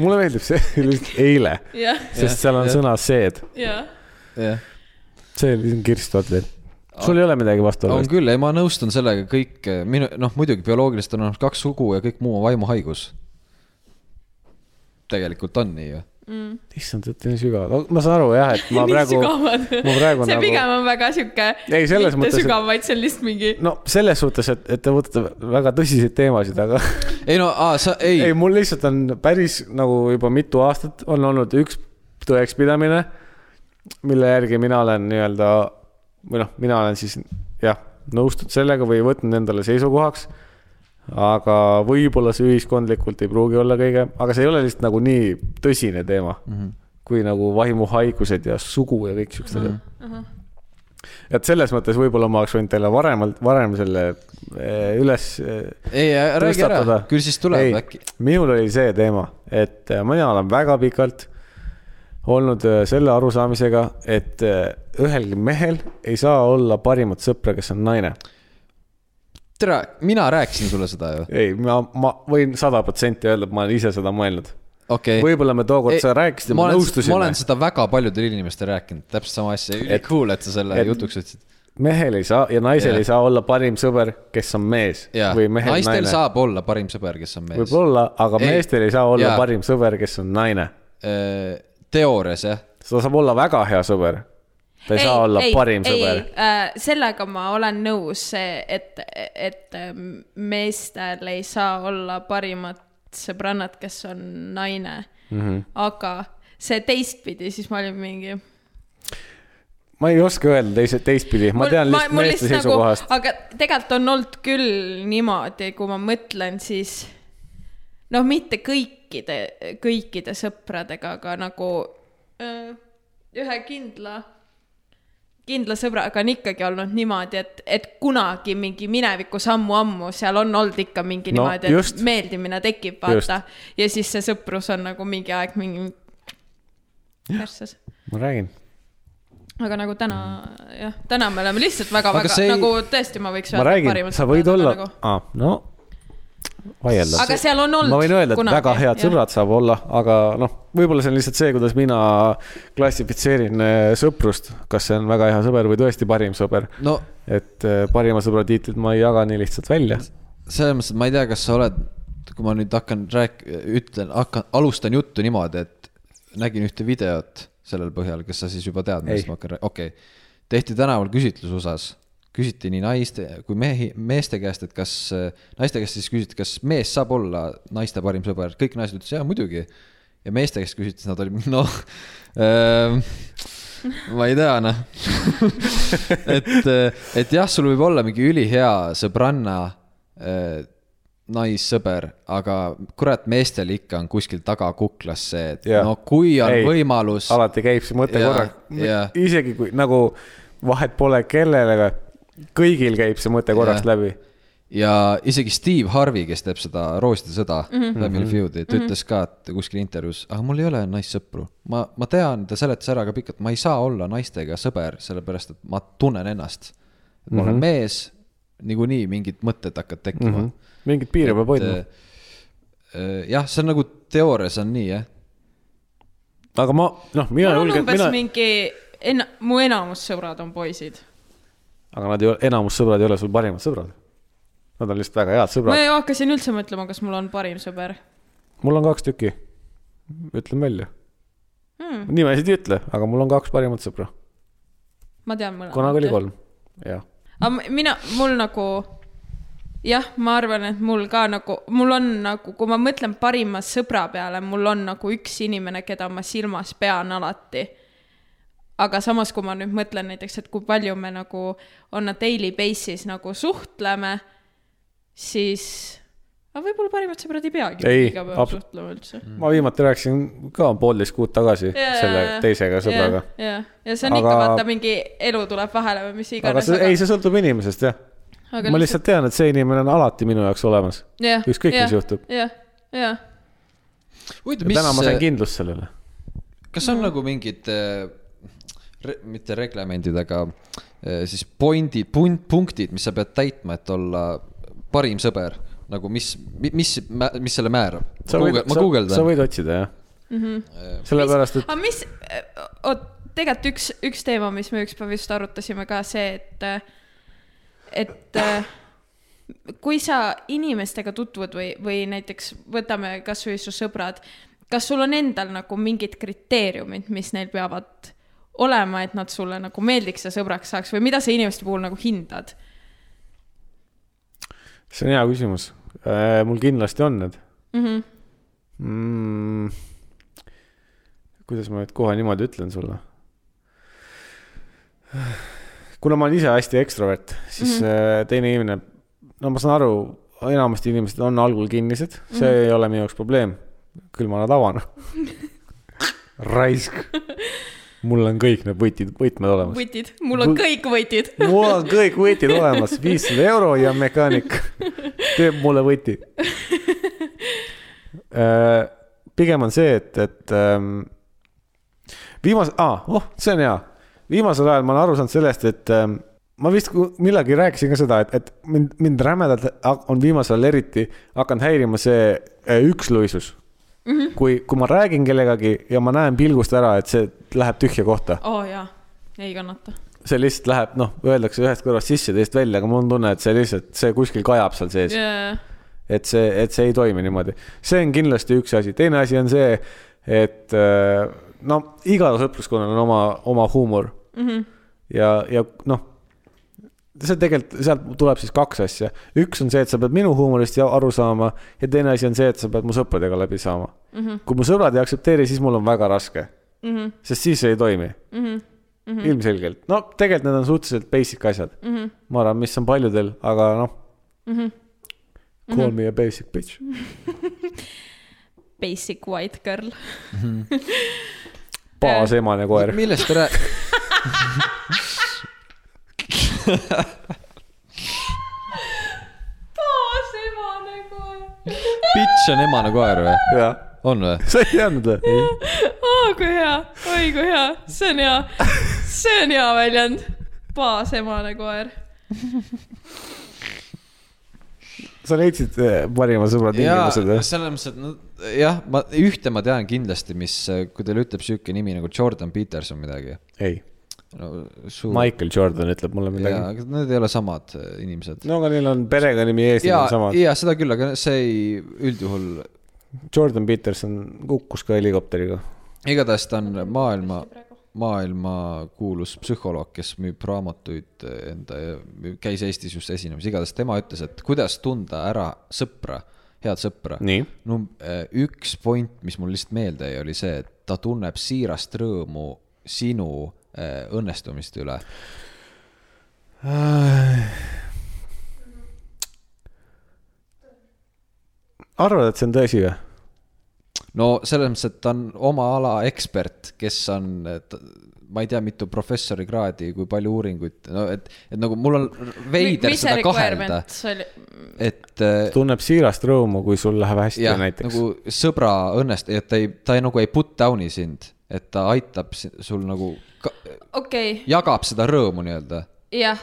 Speaker 1: mulle meeldib see lihtsalt eile ,
Speaker 3: jah ,
Speaker 1: sest seal on
Speaker 2: jah.
Speaker 1: sõna seed ,
Speaker 3: jah .
Speaker 2: jah ,
Speaker 1: see on kirstu alt veel . sul ei ole midagi vastu
Speaker 2: on
Speaker 1: olnud ?
Speaker 2: küll , ei ma nõustun sellega , kõik minu , noh muidugi bioloogiliselt on ainult kaks sugu ja kõik muu on vaimuhaigus . tegelikult on nii ju .
Speaker 1: issand , et nii sügavad , ma saan aru jah , et ma praegu , ma praegu
Speaker 3: see
Speaker 1: nagu-
Speaker 3: pigem on väga sihuke .
Speaker 1: Ei, selles mõttes, et-
Speaker 3: sügav , vaid see on lihtsalt mingi .
Speaker 1: no selles suhtes , et , et te võtate väga tõsiseid teemasid , aga
Speaker 2: ei no , sa , ei,
Speaker 1: ei , mul lihtsalt on päris nagu juba mitu aastat on olnud üks tõekspidamine , mille järgi mina olen nii-öelda või noh , mina olen siis jah , nõustunud sellega või võtnud endale seisukohaks . aga võib-olla see ühiskondlikult ei pruugi olla kõige , aga see ei ole lihtsalt nagu nii tõsine teema mm . -hmm. kui nagu vaimuhaigused ja sugu ja kõik siuksed asjad mm . -hmm. et selles mõttes võib-olla ma oleks võinud teile varemalt , varem selle eh, üles .
Speaker 2: ei , räägi ära , küll siis tuleb ei. äkki .
Speaker 1: minul oli see teema , et eh, mina olen väga pikalt olnud eh, selle arusaamisega , et eh, ühelgi mehel ei saa olla parimat sõpra , kes on naine
Speaker 2: tere , mina rääkisin sulle seda ju .
Speaker 1: ei , ma , ma võin sada protsenti öelda , et ma olen ise seda mõelnud .
Speaker 2: okei okay. .
Speaker 1: võib-olla me tookord sa rääkisid ja me
Speaker 2: ma olen
Speaker 1: nõustusime .
Speaker 2: seda väga paljudele inimestele rääkinud , täpselt sama asja ,
Speaker 1: Et-
Speaker 2: cool , et sa selle
Speaker 1: et-
Speaker 2: et, jutuks võtsid .
Speaker 1: mehel ei saa ja naisel
Speaker 2: Jah.
Speaker 1: yeah. ei saa olla parim sõber , kes on mees
Speaker 2: jaa ,
Speaker 1: või mehel
Speaker 2: naistel
Speaker 1: naine .
Speaker 2: saab olla parim sõber , kes on mees .
Speaker 1: võib-olla , aga
Speaker 2: Ei.
Speaker 1: ei. meestel ei saa olla
Speaker 2: Jaa.
Speaker 1: yeah. parim sõber , kes on naine .
Speaker 2: Äh, teoorias jah ,
Speaker 1: ta saab olla väga hea sõber . ta ei, ei saa olla ei, parim ei, sõber .
Speaker 3: äh, . sellega ma olen nõus , et , et äh, meestel ei saa olla parimat sõbrannat , kes on naine mm . -hmm.
Speaker 1: Mhm.
Speaker 3: aga see teistpidi , siis ma olin mingi .
Speaker 1: ma ei oska öelda teise , teistpidi , ma tean lihtsalt meeste
Speaker 3: nagu
Speaker 1: seisukohast .
Speaker 3: aga tegelikult on olnud küll niimoodi , kui ma mõtlen , siis noh , mitte kõikide , kõikide sõpradega , aga nagu öö, ühe kindla , kindla sõbraga on ikkagi olnud niimoodi , et , et kunagi mingi minevikus ammu-ammu seal on olnud ikka mingi
Speaker 1: No,
Speaker 3: niimoodi , et
Speaker 1: just.
Speaker 3: meeldimine tekib , vaata . ja siis see sõprus on nagu mingi aeg mingi persses
Speaker 1: ma räägin .
Speaker 3: aga nagu täna jah , täna me oleme lihtsalt väga-väga
Speaker 2: see ei-
Speaker 3: nagu tõesti , ma võiks
Speaker 1: ma räägin , sa võid olla , aa , no vaielda .
Speaker 3: nagu- aga seal on olnud .
Speaker 1: ma võin öelda , et väga head sõbrad saab olla , aga noh , võib-olla see on lihtsalt see , kuidas mina klassifitseerin eh, sõprust , kas see on väga hea sõber või tõesti parim sõber .
Speaker 2: no
Speaker 1: et eh, parima sõbra tiitlit ma ei jaga nii lihtsalt välja .
Speaker 2: selles mõttes , et ma ei tea , kas sa oled , kui ma nüüd hakkan rääk- , ütlen , hakkan , alustan juttu niimoodi , et nägin ühte videot sellel põhjal , kas sa siis juba tead , millest
Speaker 1: Ei.
Speaker 2: ma hakkan rääkima , okei okay. . tehti tänaval küsitlus osas , küsiti nii naiste kui mehi , meeste käest , et kas , naiste käest siis küsiti , kas mees saab olla naiste parim sõber , kõik naised ütlesid jaa , muidugi . ja meeste käest küsiti , siis nad olid , noh ähm, ma ei tea , noh . et , et jah , sul võib olla mingi ülihea sõbranna äh, naissõber , aga kurat , meestel ikka on kuskil taga kuklas see , et
Speaker 1: Jah.
Speaker 2: ja. no kui on
Speaker 1: Ei,
Speaker 2: ei, võimalus .
Speaker 1: alati käib see mõte
Speaker 2: Jaa,
Speaker 1: korra
Speaker 2: jaa. ,
Speaker 1: isegi kui nagu vahet pole kellelegi , kõigil käib see mõte korraks
Speaker 2: Jaa.
Speaker 1: läbi .
Speaker 2: ja isegi Steve Harvey , kes teeb seda Roostide sõda mm , -hmm.
Speaker 1: Mhm.
Speaker 2: Family Feud'i , ta ütles ka , et kuskil intervjuus , aga mul ei ole naissõpru . ma , ma tean , ta seletas ära ka pikalt , ma ei saa olla naistega sõber , sellepärast et ma tunnen ennast . ma mm -hmm.
Speaker 1: Mhm.
Speaker 2: olen mees , niikuinii mingid mõtted hakkavad tekkima mm . -hmm.
Speaker 1: mingit piiri peab hoidma .
Speaker 2: äh, jah , see on nagu teoorias on nii jah ,
Speaker 1: aga ma , noh , mina
Speaker 3: mul on
Speaker 1: julgen ,
Speaker 3: umbes
Speaker 1: mina ,
Speaker 3: mingi , enna- , mu enamus sõbrad on poisid .
Speaker 1: aga nad ei ole , enamus sõbrad ei ole sul parimad sõbrad . Nad on lihtsalt väga head
Speaker 3: ma
Speaker 1: sõbrad .
Speaker 3: ju hakkasin üldse mõtlema , kas mul on parim sõber .
Speaker 1: mul on kaks tükki , ütlen välja hmm. . nimesid ei ütle , aga mul on kaks parimat sõpra ,
Speaker 3: ma tean mõlemat .
Speaker 1: kunagi oli kolm , jah .
Speaker 3: aga m- mina , mul nagu jah , ma arvan , et mul ka nagu , mul on nagu , kui ma mõtlen parima sõbra peale , mul on nagu üks inimene , keda ma silmas pean alati . aga samas , kui ma nüüd mõtlen näiteks , et kui palju me nagu on a daily basis nagu suhtleme , siis aga võib-olla parimad sõbrad ei peagi
Speaker 1: Ei,
Speaker 3: iga päev
Speaker 1: abs-
Speaker 3: suhtlema üldse .
Speaker 1: ma viimati rääkisin ka poolteist kuud tagasi yeah, selle teisega sõbraga yeah. .
Speaker 3: jah , ja see on aga... ikka
Speaker 1: Aga-
Speaker 3: vaata mingi elu tuleb vahele või mis
Speaker 1: aga
Speaker 3: iganes .
Speaker 1: see , ei , see sõltub inimesest jah .
Speaker 3: Aga
Speaker 1: ma lihtsalt tean , et see inimene on alati minu jaoks olemas .
Speaker 3: jah,
Speaker 1: ükskõik, mis
Speaker 3: jah,
Speaker 1: juhtub.
Speaker 3: jah , jah ,
Speaker 2: huvitav ,
Speaker 1: ja
Speaker 2: mis äh,
Speaker 1: täna ma sain , kindlust sellele .
Speaker 2: kas on nagu mingid äh, re, , mitte reglemendid , aga äh, siis pointi , punktid , mis sa pead täitma , et olla parim sõber , nagu mis , mis , mis selle määrab ?
Speaker 1: sa võid ,
Speaker 2: ma
Speaker 1: sa
Speaker 2: guugeldan ,
Speaker 1: võid otsida jah
Speaker 3: Mhm.
Speaker 1: mm -hmm. . sellepärast , et
Speaker 3: aga mis , oot , tegelikult üks , üks teema , mis me ükspäev just arutasime ka see , et , et äh, kui sa inimestega tutvud või , või näiteks võtame kasvõi su sõbrad , kas sul on endal nagu mingid kriteeriumid , mis neil peavad olema , et nad sulle nagu meeldiks ja sõbraks saaks või mida sa inimeste puhul nagu hindad ?
Speaker 1: see on hea küsimus . mul kindlasti on need mm . -hmm. Mm, kuidas ma nüüd kohe niimoodi ütlen sulle ? kuna ma olen ise hästi ekstrovert , siis mm -hmm. teine inimene , äh, no ma saan aru , enamasti inimesed on algul kinnised , see mm. ei ole minu jaoks probleem . küll ma nad avan . raisk . mul on kõik need võtid , võtmed olemas .
Speaker 3: võtid , mul on
Speaker 1: Võ-
Speaker 3: kõik võtid .
Speaker 1: mul on kõik võtid olemas , viissada euro ja mekaanik teeb mulle võti . Äh, pigem on see , et , et ähm, viimase ah, , oh , see on hea . viimasel ajal ma olen aru saanud sellest , et ähm, ma vist ku- millalgi rääkisin ka seda , et , et mind , mind rämedalt ha- on viimasel ajal eriti hakanud häirima see äh, üksluisus mm . -hmm. kui , kui ma räägin kellegagi ja ma näen pilgust ära , et see läheb tühja kohta .
Speaker 3: oo oh, jaa , ei kannata .
Speaker 1: see lihtsalt läheb , noh , öeldakse ühest kõrvast sisse , teisest välja , aga mul on tunne , et see lihtsalt , see kuskil kajab seal sees . et see , et see ei toimi niimoodi . see on kindlasti üks asi , teine asi on see , et äh, no igal sõpruskonnal on oma , oma huumor mm . -hmm. ja , ja noh , see tegelikult , sealt tuleb siis kaks asja . üks on see , et sa pead minu huumorist ja- aru saama ja teine asi on see , et sa pead mu sõpradega läbi saama mm . -hmm. kui mu sõbrad ei aktsepteeri , siis mul on väga raske mm . -hmm. sest siis see ei toimi mm . -hmm. ilmselgelt , no tegelikult need on suhteliselt basic asjad mm . -hmm. ma arvan , mis on paljudel , aga noh mm . -hmm. Call me a basic bitch .
Speaker 3: Basic white girl .
Speaker 1: baasemane koer .
Speaker 2: millest te räägite ?
Speaker 3: baasemane koer .
Speaker 2: Bitch on emane koer või ?
Speaker 1: jah ,
Speaker 2: on või ?
Speaker 1: sa ei teadnud või ?
Speaker 3: aa , kui hea , oi kui hea , see on hea , see on hea väljend . nagu, baasemane koer .
Speaker 1: sa leidsid eh, parima sõbra
Speaker 2: jaa ,
Speaker 1: tingimused või ?
Speaker 2: selles mõttes , et no, jah , ma ühte ma tean kindlasti , mis , kui teile ütleb sihuke nimi nagu Jordan Peterson midagi
Speaker 1: ei ,
Speaker 2: no, . suur
Speaker 1: Michael Jordan ütleb mulle
Speaker 2: jaa ,
Speaker 1: midagi .
Speaker 2: aga need ei ole samad äh, inimesed .
Speaker 1: no aga neil on perekonnanimi ees , neil
Speaker 2: jaa
Speaker 1: on , samad .
Speaker 2: jaa , seda küll , aga see ei , üldjuhul ,
Speaker 1: Jordan Peterson kukkus ka helikopteriga .
Speaker 2: igatahes ta on maailma , maailmakuulus psühholoog , kes müüb raamatuid enda , käis Eestis just esinemas , igatahes tema ütles , et kuidas tunda ära sõpra , head sõpra .
Speaker 1: nii ,
Speaker 2: no eh, üks point , mis mul lihtsalt meelde jäi , oli see , et ta tunneb siirast rõõmu sinu eh, õnnestumiste üle .
Speaker 1: arvad , et see on tõsi või ?
Speaker 2: no selles mõttes , et ta on oma ala ekspert , kes on , ma ei tea , mitu professorikraadi , kui palju uuringuid , no et , et nagu mul on veider seda kahelda ,
Speaker 3: see oli , mm,
Speaker 2: et eh,
Speaker 1: tunneb siirast rõõmu , kui sul läheb hästi
Speaker 2: jah ,
Speaker 1: näiteks
Speaker 2: nagu sõbra õnnest- , et ta ei , ta ei nagu ei put down'i sind , et ta aitab si- sul nagu ,
Speaker 3: okei okay. ,
Speaker 2: jagab seda rõõmu nii-öelda
Speaker 3: jah ,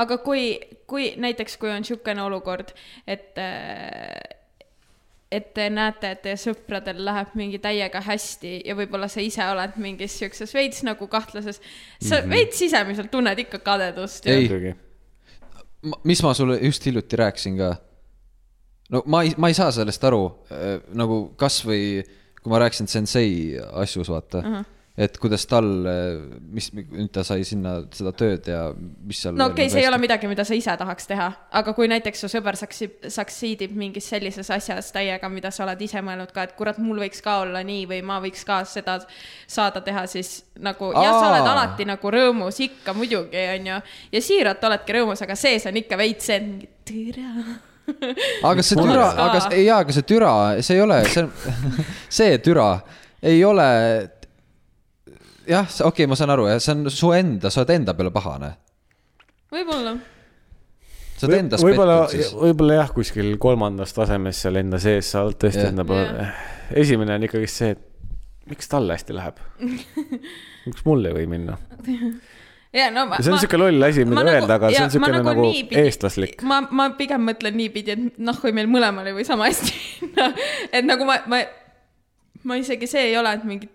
Speaker 3: aga kui , kui näiteks , kui on niisugune olukord , et , et te näete , et teie sõpradel läheb mingi täiega hästi ja võib-olla sa ise oled mingis niisuguses veits nagu kahtlases , sa mm -hmm. veits sisemiselt tunned ikka kadedust .
Speaker 2: Ei.
Speaker 1: muidugi .
Speaker 2: Ma- mis ma sulle just hiljuti rääkisin ka . no ma ei , ma ei saa sellest aru äh, nagu kasvõi , kui ma rääkisin sensei asjus , vaata uh .
Speaker 3: Mhm.
Speaker 2: -huh. et kuidas tal , mis , nüüd ta sai sinna seda tööd ja mis seal . nagu
Speaker 3: no okei okay, , see ei ole . midagi , mida sa ise tahaks teha , aga kui näiteks su sõber saksib , saksiidib mingis sellises asjas täiega , mida sa oled ise mõelnud ka , et kurat , mul võiks ka olla nii või ma võiks ka seda saada teha , siis nagu ja sa
Speaker 2: Aa.
Speaker 3: oled alati nagu rõõmus ikka muidugi onju ja siiralt oledki rõõmus , aga sees on ikka veits see mingi türa .
Speaker 2: aga see
Speaker 3: Mul
Speaker 2: türa ,
Speaker 3: oleks ka.
Speaker 2: aga s- ei , aga see türa , see ei ole , see on , see türa ei ole . jah , okei okay, , ma saan aru , see on su enda , sa oled enda peale pahane .
Speaker 3: võib-olla
Speaker 2: sa oled endas
Speaker 1: võib-olla
Speaker 2: pettud , siis .
Speaker 1: võib-olla jah , kuskil kolmandas tasemes seal enda sees , sa oled tõesti
Speaker 2: Jah.
Speaker 1: enda peal . esimene on ikkagi see , et miks tal hästi läheb . miks mul ei või minna ?
Speaker 3: ja no ma .
Speaker 1: Ja see on siuke loll asi , mida öelda nagu, , aga see on siukene nagu, nagu eestlaslik ..
Speaker 3: ma , ma pigem mõtlen niipidi , et noh , kui meil mõlemal ei või sama hästi no, . et nagu ma , ma , ma isegi see ei ole , et mingi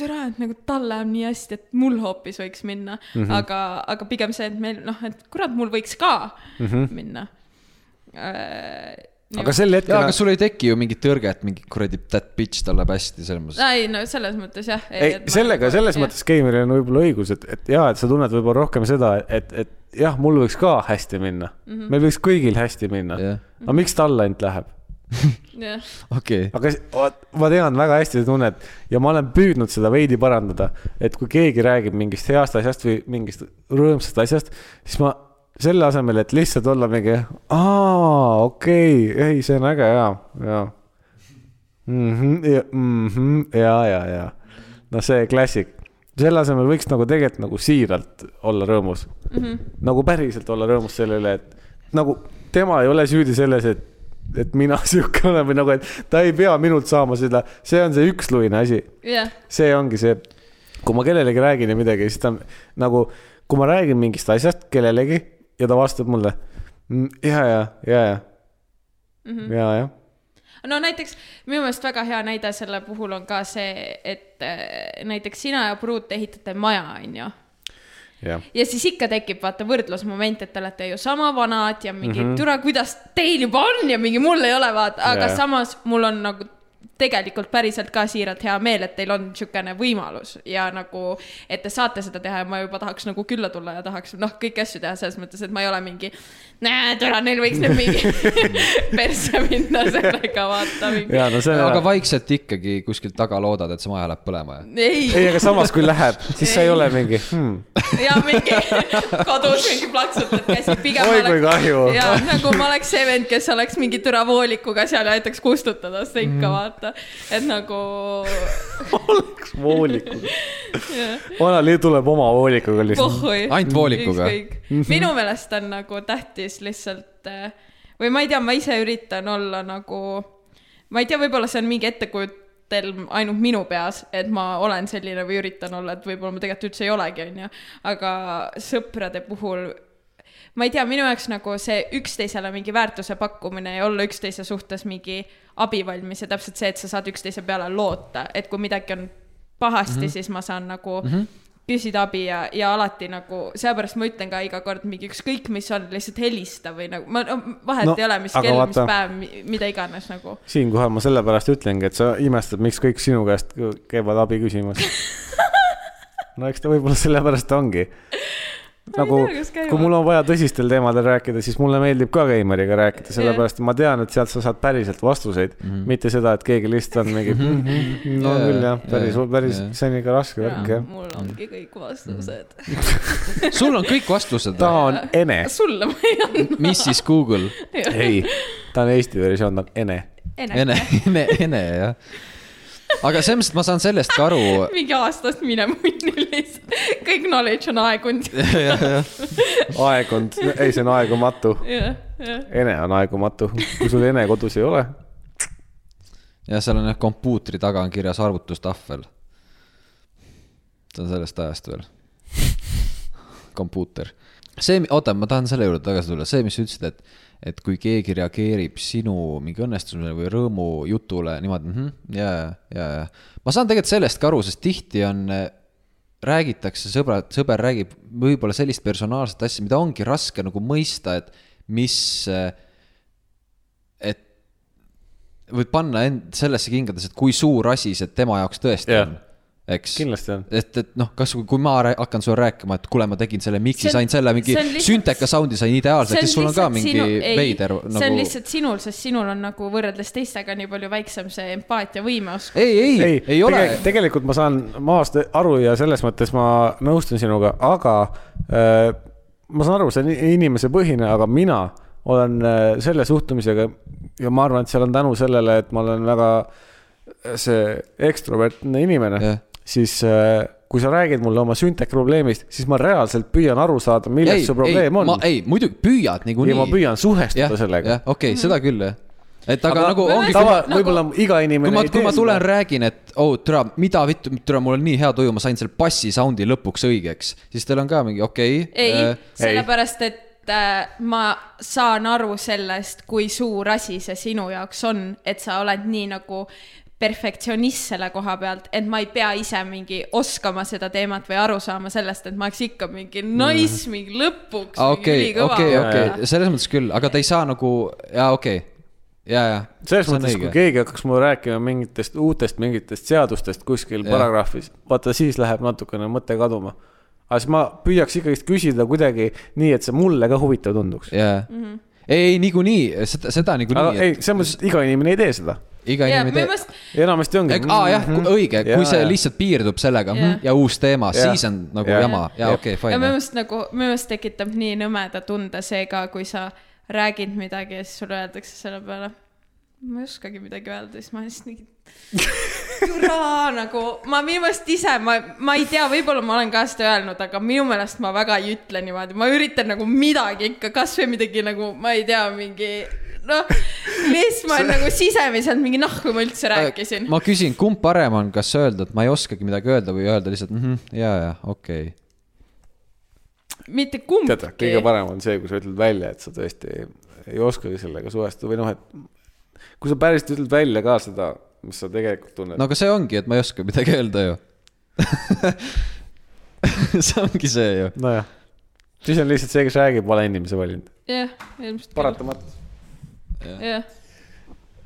Speaker 3: türa , et nagu tal läheb nii hästi , et mul hoopis võiks minna mm ,
Speaker 1: Mhm.
Speaker 3: -hmm. aga , aga pigem see , et meil noh , et kurat , mul võiks ka mm -hmm. minna äh, .
Speaker 1: Mhm. aga sel
Speaker 2: jaa ,
Speaker 1: hetkel
Speaker 2: aga , sul ei teki ju mingit tõrget , mingi kuradi that bitch , tal läheb hästi , selles mõttes .
Speaker 3: ei no selles mõttes jah .
Speaker 1: ei
Speaker 3: nagu-
Speaker 1: sellega , selles mõttes Keimeril on võib-olla õigus , et , et jaa , et sa tunned võib-olla rohkem seda , et , et jah , mul võiks ka hästi minna mm . -hmm. meil võiks kõigil hästi minna
Speaker 2: Jah.
Speaker 1: yeah. . aga miks tal ainult läheb ?
Speaker 3: jah ,
Speaker 2: okei okay. ,
Speaker 1: aga s- vaat- ma tean väga hästi seda tunnet ja ma olen püüdnud seda veidi parandada , et kui keegi räägib mingist heast asjast või mingist rõõmsast asjast , siis ma selle asemel , et lihtsalt olla mingi , aa , okei okay, , ei , see on äge ja , ja mm . -hmm, ja, mm -hmm, ja , ja , ja noh , see klassik , selle asemel võiks nagu tegelikult nagu siiralt olla rõõmus mm . -hmm. nagu päriselt olla rõõmus selle üle , et nagu tema ei ole süüdi selles , et , et mina sihuke olen või nagu , et ta ei pea minult saama seda , see on see üksluine asi
Speaker 3: jah ,
Speaker 1: see ongi see , kui ma kellelegi räägin ja midagi , siis ta on nagu , kui ma räägin mingist asjast kellelegi ja ta vastab mulle "Mm, ja , ja , ja , ja mm , -hmm. ja , ja
Speaker 3: no näiteks minu meelest väga hea näide selle puhul on ka see , et äh, näiteks sina ja pruut ehitate maja , onju
Speaker 1: jah ,
Speaker 3: ja siis ikka tekib vaata võrdlusmoment , et te olete ju sama vanad ja mingi mm -hmm. türa , kuidas teil juba on ja mingi mul ei ole vaata , aga
Speaker 1: Jaa.
Speaker 3: yeah. samas mul on nagu tegelikult päriselt ka siiralt hea meel , et teil on niisugune võimalus ja nagu , et te saate seda teha ja ma juba tahaks nagu külla tulla ja tahaks noh , kõiki asju teha selles mõttes , et ma ei ole mingi , näe , türa , neil võiks nüüd mingi persse minna sellega vaata mingi .
Speaker 1: ja no see
Speaker 2: aga
Speaker 1: on .
Speaker 2: vaikselt ikkagi kuskilt taga loodad , et see maja läheb põlema ja .
Speaker 1: ei ,
Speaker 3: ei ,
Speaker 1: aga samas , kui läheb , siis sa ei
Speaker 3: Ei.
Speaker 1: ole mingi hmm. .
Speaker 3: ja mingi kodus mingi plaksutad käsi , pigem
Speaker 1: Oi, kui kahju.
Speaker 3: ja nagu ma oleks see vend , kes oleks mingi türa voolikuga seal ja aitaks kustutada seda ikka
Speaker 1: Mhm.
Speaker 3: mm. vaata , et nagu
Speaker 1: oleks voolikuga . vanali tuleb oma voolikuga lihtsalt .
Speaker 3: pohhui .
Speaker 2: Ainult voolikuga? .
Speaker 1: Mhm.
Speaker 3: minu meelest on nagu tähtis lihtsalt eh, või ma ei tea , ma ise üritan olla nagu , ma ei tea , võib-olla see on mingi ettekujutelm ainult minu peas , et ma olen selline või üritan olla , et võib-olla ma tegelikult üldse ei olegi , onju , aga sõprade puhul ma ei tea , minu jaoks nagu see üksteisele mingi väärtuse pakkumine ja olla üksteise suhtes mingi abivalmis ja täpselt see , et sa saad üksteise peale loota , et kui midagi on pahasti mm ,
Speaker 1: Mhm.
Speaker 3: -hmm. siis ma saan nagu mm -hmm. küsida abi ja , ja alati nagu , sellepärast ma ütlen ka iga kord mingi ükskõik , mis on , lihtsalt helista või nagu ma , vahet
Speaker 1: No,
Speaker 3: no, ei ole , mis
Speaker 1: aga
Speaker 3: kell , mis
Speaker 1: vaata-
Speaker 3: päev , mida iganes nagu .
Speaker 1: siinkohal ma sellepärast ütlengi , et sa imestad , miks kõik sinu käest käivad abi küsimas . no eks ta võib-olla sellepärast ongi . nagu ,
Speaker 3: tea, kas käivad.
Speaker 1: kui mul on vaja tõsistel teemadel rääkida , siis mulle meeldib ka Keimariga rääkida , sellepärast et ma tean , et sealt sa saad päriselt vastuseid mm , -hmm. mitte seda , et keegi lihtsalt on mingi mm . -hmm, no
Speaker 2: Mhm. Jaa,
Speaker 1: küll jah , päris
Speaker 2: jaa, ,
Speaker 1: päris
Speaker 2: jaa. ,
Speaker 1: see on ikka raske värk jah . Mhm.
Speaker 3: mul ongi kõik vastused .
Speaker 2: sul on kõik vastused
Speaker 1: ta . on ene ,
Speaker 3: sulle ma ei andnud .
Speaker 2: mis siis Google ?
Speaker 1: ei , ta on Eesti versioon , ta on ene .
Speaker 2: ene , ene , ene jah . aga selles mõttes ma saan sellest ka aru .
Speaker 3: mingi aastast minemuinni lihtsalt , kõik knowledge on aegunud .
Speaker 1: aeg on , ei , see on aegumatu .
Speaker 3: jah , jah .
Speaker 1: ene on aegumatu , kui sul ene kodus ei ole
Speaker 2: ja seal on jah , kompuutri taga on kirjas arvutustahvel . see on sellest ajast veel . kompuuter . see , oota , ma tahan selle juurde tagasi tulla , see , mis sa ütlesid , et , et kui keegi reageerib sinu mingi õnnestumisele või rõõmu jutule niimoodi mm , ja , ja , ja . ma saan tegelikult sellest ka aru , sest tihti on , räägitakse , sõbrad , sõber räägib võib-olla sellist personaalset asja , mida ongi raske nagu mõista , et mis , et võid panna end sellesse kingadesse , et kui suur asi see tema jaoks tõesti
Speaker 1: Jah.
Speaker 2: on , eks .
Speaker 1: Kindlasti on.
Speaker 2: et , et noh , kas , kui ma rää- hakkan sulle rääkima , et kuule , ma tegin selle
Speaker 3: See
Speaker 2: miksi ,
Speaker 3: on-
Speaker 2: sain selle mingi
Speaker 3: see on lihtsalt-
Speaker 2: sünteka sound'i sain ideaalselt , siis sul on ka mingi ei, veider
Speaker 3: see on
Speaker 2: nagu .
Speaker 3: lihtsalt sinul , sest sinul on nagu võrreldes teistega nii palju väiksem see empaatiavõime oskus .
Speaker 2: ei , ei , ei, ei ole .
Speaker 1: tegelikult ma saan maast aru ja selles mõttes ma nõustun sinuga , aga äh, ma saan aru , see on i- inimese põhine , aga mina olen äh, selle suhtumisega ja ma arvan , et seal on tänu sellele , et ma olen väga äh, see ekstrovertne inimene
Speaker 2: Jah.
Speaker 1: siis äh, kui sa räägid mulle oma süntek probleemist , siis ma reaalselt püüan aru saada , milles
Speaker 2: ei ,
Speaker 1: su probleem on .
Speaker 2: ei , muidugi püüad niikuinii .
Speaker 1: ja ma püüan suhestuda sellega .
Speaker 2: jah , okei okay, ,
Speaker 3: Mm.
Speaker 2: seda küll jah . et aga, aga nagu ongi .
Speaker 1: tava , võib-olla iga
Speaker 2: kui
Speaker 1: inimene
Speaker 2: ma
Speaker 1: ei ,
Speaker 2: kui
Speaker 1: tee
Speaker 2: ma
Speaker 1: seda.
Speaker 2: tulen räägin , et oo oh, , türa , mida vittu , türa , mul on nii hea tuju , ma sain selle bassi sound'i lõpuks õigeks , siis teil on ka mingi okei äh,
Speaker 3: ei
Speaker 2: okay, ,
Speaker 3: sellepärast , et äh, ma saan aru sellest , kui suur asi see sinu jaoks on , et sa oled nii nagu perfektsionist selle koha pealt , et ma ei pea ise mingi oskama seda teemat või aru saama sellest , et ma oleks ikka mingi nice mm. mingi lõpuks .
Speaker 2: Mhm. okei , okei , okei , selles mõttes küll , aga ta ei saa nagu , jaa , okei okay. , jaa , jaa .
Speaker 1: selles mõttes , kui keegi hakkaks mulle rääkima mingitest uutest mingitest seadustest kuskil
Speaker 2: Jah.
Speaker 1: ja. paragrahvis , vaata siis läheb natukene mõte kaduma . aga siis ma püüaks ikkagist küsida kuidagi nii , et see mulle ka huvitav tunduks .
Speaker 3: Mhm.
Speaker 2: jaa , ei , ei niikuinii , seda , seda
Speaker 1: aga
Speaker 2: niikuinii .
Speaker 1: ei , selles mõttes , et iga inimene ei tee seda .
Speaker 2: iga
Speaker 3: ja
Speaker 2: inimene
Speaker 3: minu
Speaker 2: teeb .
Speaker 3: meelest ,
Speaker 1: enamasti ongi . Mhm.
Speaker 2: aa jah , õige , kui see . lihtsalt piirdub sellega mhm,
Speaker 3: Jah.
Speaker 2: ja uus teema ,
Speaker 1: Jah.
Speaker 2: siis on nagu
Speaker 1: Jah.
Speaker 2: jama ja
Speaker 1: Jah.
Speaker 2: okei ,
Speaker 3: ja minu
Speaker 2: fine .
Speaker 3: meelest nagu , minu meelest tekitab nii nõmeda tunde see ka , kui sa räägid midagi ja siis sulle öeldakse selle peale . ma ei oskagi midagi öelda , siis ma lihtsalt nii . jura nagu , ma minu meelest ise , ma , ma ei tea , võib-olla ma olen ka seda öelnud , aga minu meelest ma väga ei ütle niimoodi , ma üritan nagu midagi ikka , kasvõi midagi nagu , ma ei tea , mingi noh , lihtsalt ma olen nagu sisemiselt mingi nahku ma
Speaker 1: Äh,
Speaker 3: üldse rääkisin .
Speaker 2: ma küsin , kumb parem on , kas öelda , et ma ei oskagi midagi öelda või öelda lihtsalt mhmh , ja , ja okei okay. .
Speaker 3: mitte
Speaker 1: tead , kõige
Speaker 3: kumbki .
Speaker 1: parem on see , kui sa ütled välja , et sa tõesti ei oskagi sellega suhestuda või noh , et kui sa päriselt ütled välja ka seda , mis sa tegelikult tunned
Speaker 2: no
Speaker 1: no. .
Speaker 2: aga see ongi , et ma ei oska midagi öelda ju . see ongi see ju .
Speaker 1: nojah , siis on lihtsalt see , kes räägib , vale inimese valinud .
Speaker 3: jah , ilmselt küll ,
Speaker 1: paratamatult .
Speaker 3: jah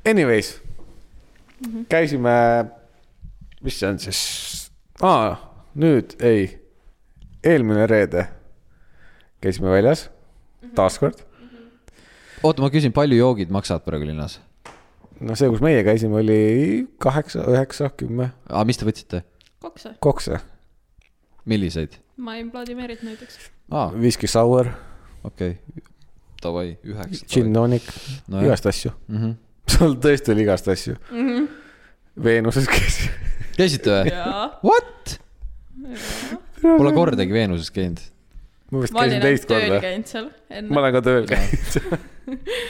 Speaker 1: Anyways mm , -hmm. käisime , mis see on siis ah, , nüüd ei , eelmine reede käisime väljas taaskord .
Speaker 2: oota , ma küsin , palju joogid maksavad praegu linnas ?
Speaker 1: no see , kus meie käisime , oli kaheksa , üheksa , kümme ,
Speaker 2: aga mis te võtsite ,
Speaker 3: kaks või ?
Speaker 1: kokse ,
Speaker 2: milliseid ?
Speaker 3: ma ei Vladimirit näiteks .
Speaker 2: aa ,
Speaker 1: viski sour ,
Speaker 2: okei okay. . Davai , üheksa .
Speaker 1: gin tonic no, ,
Speaker 2: nojah ,
Speaker 1: igast asju .
Speaker 2: Mhm.
Speaker 1: seal tõesti oli igast asju mm . -hmm. Veenuses käisime .
Speaker 2: käisite või ?
Speaker 3: jaa .
Speaker 2: What ? Pole kordagi Veenuses käinud .
Speaker 1: ma vist
Speaker 3: ma
Speaker 1: käisin
Speaker 3: olin ainult
Speaker 1: teist
Speaker 3: tööl
Speaker 1: korda .
Speaker 3: käinud seal
Speaker 1: ma
Speaker 3: enne .
Speaker 1: olen ka tööl käinud .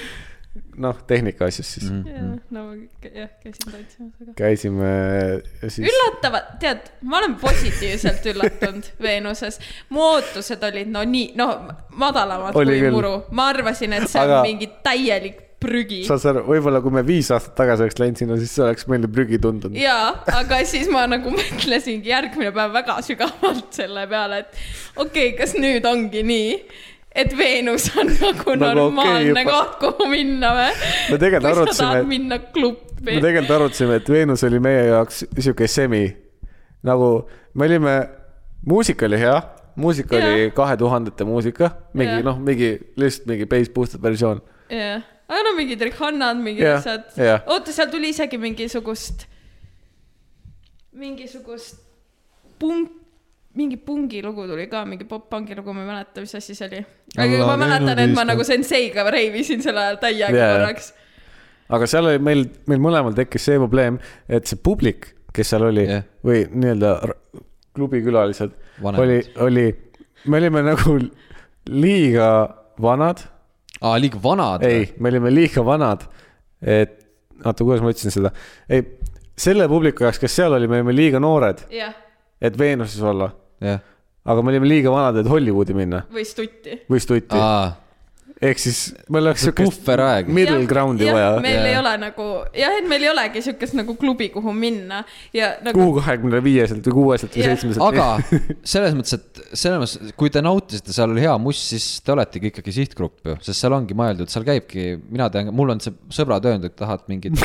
Speaker 1: noh , tehnika asjus siis mm . -hmm.
Speaker 3: jaa , no k- jah , käisin tantsimas , aga .
Speaker 1: käisime ja siis Ülla...
Speaker 3: üllatavad , tead , ma olen positiivselt üllatunud Veenuses . mu ootused olid no nii , no madalamad
Speaker 1: Oli
Speaker 3: oli kui
Speaker 1: küll.
Speaker 3: küll. muru . ma arvasin , et see on
Speaker 1: Aga-
Speaker 3: aga... mingi täielik prügi .
Speaker 1: saad sa aru , võib-olla kui me viis aastat tagasi oleks läinud sinna , siis see oleks meile prügi tundunud .
Speaker 3: jaa , aga siis ma nagu mõtlesingi järgmine päev väga sügavalt selle peale , et okei okay, , kas nüüd ongi nii , et Veenus on nagu,
Speaker 1: Nagu
Speaker 3: nagu
Speaker 1: okei
Speaker 3: normaalne
Speaker 1: juba.
Speaker 3: okay, koht , kuhu minna või ?
Speaker 1: Me tegelikult
Speaker 3: kui sa
Speaker 1: arutasime, et-
Speaker 3: tahad minna klubi
Speaker 1: me . tegelikult arutasime , et Veenus oli meie jaoks sihuke semi , nagu me olime , muusika oli hea , muusika
Speaker 3: Jaa.
Speaker 1: oli kahe tuhandete muusika , mingi
Speaker 3: Jaa.
Speaker 1: noh , mingi lihtsalt mingi bass boosted versioon .
Speaker 3: jah , aga no mingid rihannad , mingid
Speaker 1: Jah,
Speaker 3: asjad
Speaker 1: jah. .
Speaker 3: oota , seal tuli isegi mingisugust , mingisugust punk , mingi pungi lugu tuli ka , mingi pop-pungi lugu , ma ei mäleta , mis asi see oli . aga
Speaker 2: Alla
Speaker 3: ma mäletan , et ma
Speaker 2: meenuviskab.
Speaker 3: nagu senseiga reivisin selle ajal täiega
Speaker 1: Jaa.
Speaker 3: yeah. korraks .
Speaker 1: aga seal oli meil , meil mõlemal tekkis see probleem , et see publik , kes seal oli
Speaker 2: Jah.
Speaker 1: yeah. või nii-öelda r- klubikülalised
Speaker 2: Vanemad.
Speaker 1: oli , oli , me olime nagu liiga vanad ,
Speaker 2: aa , liiga vanad ?
Speaker 1: ei , me olime liiga vanad , et oota , kuidas ma ütlesin seda , ei , selle publiku jaoks , kes seal oli , me olime liiga noored ,
Speaker 3: jah ,
Speaker 1: et Veenuses olla ,
Speaker 2: jah ,
Speaker 1: aga me olime liiga vanad , et Hollywoodi minna
Speaker 3: või stutti .
Speaker 1: või stutti ,
Speaker 2: aa ,
Speaker 1: ehk siis meil oleks
Speaker 2: see
Speaker 1: siukest
Speaker 2: puhveraeg .
Speaker 1: middle ground'i vaja ,
Speaker 3: meil
Speaker 2: Jaa.
Speaker 3: ei ole nagu , jah , et meil ei olegi siukest nagu klubi , kuhu minna ja nagu
Speaker 1: kuhu kahekümne viieselt või kuueselt või
Speaker 3: Jah.
Speaker 1: seitsmeselt .
Speaker 2: aga selles mõttes , et selles mõttes , kui te nautisite , seal oli hea must , siis te oletegi ikkagi sihtgrupp ju , sest seal ongi mõeldud , seal käibki , mina tean , mul on see sõbrad öelnud , et tahad mingit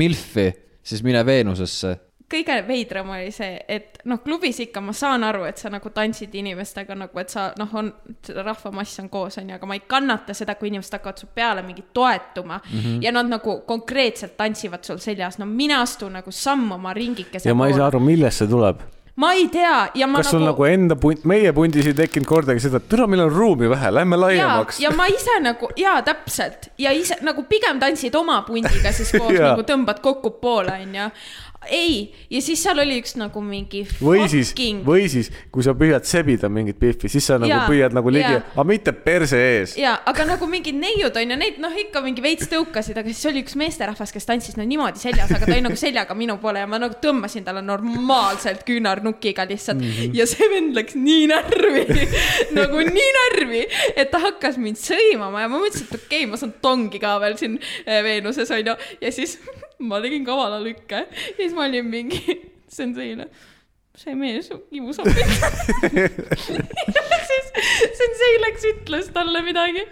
Speaker 2: milfi , siis mine Veenusesse .
Speaker 3: kõige veidram oli see , et noh , klubis ikka ma saan aru , et sa nagu tantsid inimestega nagu , et sa noh , on seda rahvamass on koos , onju , aga ma ei kannata seda , kui inimesed hakkavad su peale mingit toetuma mm
Speaker 1: Mhm.
Speaker 3: -hmm. ja nad nagu konkreetselt tantsivad sul seljas . no mina astun nagu samm oma ringikese
Speaker 1: ja ma ei saa . aru , millest see tuleb .
Speaker 3: ma ei tea ja ma
Speaker 1: kas sul nagu enda punt , meie pundis ei tekkinud kordagi seda , et türa , meil on ruumi vähe , lähme
Speaker 3: ja ,
Speaker 1: laiemaks .
Speaker 3: ja ma ise nagu ja täpselt ja ise nagu pigem tantsid oma pundiga siis koos
Speaker 1: Jaa.
Speaker 3: nagu tõmbad kokku poole onju . ei , ja siis seal oli üks nagu mingi .
Speaker 1: või siis , või siis , kui sa püüad sebida mingit pihvi , siis sa nagu
Speaker 3: Jaa,
Speaker 1: püüad nagu ligi
Speaker 3: jaa. ,
Speaker 1: aga mitte perse ees .
Speaker 3: ja , aga nagu mingid neiud onju , neid noh , ikka mingi veits tõukasid , aga siis oli üks meesterahvas , kes tantsis no niimoodi seljas , aga ta oli nagu seljaga minu poole ja ma nagu tõmbasin talle normaalselt küünarnukiga lihtsalt mm -hmm. ja see vend läks nii närvi , nagu nii närvi , et ta hakkas mind sõimama ja ma mõtlesin , et okei okay, , ma saan tongi ka veel siin eh, Veenuses onju ja siis ma tegin kavala lükke ja siis ma olin mingi , noh, see on selline see mees kibusab mind . ja siis see on see , läks ütles talle midagi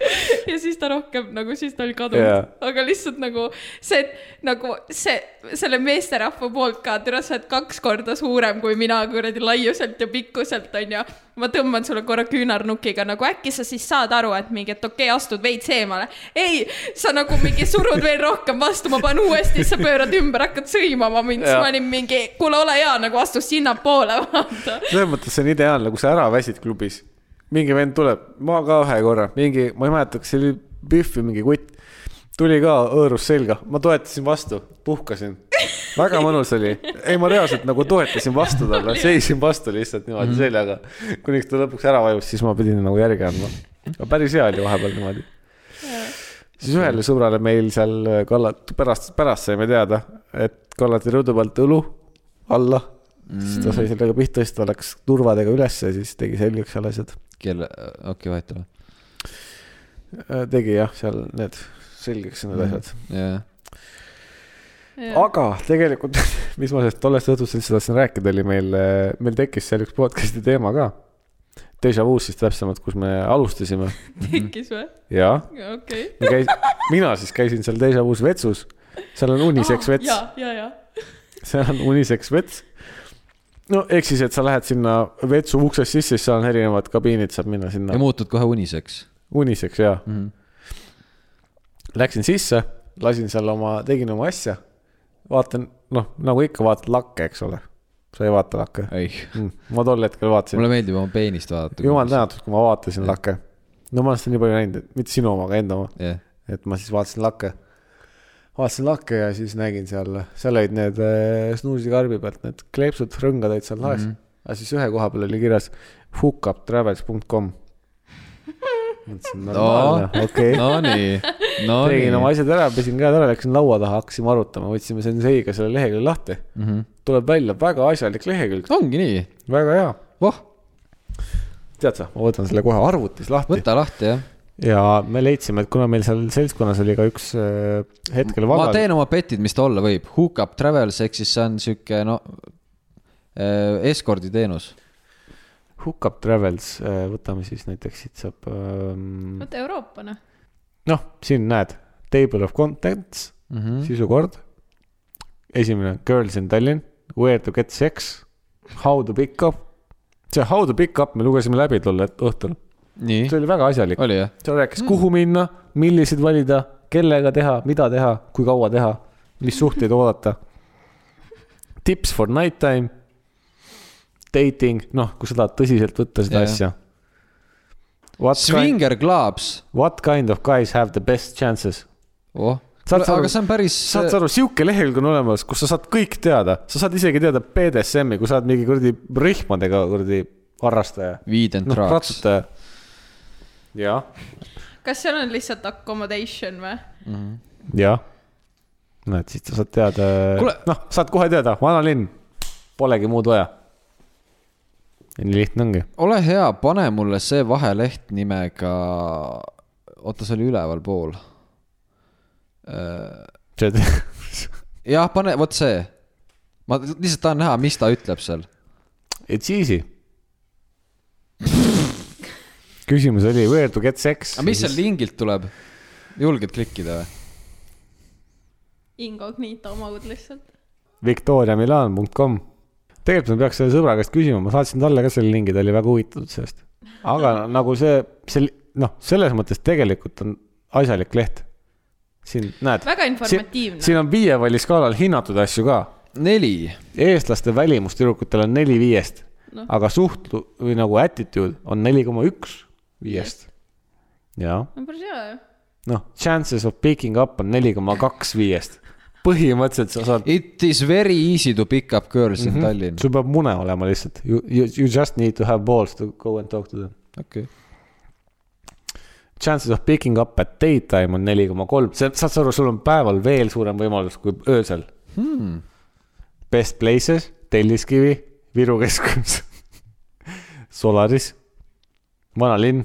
Speaker 3: ja siis ta rohkem nagu siis ta oli kadunud
Speaker 1: Jaa.
Speaker 3: yeah. , aga lihtsalt nagu see nagu see selle meesterahva poolt ka , tere , sa oled kaks korda suurem kui mina kuradi laiuselt ja pikkuselt onju . ma tõmban sulle korra küünarnukiga nagu äkki sa siis saad aru , et mingi , et okei okay, , astud veits eemale . ei , sa nagu mingi surud veel rohkem vastu , ma panen uuesti , sa pöörad ümber , hakkad sõimama mind , siis
Speaker 1: Jaa.
Speaker 3: ma olin mingi , kuule , ole hea nagu astu sinnapoole , vaata .
Speaker 1: selles mõttes see on ideaalne , kui sa ära väsid klubis . mingi vend tuleb , ma ka ühe korra , mingi , ma ei mäleta , kas see oli Pühv või mingi kutt . tuli ka hõõrus selga , ma toetasin vastu , puhkasin . väga mõnus oli , ei ma reaalselt nagu toetasin vastu talle , seisin vastu lihtsalt niimoodi
Speaker 3: Mhm.
Speaker 1: seljaga . kuniks ta lõpuks ära vajus , siis ma pidin nagu järgi andma . aga päris hea oli vahepeal niimoodi . siis ühele sõbrale meil seal kallat- , pärast , pärast saime teada , et kallati rõdu pealt õlu alla mm. . siis ta sai sellega pihta , siis ta läks turvadega ülesse , siis tegi selgeks seal asjad .
Speaker 2: kelle , okei okay, , vahet ei ole .
Speaker 1: Äh, tegi jah , seal need selgeks
Speaker 2: Mm.
Speaker 1: need asjad .
Speaker 2: jah ,
Speaker 1: aga tegelikult , mis ma sellest tollest õhtust üldse tahtsin rääkida , oli meil , meil tekkis seal üks podcast'i teema ka . Deja Vu's siis täpsemalt , kus me alustasime
Speaker 3: tekkis või ?
Speaker 1: ja
Speaker 3: okei .
Speaker 1: me käis, mina siis käisin seal Deja Vu's vetsus . seal on unisex vets .
Speaker 3: ja , ja , ja .
Speaker 1: seal on unisex vets . no ehk siis , et sa lähed sinna vetsu uksest sisse , siis seal on erinevad kabiinid , saab minna sinna
Speaker 2: ja muutud kohe uniseks
Speaker 1: unisex ja
Speaker 2: mm . -hmm.
Speaker 1: läksin sisse , lasin seal oma , tegin oma asja . vaatan , noh , nagu ikka vaatad lakke , eks ole . sa ei vaata lakke
Speaker 2: ei ,
Speaker 1: mm. . ma tol hetkel vaatasin ,
Speaker 2: mulle meeldib oma peenist vaadata .
Speaker 1: jumal . tänatud , kui ma vaatasin lakke . no ma olen seda nii palju näinud , et mitte sinu oma , aga enda oma ,
Speaker 2: jah ,
Speaker 1: et ma siis vaatasin lakke vaatasin lakke ja siis nägin seal , seal olid need äh, snuusikarbi pealt need kleepsud , rõngad olid seal laes mm .
Speaker 2: Mhm.
Speaker 1: -hmm. aga siis ühe koha peal oli kirjas hookuptravels.com . mõtlesin , normaalne , okei .
Speaker 2: nonii , nonii
Speaker 1: tegin oma . asjad ära , pesin käed ära , läksin laua taha , hakkasime arutama , võtsime Senseiga selle lehekülje lahti .
Speaker 2: Mhm.
Speaker 1: tuleb välja väga asjalik lehekülg ,
Speaker 2: ongi nii ,
Speaker 1: väga hea .
Speaker 2: voh ,
Speaker 1: tead sa , ma võtan selle kohe arvutis lahti .
Speaker 2: võta lahti jah .
Speaker 1: ja me leidsime , et kuna meil seal seltskonnas oli ka üks äh, hetkel
Speaker 2: ma
Speaker 1: vaba ,
Speaker 2: teen oma petid , mis ta olla võib , hookup travels ehk siis see on sihuke no eh, eskorditeenus .
Speaker 1: Hookup Travels , võtame siis näiteks siit saab ähm, ,
Speaker 3: vot Euroopa noh .
Speaker 1: noh , siin näed , table of contents mm , -hmm. sisukord . esimene , girls in Tallinn , where to get sex , how to pick up . see how to pick up me lugesime läbi tol het- õhtul
Speaker 2: nii
Speaker 1: see , oli väga asjalik ,
Speaker 2: oli jah ?
Speaker 1: seal rääkis , kuhu minna , milliseid valida , kellega teha , mida teha , kui kaua teha , mis suhteid oodata . Tips for night time , dating , noh , kui sa tahad tõsiselt võtta seda
Speaker 2: Jaa.
Speaker 1: yeah. asja . What kind ,
Speaker 2: Swinger clubs ,
Speaker 1: what kind of guys have the best chances ?
Speaker 2: oh ,
Speaker 1: Saad sa aru-
Speaker 2: aga see on päris ,
Speaker 1: saad sa aru , sihuke lehekülg on olemas , kus sa saad kõik teada , sa saad isegi teada BDSM-i , kui sa oled mingi kuradi rühmadega kuradi harrastaja ,
Speaker 2: weed and
Speaker 1: noh ,
Speaker 2: drugs .
Speaker 1: ratsutaja . jah
Speaker 3: kas seal on lihtsalt accommodation või ?
Speaker 1: jah . näed , siis sa saad teada
Speaker 2: Kuule- ,
Speaker 1: noh , saad kohe teada , vanalinn , polegi muud vaja . nii lihtne ongi .
Speaker 2: ole hea , pane mulle see vaheleht nimega , oota , see oli ülevalpool .
Speaker 1: see ,
Speaker 2: jah , pane , vot see . ma lihtsalt tahan näha , mis ta ütleb seal .
Speaker 1: it's easy . küsimus oli where to get sex .
Speaker 2: aga mis seal lingilt tuleb ? julged klikkida või ?
Speaker 3: Incognito mode lihtsalt .
Speaker 1: Victoriamilan.com . tegelikult ma peaks selle sõbra käest küsima , ma saatsin talle ka selle lingi , ta oli väga huvitatud sellest . aga nagu see , see , noh , selles mõttes tegelikult on asjalik leht . siin näed .
Speaker 3: Väga informatiivne.
Speaker 1: siin on viie palli skaalal hinnatud asju ka
Speaker 2: neli ,
Speaker 1: eestlaste välimustüdrukutel on neli viiest no.
Speaker 3: Noh. ,
Speaker 1: aga suhtlu- või nagu attitude on neli koma üks viiest . ja
Speaker 3: no päris hea ju .
Speaker 1: noh , chances of picking up on neli koma kaks viiest . põhimõtteliselt sa saad ,
Speaker 2: it is very easy to pick up girls in Tallinn .
Speaker 1: sul peab mune olema lihtsalt . You, you, you just need to have balls to go and talk to them .
Speaker 2: okei okay. ,
Speaker 1: Chances of picking up at daytime on neli koma kolm , sa saad sa aru , sul on päeval veel suurem võimalus kui öösel hmm. . Best places , Telliskivi , Viru keskus , Solaris , vanalinn .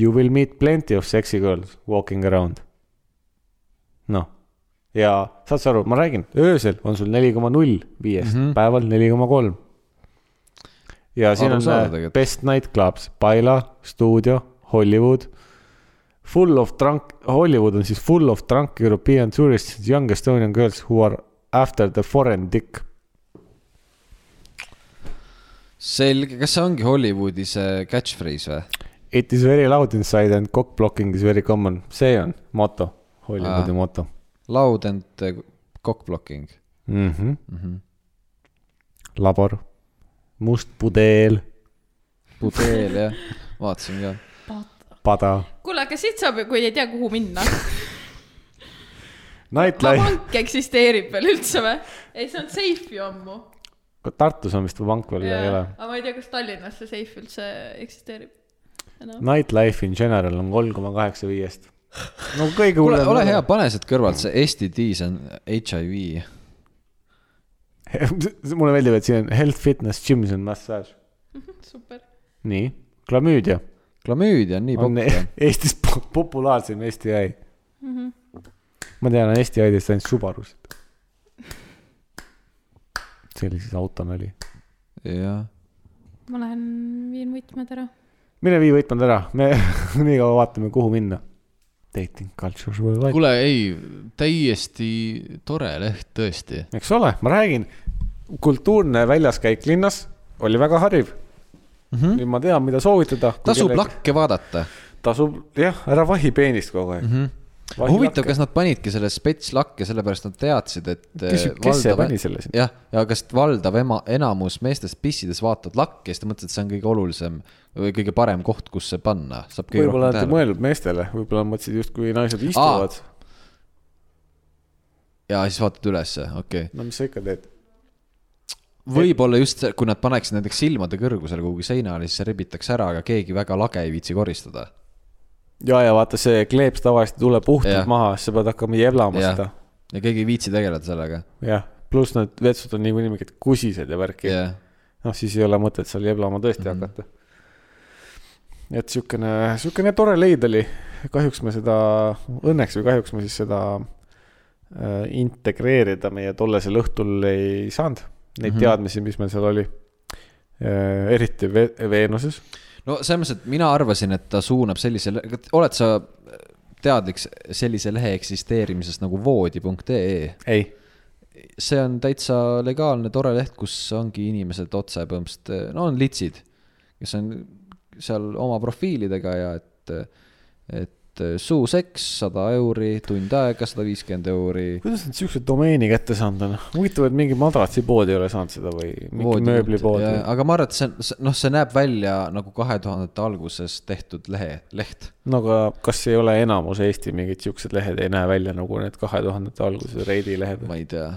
Speaker 1: You will meet plenty of sexy girls walking around . noh , ja saad sa aru , ma räägin , öösel on sul neli koma null viiest , päeval neli koma kolm . ja siin on
Speaker 2: Arusaadav
Speaker 1: äh,
Speaker 2: tegelikult.
Speaker 1: Best Night Clubs , Paila , stuudio , Hollywood . Full of drunk , Hollywood on siis full of drunk European tourists , young Estonian girls who are after the foreign dick .
Speaker 2: selge , kas see ongi Hollywoodi see catchphrase või ?
Speaker 1: It is very loud inside and cock blocking is very common , see on moto , Hollywoodi
Speaker 2: Aa.
Speaker 1: moto
Speaker 2: Loud and eh, cock blocking .
Speaker 1: mm . -hmm. Mm -hmm. labor , must pudeel ,
Speaker 2: pudeel jah , vaatasin ka .
Speaker 1: pada ,
Speaker 3: kuule , aga siit saab , kui ei tea , kuhu minna .
Speaker 1: nightlife ,
Speaker 3: vabank eksisteerib veel üldse või ? ei , see on safe ju ammu .
Speaker 1: Tartus on vist vank veel , ei ole
Speaker 3: aga ma ei tea , kas Tallinnas see safe üldse eksisteerib .
Speaker 1: Nightlife in general on kolm koma kaheksa viiest . no kõige
Speaker 2: kuule ,
Speaker 1: hullem .
Speaker 2: ole hea , pane sealt kõrvalt see STD , see on HIV .
Speaker 1: mulle meeldib , et siin on health fitness gym , see on massaaž .
Speaker 3: super .
Speaker 1: nii , klamüüdia
Speaker 2: klamüüdia on nii
Speaker 1: on
Speaker 2: popp jah .
Speaker 1: Eestis po- populaarsim STI mm . -hmm.
Speaker 2: Mhm.
Speaker 1: ma tean STI-dest ainult Subarusid . sellises autonali .
Speaker 2: jah ,
Speaker 3: ma lähen viin võtmed ära .
Speaker 1: mine vii võitmad ära , me nii kaua vaatame , kuhu minna . Dating culture worldwide ,
Speaker 8: kuule , ei , täiesti tore leht tõesti .
Speaker 1: eks ole , ma räägin , kultuurne väljaskäik linnas oli väga hariv mm . -hmm. nüüd ma tean , mida soovitada .
Speaker 2: Mhm. tasub . lakke vaadata .
Speaker 1: tasub , jah , ära vahi peenist kogu aeg mm . -hmm.
Speaker 2: Mhm. huvitav ,. kas nad panidki selle spets lakke , sellepärast nad teadsid , et .
Speaker 1: kes , kes see pani selle sinna ?
Speaker 2: jah , ja kas valdav ema , enamus meestest pissides vaatavad lakke , siis ta mõtles , et see on kõige olulisem või kõige parem koht , kus see panna . saab kõige
Speaker 1: võib-olla
Speaker 2: rohkem
Speaker 1: nad ei
Speaker 2: tähelepanu .
Speaker 1: mõelnud meestele , võib-olla mõtlesid justkui naised istuvad .
Speaker 2: ja siis vaatad ülesse , okei okay. .
Speaker 1: no mis sa ikka teed ?
Speaker 2: võib-olla just see , kui nad paneksid näiteks silmade kõrgusele kuhugi seinale , siis see rebitakse ära , aga keegi väga lage ei viitsi koristada .
Speaker 1: ja , ja vaata , see kleeps tavaliselt tuleb
Speaker 2: Jah.
Speaker 1: puhtalt maha , siis sa pead hakkama jeblama
Speaker 2: ja
Speaker 1: seda .,
Speaker 2: ja keegi ei viitsi tegeleda sellega .
Speaker 1: jah , pluss need vetsud on niikuinii mingid kusised ja värki .
Speaker 2: jah , Mhm.
Speaker 1: noh , siis ei ole mõtet seal jeblama tõesti mm -hmm. hakata . et siukene , siukene tore leid oli . kahjuks me seda , õnneks või kahjuks me siis seda äh, integreerida meie tollesel õhtul ei saanud . Neid
Speaker 2: Mhm.
Speaker 1: mm -hmm. teadmisi , mis meil seal oli . eriti Ve- Veenuses .
Speaker 2: no selles mõttes , et mina arvasin , et ta suunab sellise , oled sa teadlik sellise lehe eksisteerimisest nagu voodi.ee ?
Speaker 1: ei .
Speaker 2: see on täitsa legaalne tore leht , kus ongi inimesed otse põhimõtteliselt , no on litsid , kes on seal oma profiilidega ja et , et suuseks sada euri , tund aega sada viiskümmend euri .
Speaker 1: kuidas nad siukse domeeni kätte saanud on ? huvitav , et mingi madratsipood ei ole saanud seda või mingi mööblipood või ?
Speaker 2: aga ma arvan , et see on , noh , see näeb välja nagu kahe tuhandete alguses tehtud lehe , leht .
Speaker 1: no aga kas ei ole enamus Eesti mingid siuksed lehed ei näe välja nagu need kahe tuhandete alguse Reidi lehed ?
Speaker 2: ma ei tea ,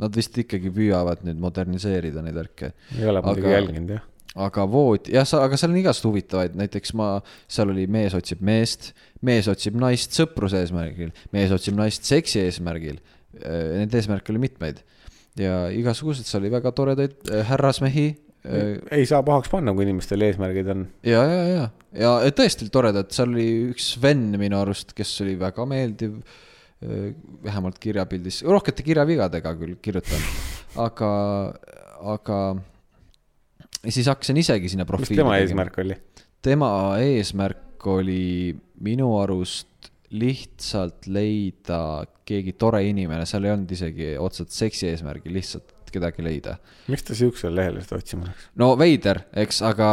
Speaker 2: nad vist ikkagi püüavad nüüd moderniseerida neid värke
Speaker 1: ei ole muidugi
Speaker 2: Aga-
Speaker 1: aga... jälginud jah .
Speaker 2: aga vood , jah , sa , aga seal on igast huvitavaid , näiteks ma , seal oli mees otsib meest , mees otsib naist sõpruse eesmärgil , mees otsib naist seksi eesmärgil . Neid eesmärke oli mitmeid ja igasuguseid , seal oli väga toredaid äh, härrasmehi . äh, ja ,
Speaker 1: ei saa pahaks panna , kui inimestel eesmärgid on .
Speaker 2: ja , ja , ja tõesti toredad , seal oli üks Sven minu arust , kes oli väga meeldiv . vähemalt kirjapildis , rohkete kirjavigadega küll kirjutanud , aga , aga ja siis hakkasin isegi sinna
Speaker 1: mis
Speaker 2: profiili .
Speaker 1: tema eesmärk oli ?
Speaker 2: tema eesmärk oli minu arust lihtsalt leida keegi tore inimene , seal ei olnud isegi otseselt seksi eesmärgi , lihtsalt kedagi leida .
Speaker 1: miks ta siuksel lehel seda otsima läks ?
Speaker 2: no veider , eks , aga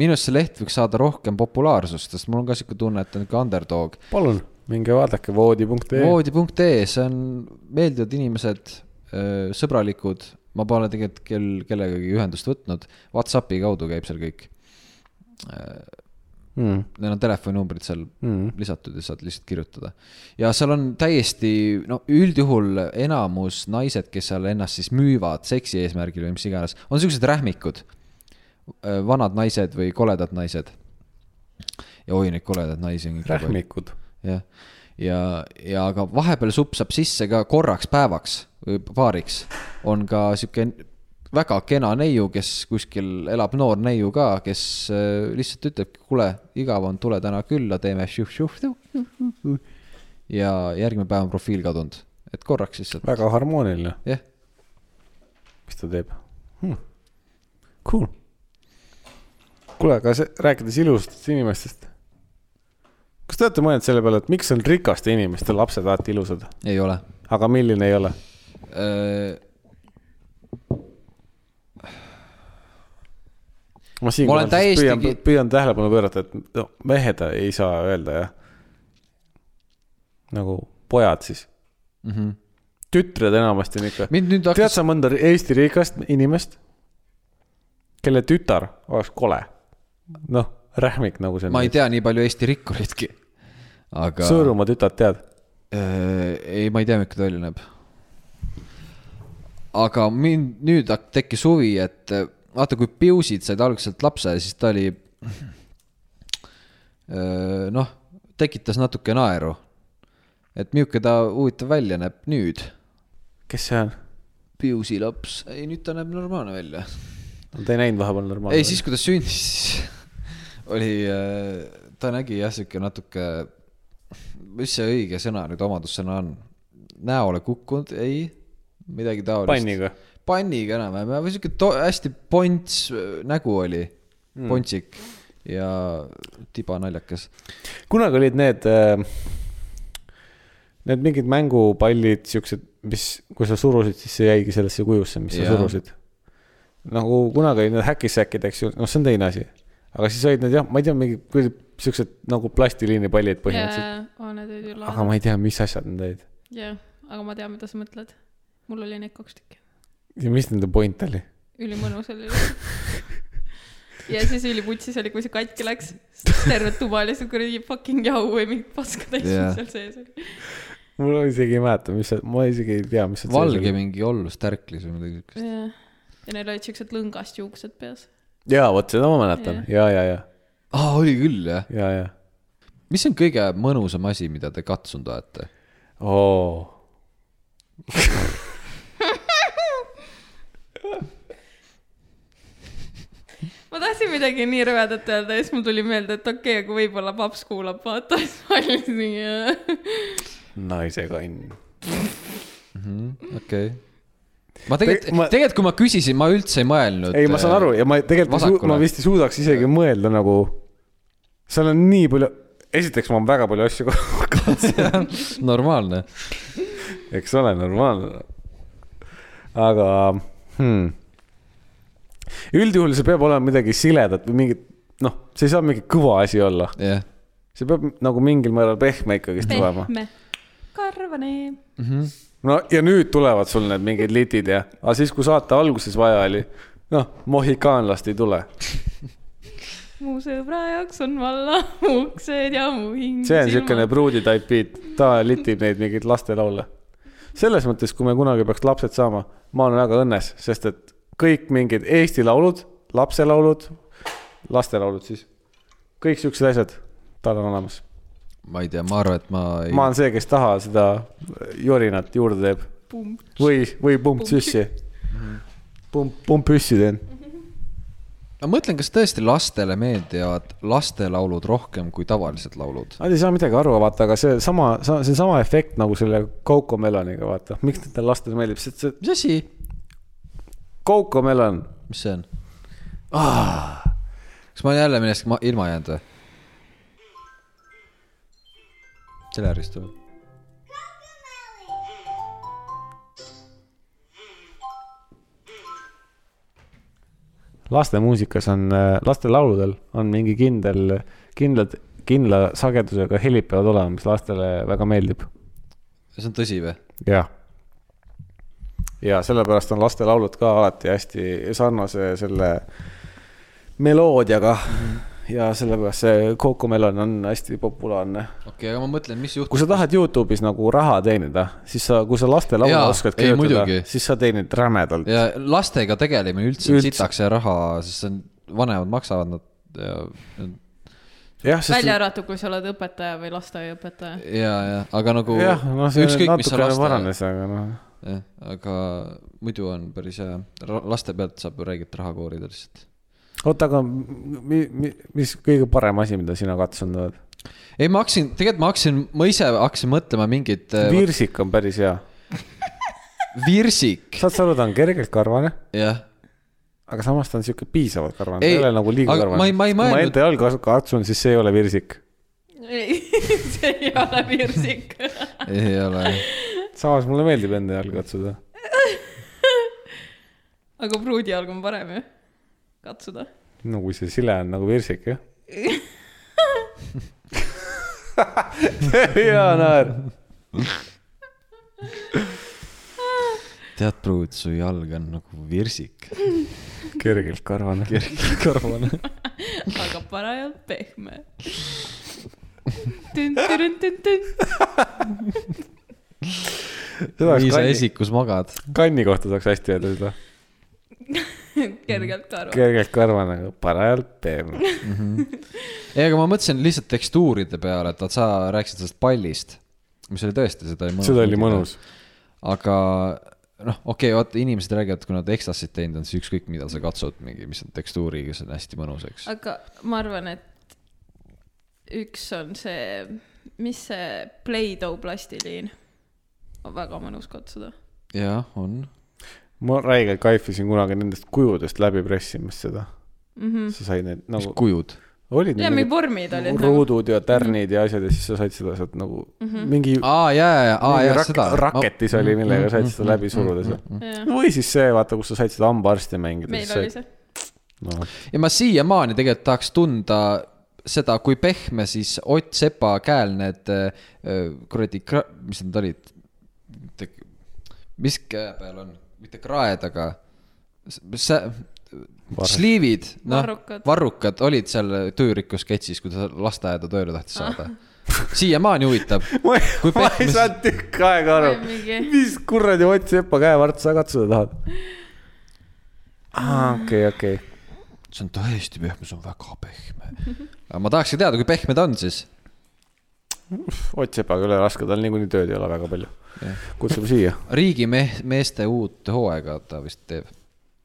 Speaker 2: minu arust see leht võiks saada rohkem populaarsust , sest mul on ka sihuke tunne , et ta on nihuke underdog .
Speaker 1: palun , minge vaadake voodi.ee .
Speaker 2: voodi.ee , see on meeldivad inimesed , sõbralikud , ma pole tegelikult kell , kellegagi ühendust võtnud , Whatsappi kaudu käib seal kõik .
Speaker 1: Mm.
Speaker 2: Neil on telefoninumbrid seal
Speaker 1: Mm.
Speaker 2: lisatud ja saad lihtsalt kirjutada . ja seal on täiesti , no üldjuhul enamus naised , kes seal ennast siis müüvad seksi eesmärgil või mis iganes , on siuksed rähmikud . vanad naised või koledad naised . ja oi , neid koledaid naisi on ikka palju .
Speaker 1: rähmikud .
Speaker 2: jah , ja, ja , ja aga vahepeal supsab sisse ka korraks päevaks või paariks on ka sihuke väga kena neiu , kes kuskil elab noor neiu ka , kes äh, lihtsalt ütlebki , kuule , igav on , tule täna külla , teeme šuh-šuh . ja järgmine päev on profiil kadunud , et korraks lihtsalt ,
Speaker 1: väga harmooniline ,
Speaker 2: jah .
Speaker 1: mis ta teeb hm. . cool . kuule , aga see , rääkides ilusatest inimestest . kas te olete mõelnud selle peale , et miks on rikaste inimeste lapsed alati ilusad ,
Speaker 2: ei ole . Äh,
Speaker 1: aga milline ei ole ? ma
Speaker 2: Ma olen
Speaker 1: siinkohal siis
Speaker 2: täiesti
Speaker 1: püüan
Speaker 2: ki- ,
Speaker 1: püüan tähelepanu pöörata , et no mehed ei saa öelda jah . nagu pojad siis .
Speaker 2: Mhm.
Speaker 1: tütred enamasti on ikka .
Speaker 2: mind nüüd
Speaker 1: tead
Speaker 2: hakkas ,
Speaker 1: sa mõnda Eesti rikast inimest , kelle tütar oleks kole ? noh , rähmik nagu see on .
Speaker 2: ma ei tea nii palju Eesti rikkuritki . aga .
Speaker 1: Sõõrumaa tütart tead ?
Speaker 2: Äh, ei , ma ei tea , milline ta välja näeb . aga mind nüüd hak- tekkis huvi , et äh, vaata , kui Piusid said algselt lapse , siis ta oli äh, noh , tekitas natuke naeru . et milline ta huvitav välja näeb nüüd .
Speaker 1: kes see on ?
Speaker 2: Piusi laps , ei nüüd ta näeb normaalne välja .
Speaker 1: Te ei näinud vahepeal normaalselt ?
Speaker 2: ei , siis kui ta sündis , oli , ta nägi jah , sihuke natuke , mis see õige sõna nüüd omadussõna on , näole kukkunud , ei , midagi taolist .
Speaker 1: panniga .
Speaker 2: panniga enam-vähem jah, või sihuke to- hästi ponts äh, nägu oli mm. , pontsik ja tiba naljakas .
Speaker 1: kunagi olid need , need mingid mängupallid , siuksed , mis , kui sa surusid , siis see jäigi sellesse kujusse , mis
Speaker 2: Jaa.
Speaker 1: sa surusid . nagu kunagi olid need häkisäkid , eks ju , noh , see on teine asi . aga siis olid need jah , ma ei tea , mingid kuidagi siuksed nagu plastiliinipallid põhimõtteliselt .
Speaker 3: jaa , need olid ju
Speaker 1: aga
Speaker 3: lahedad .
Speaker 1: ma ei tea , mis asjad need olid
Speaker 3: jah , aga ma tean , mida sa mõtled . mul oli neid kaks tükki .
Speaker 1: ja mis nende point oli ?
Speaker 3: ülimõnus oli . ja siis üliputsis oli , kui see katki läks . terve tuba oli see kuradi fucking jahu või mingi paska täis ,
Speaker 2: Jah.
Speaker 3: mis seal sees oli .
Speaker 1: mul isegi ei mäleta , mis see , ma isegi ei tea , mis see .
Speaker 2: valge . mingi ollus tärklis või midagi siukest .
Speaker 3: ja neil olid siuksed lõngast juuksed peas .
Speaker 1: jaa , vot seda ma mäletan ja , ja , ja ,
Speaker 2: aa , oli küll jah .
Speaker 1: ja , ja .
Speaker 2: mis on kõige mõnusam asi , mida te katsunud olete ?
Speaker 1: oo
Speaker 3: ma tahtsin midagi nii rõvedat öelda ja siis mul tuli meelde , et okei okay, , aga võib-olla paps kuulab , vaata . siis ma olin nii .
Speaker 1: naise kann .
Speaker 2: okei okay. . ma tegelikult
Speaker 1: Teg- ma-
Speaker 2: ma... , tegelikult kui ma küsisin , ma üldse ei mõelnud . äh,
Speaker 1: ei , ma saan aru ja ma tegelikult ,
Speaker 2: vasakule.
Speaker 1: ma vist ei suudaks isegi mõelda nagu , seal on nii palju , esiteks ma olen väga palju asju katsunud ,
Speaker 2: normaalne .
Speaker 1: eks ole , normaalne . aga hmm. , üldjuhul see peab olema midagi siledat või mingit , noh , see ei saa mingi kõva asi olla ,
Speaker 2: jah yeah. .
Speaker 1: see peab nagu mingil määral pehme ikkagist olema .
Speaker 3: pehme , karvane .
Speaker 1: no ja nüüd tulevad sul need mingid litid ja , aga siis , kui saate alguses vaja oli , noh , mohikaanlast ei tule ,
Speaker 3: mu sõbra jaoks on valla uksed ja mu hing .
Speaker 1: see on siukene . pruudi type beat , ta litib neid mingeid lastelaule . selles mõttes , kui me kunagi peaks lapsed saama , ma olen väga õnnes , sest et kõik mingid Eesti laulud , lapselaulud , lastelaulud siis , kõik siuksed asjad , tal on olemas .
Speaker 2: ma ei tea , ma arvan , et ma ei
Speaker 1: ma olen see , kes taha seda jorinat juurde teeb või , või pump süssi . pump , pump püssi teen .
Speaker 2: ma mõtlen , kas tõesti lastele meeldivad lastelaulud rohkem kui tavalised laulud ?
Speaker 1: Nad ei saa midagi aru , vaata , aga seesama , seesama efekt nagu selle Coco Meloniga , vaata , miks nendele lastele meeldib , sest see
Speaker 2: mis asi ?
Speaker 1: Coco Melon ,
Speaker 2: mis see on ah, ? kas ma olen jälle millestki ma- ilma jäänud või ? telerist või ?
Speaker 1: laste muusikas on , laste lauludel on mingi kindel , kindlad , kindla sagedusega helid peavad olema , mis lastele väga meeldib .
Speaker 2: see on tõsi või ?
Speaker 1: jah . ja sellepärast on lastelaulud ka alati hästi sarnase selle meloodiaga ja sellepärast see Coco Melon on hästi populaarne
Speaker 2: okei okay, , aga ma mõtlen , mis juhtub
Speaker 1: kui sa tahad Youtube'is nagu raha teenida , siis sa , kui sa lastelaule
Speaker 2: Jaa,
Speaker 1: oskad
Speaker 2: ei,
Speaker 1: kirjutada
Speaker 2: muidugi. ,
Speaker 1: siis sa teenid rämedalt .
Speaker 2: ja lastega tegelemine üldse on
Speaker 1: Üldse.
Speaker 2: sitaks ja raha , sest see on , vanemad maksavad nad ja ,
Speaker 1: jah , sest
Speaker 3: välja arvatud , kui sa oled õpetaja või lasteaiaõpetaja .
Speaker 2: ja , ja , aga nagu
Speaker 1: jah , noh , see
Speaker 2: ükskõik , mis sa
Speaker 1: natukene
Speaker 2: laste ,
Speaker 1: paranes , aga noh ,
Speaker 2: aga muidu on päris hea , laste pealt saab ju räigelt raha koorida lihtsalt .
Speaker 1: oota , aga mi, mi, mis kõige parem asi , mida sina katsunud oled ?
Speaker 2: ei , ma hakkasin , tegelikult ma hakkasin , ma ise hakkasin mõtlema mingit äh,
Speaker 1: virsik on päris hea ,
Speaker 2: virsik ,
Speaker 1: saad sa aru , ta on kergelt karvane ,
Speaker 2: jah ,
Speaker 1: aga samas ta on sihuke piisavalt karvane , ta
Speaker 2: Ei,
Speaker 1: ei ole nagu liiga
Speaker 2: aga
Speaker 1: karvane .
Speaker 2: ma ei- ma ei
Speaker 1: kui ma
Speaker 2: mõelnud-
Speaker 1: enda jalga kas- katsun , siis see ei ole virsik .
Speaker 3: ei , see ei ole virsik .
Speaker 2: ei ole .
Speaker 1: samas mulle meeldib enda jalga katsuda .
Speaker 3: aga pruudi jalg on parem ju , katsuda .
Speaker 1: no kui see sile on nagu virsik , jah . hea naer .
Speaker 2: tead , pruut , su jalg on nagu virsik .
Speaker 1: kergelt karvane .
Speaker 2: kergelt karvane .
Speaker 3: aga parajalt pehme . tünn-tünn-tünn-tünn .
Speaker 1: seda
Speaker 2: nii
Speaker 1: oleks
Speaker 2: sa
Speaker 1: kanni ,
Speaker 2: esikus magad .
Speaker 1: kanni kohta saaks hästi öelda seda .
Speaker 3: kergelt karva .
Speaker 1: kergelt karvane , parajalt pehme .
Speaker 2: ei , aga ma mõtlesin lihtsalt tekstuuride peale , et vaat sa rääkisid sellest pallist , mis oli tõesti , seda oli mõnus .
Speaker 1: seda oli mõnus .
Speaker 2: aga noh , okei okay, , vaata inimesed räägivad , kui nad ekstasid teinud on , siis ükskõik mida sa katsud , mingi , mis on tekstuuriga , see on hästi mõnus , eks .
Speaker 3: aga ma arvan , et üks on see , mis see Play-Doh plastiliin on väga mõnus katsuda .
Speaker 2: jah , on .
Speaker 1: ma räigelt kaifisin kunagi nendest kujudest läbi pressimist seda mm . -hmm. sa said need
Speaker 2: mis
Speaker 1: nagu ,
Speaker 2: kujud ?
Speaker 1: olid
Speaker 3: ja mingi
Speaker 1: need
Speaker 3: vormid olid nagu-
Speaker 1: mingid ruudud ja tärnid ja asjad ja siis sa said seda sealt nagu mm -hmm. mingi
Speaker 2: aa , ja , ja , ja , aa , ja seda .
Speaker 1: raketis oli , millega said seda läbi suruda seal .
Speaker 3: nagu .
Speaker 1: või siis see , vaata , kus sa said seda hambaarsti mängida . noh.
Speaker 3: meil oli . see .
Speaker 1: No,
Speaker 2: ja ma siiamaani tegelikult tahaks tunda seda , kui pehme siis Ott Sepa käel need öö, kuradi , mis need olid ? mis käe peal on , mitte kraed , aga s- sä- , sliivid , noh
Speaker 3: Varrukad. ,
Speaker 2: varrukad olid seal tüüriku sketšis , kui ta lasteaeda tööle tahtis saada . siiamaani huvitab .
Speaker 1: ma ei ,
Speaker 2: Kui
Speaker 1: ma ei
Speaker 2: pehmes-
Speaker 1: saanud tükk aega aru ,
Speaker 3: mingi-
Speaker 1: mis kuradi Ott Sepa käevarts sa katsuda tahad . aa , okei , okei .
Speaker 2: see on tõesti pehme , see on väga pehme . aga ma tahakski teada , kui pehme ta on siis .
Speaker 1: Ott Sepaga üle raske , tal niikuinii tööd ei ole väga palju . kutsume siia .
Speaker 2: riigimeeste uut hooaega ta vist teeb .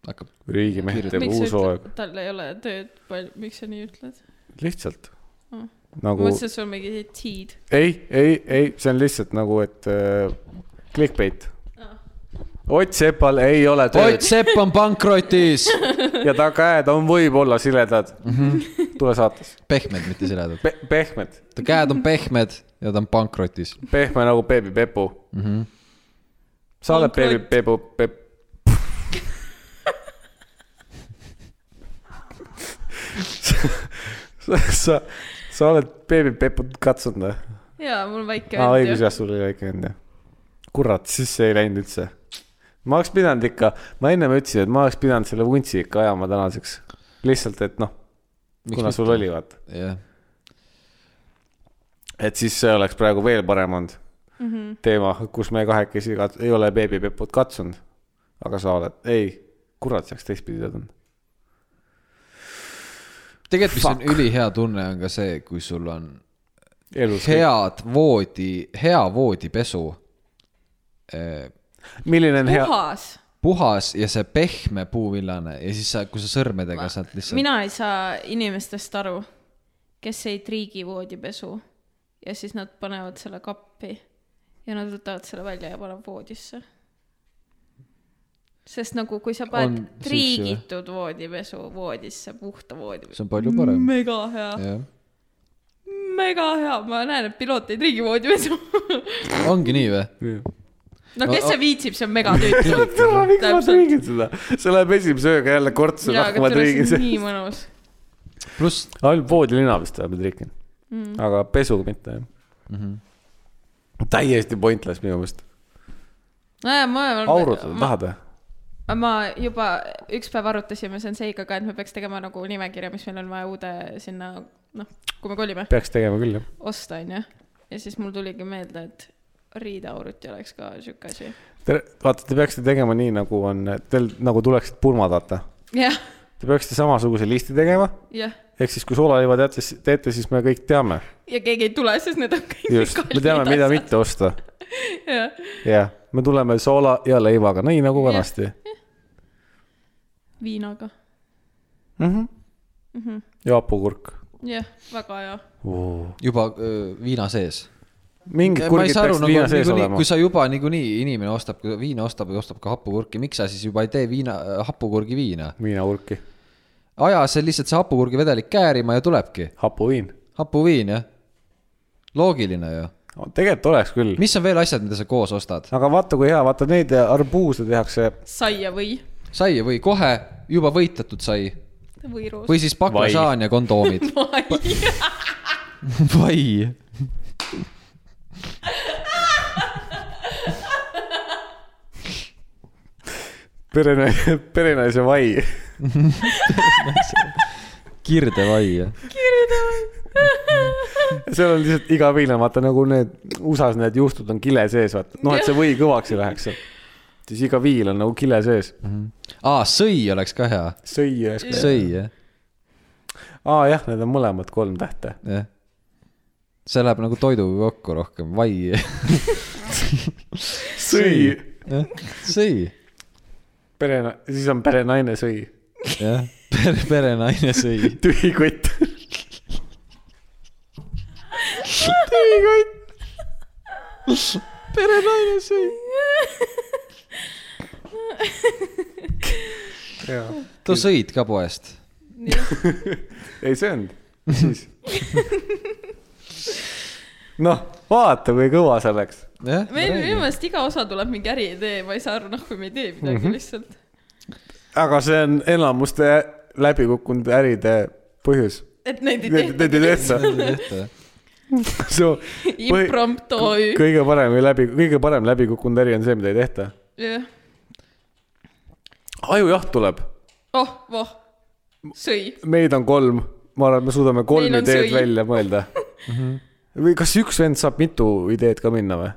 Speaker 2: hakkab
Speaker 1: riigimeht teeb
Speaker 3: miks
Speaker 1: uus
Speaker 3: sa
Speaker 1: hooaeg
Speaker 3: ütled ,. tal ei ole tööd palju , miks sa nii ütled ?
Speaker 1: lihtsalt
Speaker 3: Mm.
Speaker 1: nagu ,
Speaker 3: mõtlesin , et sul on mingi tiid .
Speaker 1: ei , ei , ei , see on lihtsalt nagu , et äh, clickbait .
Speaker 3: Oh.
Speaker 1: Ott Sepal ei ole
Speaker 2: Ott
Speaker 1: tööd
Speaker 2: Sepp on pankrotis .
Speaker 1: ja ta käed on võib-olla siledad mm . -hmm.
Speaker 3: Mhm.
Speaker 1: tule saates
Speaker 2: pehmed , mitte siledad .
Speaker 1: Pe . pehmed ,
Speaker 2: ta käed on pehmed ja ta on pankrotis .
Speaker 1: pehme nagu beebi Pepu mm . -hmm. sa oled beebi Pepu ,
Speaker 3: Pankrot.
Speaker 1: Pep- . sa , sa , sa oled beebi Peput katsunud või ?
Speaker 3: jaa , mul on väike
Speaker 1: aa , õigus
Speaker 3: vend ju .
Speaker 1: jah , sul oli väike vend jah . kurat , siis see ei läinud üldse . ma oleks pidanud ikka , ma ennem ütlesin , et ma oleks pidanud selle vuntsi ikka ajama tänaseks . lihtsalt , et noh , kuna sul oli vaata ,
Speaker 2: jah ,
Speaker 1: et siis see oleks praegu veel parem olnud mm -hmm.
Speaker 3: Mhm.
Speaker 1: teema , kus me kahekesi kat- ei ole beebipeput katsunud . aga sa oled , ei , kurat , see oleks teistpidi töötanud .
Speaker 2: tegelikult , mis on ülihea tunne , on ka see , kui sul on
Speaker 1: elus .
Speaker 2: head voodi , hea voodipesu ,
Speaker 1: milline on hea ,
Speaker 3: puhas .
Speaker 2: puhas ja see pehme puuvillane ja siis sa , kui sa sõrmedega sealt lihtsalt Mina...
Speaker 3: mina ei saa inimestest aru , kes ei triigi voodipesu ja siis nad panevad selle kappi ja nad võtavad selle välja ja panevad voodisse . sest nagu , kui sa
Speaker 2: On
Speaker 3: paned
Speaker 2: siukse-
Speaker 3: triigitud voodipesu voodisse , puhta voodipesu ,
Speaker 2: see on palju parem .
Speaker 3: mega hea ,
Speaker 2: jah ,
Speaker 3: mega hea , ma näen , et piloot ei triigi voodipesu .
Speaker 2: ongi nii või ?
Speaker 3: no kes see viitsib , see on megatüütu .
Speaker 1: tere , miks ma
Speaker 3: Täpselt.
Speaker 1: triigin seda ? see läheb esimese ööga jälle kortsu ,
Speaker 3: jaa ,
Speaker 1: noh ,
Speaker 3: aga
Speaker 1: ma
Speaker 3: tule ,
Speaker 1: triigin
Speaker 3: see on
Speaker 1: seda .
Speaker 3: nii mõnus .
Speaker 2: pluss
Speaker 1: ainult voodilina vist oleme triikinud mm. , aga pesu mitte jah mm . -hmm. täiesti pointless minu meelest .
Speaker 3: nojah , ma olen .
Speaker 1: aurutada tahad või ?
Speaker 3: ma juba üks päev arutasime Senseiga ka , et me peaks tegema nagu nimekirja , mis meil on vaja uude sinna , noh , kui me kolime ,
Speaker 1: peaks tegema küll jah .
Speaker 3: osta onju . ja siis mul tuligi meelde , et riideauruti oleks ka siuke asi .
Speaker 1: Te , vaata , te peaksite tegema nii , nagu on , teil nagu tuleksid pulmad , vaata .
Speaker 3: jah ,
Speaker 1: Te peaksite samasuguse listi tegema ,
Speaker 3: jah .
Speaker 1: ehk siis kui sulaliiva teate , teete , siis me kõik teame .
Speaker 3: ja keegi ei tule , sest need on kõik
Speaker 1: just , me teame , mida . mitte osta . jah , me tuleme soola ja leivaga , nii nagu
Speaker 3: Jah.
Speaker 1: vanasti .
Speaker 3: viinaga ,
Speaker 2: Mhm.
Speaker 1: ja hapukurk .
Speaker 3: jah , väga hea .
Speaker 2: juba öö, eh, viina sees .
Speaker 1: mingid
Speaker 2: ma ei
Speaker 1: kurgid
Speaker 2: saa aru
Speaker 1: peaksid viina sees
Speaker 2: nagu ,
Speaker 1: olema
Speaker 2: kui . sa juba niikuinii inimene ostab ka viina , ostab ja ostab ka hapukurki , miks sa siis juba ei tee viina , hapukurgi viina ?
Speaker 1: viinahulki ,
Speaker 2: aja see lihtsalt see hapukurgi vedelik käärima ja tulebki ,
Speaker 1: hapuviin .
Speaker 2: hapuviin jah . loogiline ju .
Speaker 1: tegelikult oleks küll .
Speaker 2: mis on veel asjad , mida sa koos ostad ?
Speaker 1: aga vaata , kui hea , vaata neid arbuuse tehakse
Speaker 3: saia või ,
Speaker 2: sai või kohe juba võitletud sai
Speaker 3: või roos .
Speaker 2: või siis baklažaan ja kondoomid . vai .
Speaker 1: perenaise , perenaise vai .
Speaker 2: kirdevai jah .
Speaker 1: seal on lihtsalt iga viina , vaata nagu need USA-s need juustud on kile sees , vaata . noh , et see või kõvaks ei läheks . siis iga viil on nagu kile sees .
Speaker 2: aa , sõi oleks ka hea .
Speaker 1: sõi ja .
Speaker 2: sõi jah ,
Speaker 1: aa jah , need on mõlemad kolm tähte .
Speaker 2: jah . see läheb nagu toiduga kokku rohkem , vai .
Speaker 1: sõi .
Speaker 2: sõi ,
Speaker 1: perena- , siis on perenaine sõi .
Speaker 2: jah . pere , perenaine sõi .
Speaker 1: tühi kott .
Speaker 2: perenaine sõi . too sõid ka poest .
Speaker 1: ei söönud , siis . noh , vaata , kui kõva see oleks .
Speaker 2: jah ,
Speaker 3: meil minu meelest iga osa tuleb mingi äriidee , ma ei saa aru , noh , kui me ei tee midagi mm -hmm. lihtsalt .
Speaker 1: aga see on enamuste läbikukkunud äride põhjus .
Speaker 3: et neid ei
Speaker 1: Need ,
Speaker 3: tehta .
Speaker 1: need ei tehta . see
Speaker 3: impromptu OÜ .
Speaker 1: kõige parem või läbi , kõige parem läbikukkunud äri on see , mida ei tehta .
Speaker 3: jah ,
Speaker 1: ajujaht tuleb ,
Speaker 3: oh , voh , sõi .
Speaker 1: meid on kolm , ma arvan , et me suudame kolm
Speaker 3: Meil on
Speaker 1: ideed
Speaker 3: sõi.
Speaker 1: välja mõelda . või kas üks vend saab mitu ideed ka minna või ?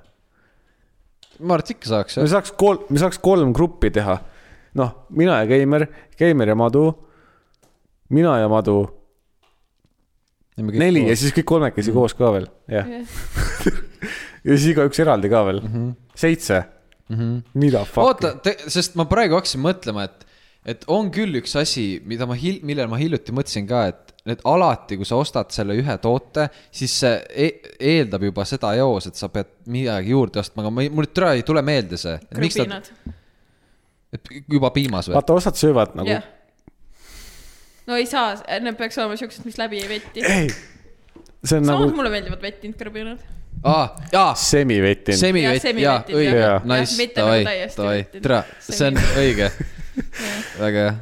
Speaker 2: ma arvan , et ikka saaks
Speaker 1: me
Speaker 2: jah .
Speaker 1: saaks kolm , me saaks kolm gruppi teha . noh , mina ja Keimer , Keimer ja Madu , mina ja Madu , neli ja siis kõik kolmekesi koos ka veel , jah . ja siis igaüks eraldi ka veel , seitse . mida fuck'i
Speaker 2: oota ,, sest ma praegu hakkasin mõtlema , et , et on küll üks asi , mida ma hil- , millele ma hiljuti mõtlesin ka , et , et alati , kui sa ostad selle ühe toote , siis see e eeldab juba seda eos , et sa pead midagi juurde ostma , aga ma ei , mul täna ei tule meelde see . miks ta ,
Speaker 3: krõbinad .
Speaker 2: et juba piimas või ?
Speaker 1: vaata osad söövad nagu
Speaker 3: jah . no ei saa , need peaks olema siuksed , mis läbi ei veti .
Speaker 1: ei , see on Eh,
Speaker 3: samas
Speaker 1: nagu
Speaker 3: nagu... mulle meeldivad vetinud krõbinad .
Speaker 2: aa , jaa ,
Speaker 1: semivetin Sem .
Speaker 2: semivett ,
Speaker 3: Jah,
Speaker 2: jaa ,
Speaker 3: semivettid,
Speaker 2: õige
Speaker 1: jah. ,
Speaker 3: Jah,
Speaker 2: nice ,
Speaker 3: mitte nagu
Speaker 2: davai ,
Speaker 3: täiesti
Speaker 2: davai ,
Speaker 3: vettid.
Speaker 2: tere , see on õige . väga hea ,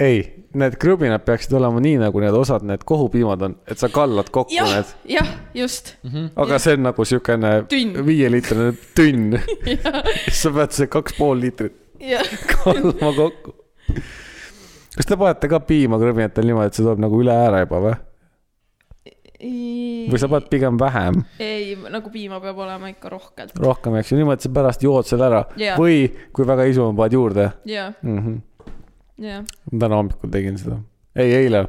Speaker 1: ei , need krõbinad peaksid olema nii , nagu need osad , need kohupiimad on , et sa kallad kokku ja.
Speaker 3: jah
Speaker 1: need ,,
Speaker 3: jah , just mm . -hmm.
Speaker 1: aga see on nagu siukene
Speaker 3: Tünn.
Speaker 1: viieliitrine tünn . sa pead see kaks pool liitrit
Speaker 3: jah ,
Speaker 1: kallama kokku . kas te panete ka piima krõbinatel niimoodi , et see tuleb nagu üle ääre juba või ? või sa paned pigem vähem ,
Speaker 3: ei , nagu piima peab olema ikka rohkelt .
Speaker 1: rohkem , eks ju , niimoodi sa pärast jood selle ära
Speaker 3: Jaa.
Speaker 1: või kui väga isu on , paned juurde
Speaker 3: jah ,
Speaker 1: mm . -hmm.
Speaker 3: jah ,
Speaker 1: täna hommikul tegin seda , ei eile .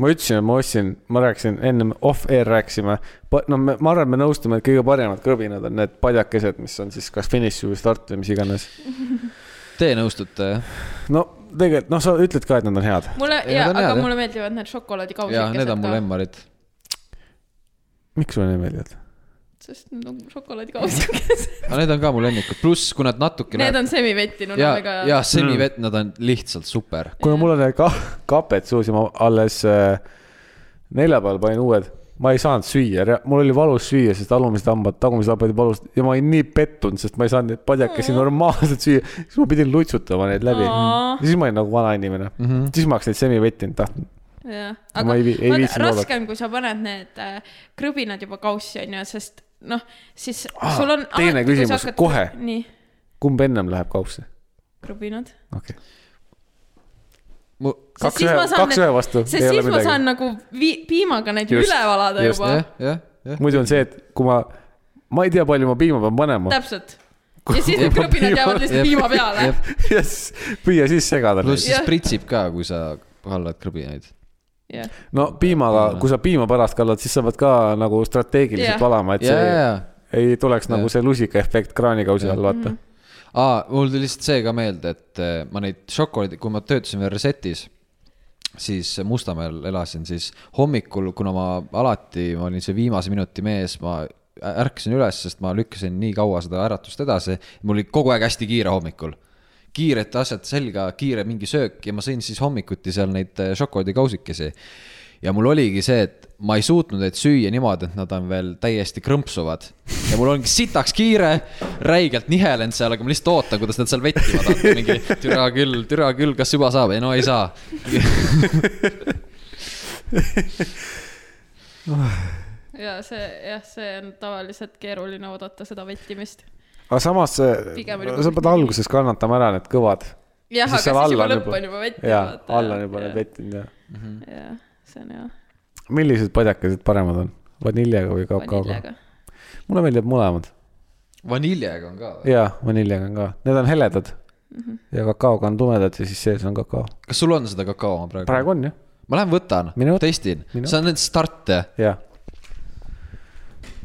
Speaker 1: ma ütlesin , ma ostsin , ma rääkisin ennem off-air rääkisime , no me, ma arvan , me nõustume , et kõige paremad krõbinad on need padjakesed , mis on siis kas finiš või start või mis iganes .
Speaker 2: te nõustute jah ?
Speaker 1: no tegelikult noh , sa ütled ka , et nad on head .
Speaker 3: mulle
Speaker 2: Ei,
Speaker 3: ja ,
Speaker 2: nad on
Speaker 3: aga
Speaker 2: head, jah.
Speaker 3: mulle meeldivad need šokolaadikausikesed
Speaker 2: jaa , need on mul . emmarid .
Speaker 1: miks sulle nii meeldivad ?
Speaker 3: sest need on šokolaadikausikesed .
Speaker 2: aga need on ka mu lemmikud , pluss kui nad natukene .
Speaker 3: Need on semivetinuna
Speaker 2: ja ,
Speaker 3: väga
Speaker 2: ja .
Speaker 1: Mm.
Speaker 2: semivett , nad on lihtsalt super .
Speaker 1: kuna mul on need ka kaped suus ja ma alles äh, neljapäeval panin uued , ma ei saanud süüa , mul oli valus süüa , sest alumised hambad , tagumised hambad olid valus ja ma olin nii pettunud , sest ma ei saanud neid padjakesi normaalselt süüa , siis ma pidin lutsutama neid läbi
Speaker 3: Mm. Aa.
Speaker 1: Ja siis ma olin nagu vanainimene mm , -hmm. siis ma oleks neid semivettinud tahtnud .
Speaker 3: jah ,
Speaker 1: Ma
Speaker 3: aga
Speaker 1: ei vi- ei
Speaker 3: vaata,
Speaker 1: viitsinud oodata.
Speaker 3: raske on , kui sa paned need äh, krõbinad juba kaussi onju , sest noh , siis
Speaker 1: Aa,
Speaker 3: sul on .
Speaker 1: teine küsimus, kohe.
Speaker 3: nii ,
Speaker 1: kumb ennem läheb kausse ?
Speaker 3: krõbinad .
Speaker 1: okei okay. ,
Speaker 2: mu ,
Speaker 1: kaks ühe , kaks ühe vastu ,
Speaker 3: sest
Speaker 1: ei
Speaker 3: siis
Speaker 1: ole
Speaker 3: ma
Speaker 1: midagi .
Speaker 3: saan nagu vii- , piimaga neid
Speaker 1: Just,
Speaker 3: just, üle valada
Speaker 1: just,
Speaker 3: just, juba
Speaker 2: jah , jah , jah .
Speaker 1: muidu on see , et kui ma , ma ei tea , palju ma piima pean panema ,
Speaker 3: täpselt . ja siis need krõbinad jäävad lihtsalt piima peale .
Speaker 1: ja siis püüa siis segada neid
Speaker 2: pluss siis
Speaker 3: Jah.
Speaker 2: pritsib ka , kui sa kallad krõbinaid .
Speaker 3: jah ,
Speaker 1: no piimaga , kui sa piima pärast kallad , siis sa pead ka nagu strateegiliselt
Speaker 3: Jah.
Speaker 1: yeah. valama , et
Speaker 2: ja ,
Speaker 1: see
Speaker 2: ja ,
Speaker 1: yeah.
Speaker 2: ja .
Speaker 1: ei tuleks nagu see lusikaefekt kraanikausi all , vaata .
Speaker 3: Mhm.
Speaker 2: aa , mul tuli lihtsalt see ka meelde , et eh, ma neid šokolaadi , kui ma töötasin veel Resetis , siis Mustamäel elasin , siis hommikul , kuna ma alati , ma olin see viimase minuti mees , ma ärkasin üles , sest ma lükkasin nii kaua seda äratust edasi . mul oli kogu aeg hästi kiire hommikul . kiired asjad selga , kiire mingi söök ja ma sõin siis hommikuti seal neid äh, šokolaadikausikesi . ja mul oligi see , et ma ei suutnud neid süüa niimoodi , et nad on veel täiesti krõmpsuvad . ja mul ongi sitaks kiire , räigelt nihelenud seal , aga ma lihtsalt ootan , kuidas nad seal vettima tahavad . mingi türa küll , türa küll , kas juba saab ? ei no ei saa .
Speaker 3: ja see , jah , see on tavaliselt keeruline oodata seda vettimist .
Speaker 1: aga samas see ,
Speaker 3: Pigem oli
Speaker 1: sa pead alguses kannatama ära need kõvad .
Speaker 3: jah , aga siis juba lõpp on juba vettinud .
Speaker 1: jaa , all on juba need vettinud jah .
Speaker 3: jah , see on hea .
Speaker 1: millised padjakesed paremad on ? vaniljaga või kakaoga ?
Speaker 3: vaniljaga .
Speaker 1: mulle meeldivad mõlemad .
Speaker 2: vaniljaga on ka või ?
Speaker 1: jaa , vaniljaga on ka , need on heledad mm
Speaker 3: Mhm.
Speaker 1: -hmm. ja kakaoga on tumedad ja siis sees on kakao .
Speaker 2: kas sul on seda kakao praegu,
Speaker 1: praegu on jah ,
Speaker 2: ma lähen võtan
Speaker 1: Mine , võta.
Speaker 2: testin ,
Speaker 1: Mine
Speaker 2: see on need start jah ?
Speaker 1: jaa .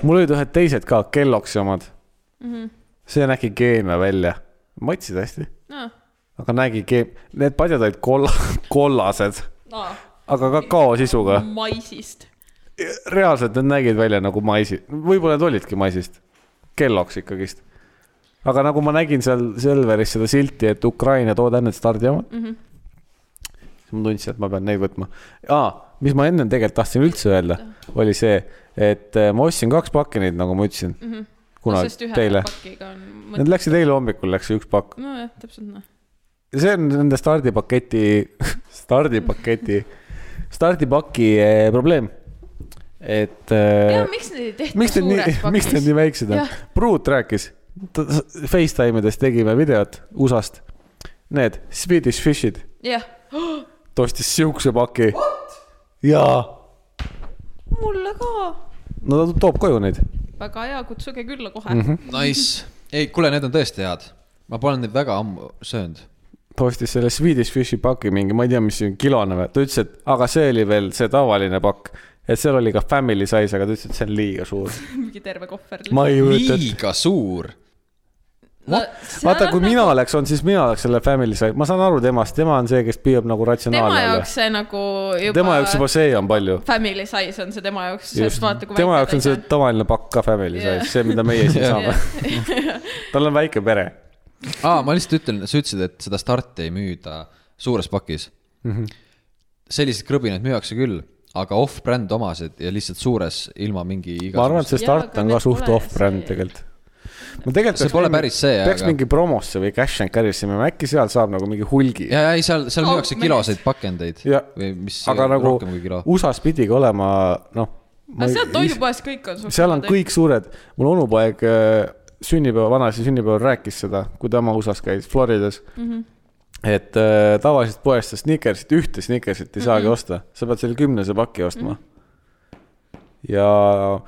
Speaker 1: mul olid ühed teised ka , Kelloggsi omad mm .
Speaker 3: Mhm.
Speaker 1: -hmm. see nägi keemia välja , maitsid hästi ,
Speaker 3: noh ,
Speaker 1: aga nägi keem- , need padjad olid kolla- , kollased ,
Speaker 3: noh ,
Speaker 1: aga kakao sisuga .
Speaker 3: maisist .
Speaker 1: reaalselt need nägid välja nagu maisi , võib-olla need olidki maisist , kelloks ikkagist . aga nagu ma nägin seal Selveris seda silti , et Ukraina toode on need stardiomad mm . -hmm. siis ma tundsin , et ma pean neid võtma . aa , mis ma ennem tegelikult tahtsin üldse öelda , oli see , et eh, ma ostsin kaks pakki neid , nagu ma ütlesin mm . -hmm. kunagi no, teile .
Speaker 3: pakiga on
Speaker 1: Need
Speaker 3: mõte .
Speaker 1: läksid eile hommikul , läks üks pakk .
Speaker 3: nojah , täpselt noh .
Speaker 1: see on nende stardipaketi , stardipaketi , stardipaki eh, probleem . et .
Speaker 3: ja miks neid ei tehta
Speaker 1: miks need nii
Speaker 3: suures ,
Speaker 1: miks need
Speaker 3: pakis ?
Speaker 1: nii väiksed on
Speaker 3: Jah. ?
Speaker 1: Pruut rääkis , Facetime ides tegime videot USA-st . Need Swedish fish'id ,
Speaker 3: jah ,
Speaker 1: ta ostis siukse paki . jaa ,
Speaker 3: mulle ka .
Speaker 1: no ta toob koju neid .
Speaker 3: väga hea , kutsuge külla kohe
Speaker 1: Mhm.
Speaker 3: mm . -hmm.
Speaker 2: Nice , ei kuule , need on tõesti head , ma pole neid väga ammu söönud .
Speaker 1: ta ostis selle Swedish fish'i paki mingi , ma ei tea , mis see on , kilone või , ta ütles , et aga see oli veel see tavaline pakk . et seal oli ka family size , aga ta ütles , et see on liiga suur .
Speaker 3: mingi terve kohver .
Speaker 1: ma ei kujuta ette .
Speaker 2: liiga suur ,
Speaker 1: vaata , kui mina
Speaker 3: nagu-
Speaker 1: oleks olnud , siis mina oleks selle family size , ma saan aru temast , tema on see , kes püüab nagu
Speaker 3: tema
Speaker 1: ratsionaalne .
Speaker 3: jaoks see nagu juba .
Speaker 1: tema jaoks juba see on palju .
Speaker 3: Family size on see tema jaoks ,
Speaker 1: just
Speaker 3: sest vaata , kui
Speaker 1: tema jaoks on see tavaline pakk ka family
Speaker 3: Jah.
Speaker 1: size , see , mida meie siin saame . tal on väike pere .
Speaker 2: aa , ma lihtsalt ütlen , sa ütlesid , et seda starti ei müüda suures pakis mm .
Speaker 1: Mhm.
Speaker 2: -hmm. selliseid krõbinaid müüakse küll , aga off-brand omasid ja lihtsalt suures , ilma mingi
Speaker 1: ma arvan , et
Speaker 2: igasuguse .
Speaker 1: see start
Speaker 3: Jaa,
Speaker 1: on
Speaker 3: aga
Speaker 1: ka
Speaker 3: need
Speaker 1: suht
Speaker 3: pole
Speaker 1: off-brand
Speaker 3: see-
Speaker 1: tegelikult . ma tegelikult
Speaker 2: see pole päris see ,
Speaker 1: peaks
Speaker 2: aga .
Speaker 1: mingi promosse või cash and carry'sse minema , äkki seal saab nagu mingi hulgi .
Speaker 2: ja , ja ei , seal , seal
Speaker 3: Oh,
Speaker 2: müüakse
Speaker 3: mees.
Speaker 2: kiloseid pakendeid
Speaker 1: Jah.
Speaker 2: või mis ,
Speaker 1: aga nagu
Speaker 2: rohkem kui kilo .
Speaker 1: USA-s pidigi olema , noh .
Speaker 3: aga seal toidupoes kõik on suht- .
Speaker 1: seal on . kõik suured , mul onupoeg äh, sünnipäeva , vanaisa sünnipäeval rääkis seda , kui tema USA-s käis , Floridas mm . -hmm. et äh, tavaliselt poest sa snickersit , ühte snickersit ei saagi mm -hmm. osta , sa pead selle kümnese paki ostma mm . -hmm. ja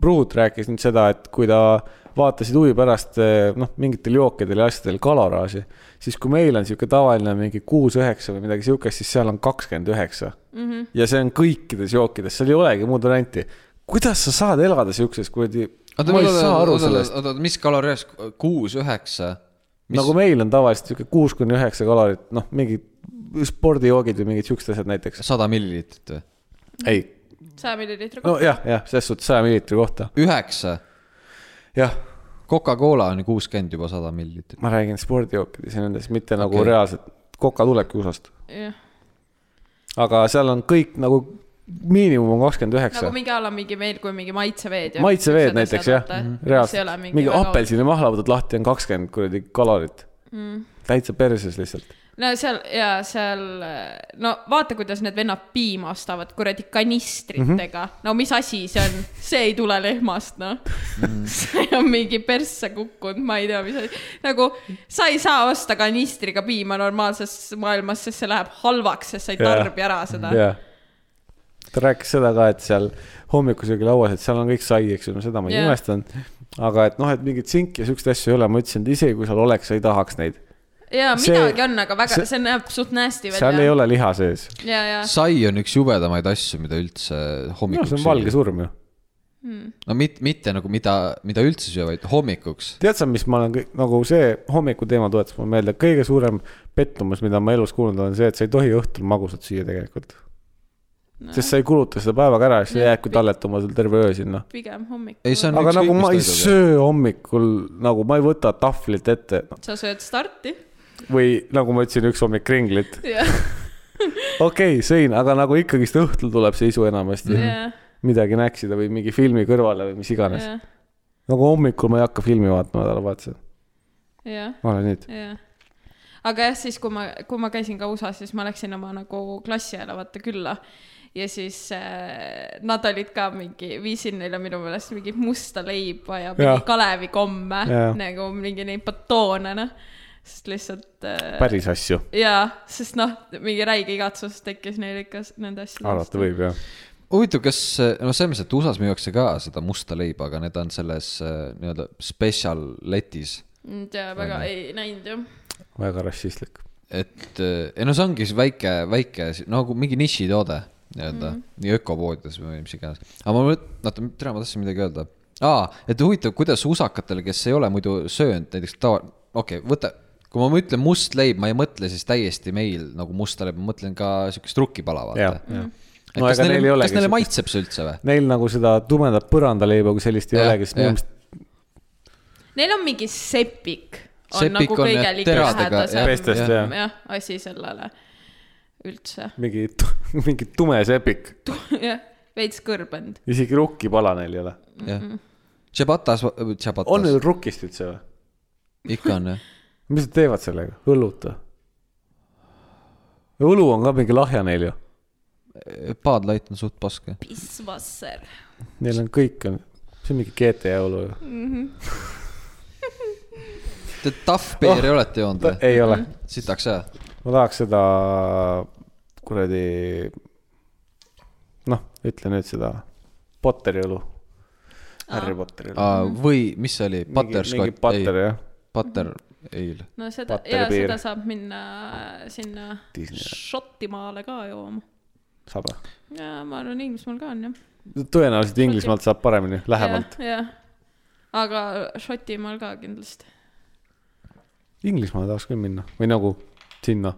Speaker 1: Pruut rääkis nüüd seda , et kui ta vaatasid huvi pärast äh, noh , mingitel jookidel ja asjadel kaloraaži , siis kui meil on sihuke tavaline mingi kuus-üheksa või midagi siukest , siis seal on kakskümmend üheksa
Speaker 3: Mhm.
Speaker 1: ja see on kõikides jookides , seal ei olegi muud varianti . kuidas sa saad elada siukses kuradi , ma ei saa aru sellest ,.
Speaker 2: oota , mis kalorias , kuus , üheksa ? mis-
Speaker 1: nagu meil on tavaliselt sihuke kuus kuni üheksa kalorit , noh , mingid spordijoogid või mingid siuksed asjad näiteks .
Speaker 2: sada milliliitrit või ?
Speaker 1: ei ,
Speaker 3: saja milliliitri kohta .
Speaker 1: nojah , jah , selles suhtes saja milliliitri kohta .
Speaker 2: üheksa
Speaker 1: jah ,
Speaker 2: Coca-Cola on ju kuuskümmend juba sada milliliitrit .
Speaker 1: ma räägin spordijookides ja nendes , mitte okay. nagu
Speaker 2: Okei.
Speaker 1: reaalselt , koka tulebki USA-st ,
Speaker 3: jah ,
Speaker 1: aga seal on kõik nagu miinimum on kakskümmend üheksa
Speaker 3: nagu . mingi ala mingi meil , kui mingi maitseveed .
Speaker 1: maitseveed näiteks jah , reaalselt , mingi, mingi
Speaker 3: apelsin .
Speaker 1: apelsinimahla võtad lahti , on kakskümmend kuradi kalorit mm. . täitsa perses lihtsalt .
Speaker 3: no seal ja seal , no vaata , kuidas need vennad piima ostavad kuradi kanistritega
Speaker 1: Mhm.
Speaker 3: mm . -hmm. no mis asi see on , see ei tule lehmast , noh
Speaker 1: Mhm.
Speaker 3: mm. . see on mingi persse kukkunud , ma ei tea , mis asi , nagu sa ei saa osta kanistriga piima normaalses maailmas , sest see läheb halvaks , sest sa ei
Speaker 1: Jaa.
Speaker 3: tarbi ära seda .
Speaker 1: jah . ta rääkis seda ka , et seal hommikusöögilauas , et seal on kõik sai , eks ju , no seda ma ei
Speaker 3: Jah.
Speaker 1: imestanud . aga et noh , et mingit sinki ja siukseid asju ei ole , ma ütlesin , et isegi kui seal oleks , sa ei tahaks neid .
Speaker 3: ja
Speaker 1: See-
Speaker 3: midagi on , aga väga
Speaker 1: see- ,
Speaker 3: see näeb suht nasty
Speaker 1: seal ei . ole liha sees .
Speaker 3: ja , ja
Speaker 2: sai on üks jubedamaid asju , mida üldse
Speaker 1: no Noh,
Speaker 2: hommikuks
Speaker 1: see on valge . surm ju .
Speaker 2: no mitte , mitte nagu mida , mida üldse süüa , vaid hommikuks .
Speaker 1: tead sa , mis ma olen kõik, nagu see hommikuteema tuletas mulle meelde , kõige suurem pettumus , mida ma elus kuulnud olen , see , et sa ei tohi õhtul magusat süüa tegelikult . sest sa ei kuluta seda päevaga ära , siis sa
Speaker 3: Jah,
Speaker 1: jäädki
Speaker 3: pi-
Speaker 1: talletama seal terve öö sinna .
Speaker 3: pigem hommikul
Speaker 2: ei , see on
Speaker 1: aga
Speaker 2: ükskõik
Speaker 1: nagu
Speaker 2: mis
Speaker 1: ma ei
Speaker 2: toiduga.
Speaker 1: söö hommikul , nagu ma ei võta tahvlit ette
Speaker 3: sa sööd starti
Speaker 1: või nagu ma ütlesin , üks hommik kringlit .
Speaker 3: ja ,
Speaker 1: okei okay, , sõin , aga nagu ikkagist õhtul tuleb see isu enamasti mm. .
Speaker 3: ja ,
Speaker 1: midagi näksida või mingi filmi kõrvale või mis iganes .
Speaker 3: ja ,
Speaker 1: nagu hommikul ma ei hakka filmi vaatama nädalavahetusel ,
Speaker 3: ja ,
Speaker 1: ma olen nüüd .
Speaker 3: ja . aga jah , siis kui ma , kui ma käisin ka USA-s , siis ma läksin oma nagu klassiõele vaata külla ja siis äh, nad olid ka mingi , viisin neile minu meelest mingit musta leiba ja mingi
Speaker 1: Jah.
Speaker 3: Kalevikomme
Speaker 1: Jah.
Speaker 3: nagu mingi neid batoone noh , sest lihtsalt äh,
Speaker 1: päris asju ,
Speaker 3: jaa , sest noh , mingi räige igatsus tekkis neil ikka s- nende asjade
Speaker 1: arvata . võib jah .
Speaker 2: huvitav , kas , no selles mõttes , et USA-s müüakse ka seda musta leiba , aga need on selles äh, nii-öelda special letis .
Speaker 3: ei tea , väga ei näinud ju .
Speaker 1: väga rassistlik .
Speaker 2: et äh, ei no see ongi siis väike , väike si- nagu mingi nišitoode nii-öelda mm. , nii ökopoodides või mis iganes . aga ma mõtlen , oota , tere , ma tahtsin midagi öelda . aa , et huvitav , kuidas usakatel , kes ei ole muidu söönud näiteks tava , okei okay, , võta , kui ma ütlen must leib , ma ei mõtle siis täiesti meil nagu musta leiba , ma mõtlen ka siukest rukkipala ,
Speaker 1: jah ,
Speaker 2: vaata .
Speaker 1: jah .
Speaker 2: et
Speaker 1: No
Speaker 2: kas
Speaker 1: ega neil ei
Speaker 2: neile ,
Speaker 1: olegi
Speaker 2: kas neile
Speaker 1: siukest-
Speaker 2: maitseb see üldse või ?
Speaker 1: Neil nagu seda tumedat põrandaleiba kui sellist ei
Speaker 2: Jah,
Speaker 1: olegi , sest minu
Speaker 2: jah.
Speaker 1: meelest
Speaker 3: Neil on mingi sepik . on
Speaker 2: Sepik
Speaker 3: nagu
Speaker 2: on
Speaker 3: kõige
Speaker 2: need teradega, jah.
Speaker 1: Pestest,
Speaker 3: ligilähedasem
Speaker 1: jah.
Speaker 3: jah , asi sellele üldse .
Speaker 1: mingi , mingi tume sepik ,
Speaker 3: jah , veits kõrbend .
Speaker 1: isegi rukkipala neil ei ole .
Speaker 2: jah . Ciabatas , ciabatas .
Speaker 1: on neil rukkist üldse või ?
Speaker 2: ikka on jah .
Speaker 1: mis nad teevad sellega , õlut või ? õlu on ka mingi lahja neil ju ,
Speaker 2: Padlight on suht paske .
Speaker 3: pissvasser .
Speaker 1: neil on kõik on , see on mingi GTA õlu ju .
Speaker 2: Te Tough Beeri olete joonud või ?
Speaker 1: Oh, ei ole ,
Speaker 2: sitaks jah ?
Speaker 1: ma tahaks seda kuradi , noh , ütle nüüd seda Potteri õlu , Harry Potteri õlu .
Speaker 2: või mis see oli ?
Speaker 1: Mhm. mingi Ah.
Speaker 2: Butterscotch ,
Speaker 1: Potter
Speaker 2: ei ,
Speaker 1: jah ,
Speaker 2: Butter ale .
Speaker 3: no seda ,
Speaker 1: Butter
Speaker 3: ja
Speaker 1: beer.
Speaker 3: seda saab minna sinna
Speaker 1: Disney
Speaker 3: Šotimaale ka jooma .
Speaker 1: saab või ?
Speaker 3: ja ma arvan , Inglismaal ka on jah .
Speaker 1: tõenäoliselt Inglismaalt saab paremini , lähemalt .
Speaker 3: jah , jah . aga Šotimaal ka kindlasti .
Speaker 1: Inglismaale tahaks küll minna või nagu sinna .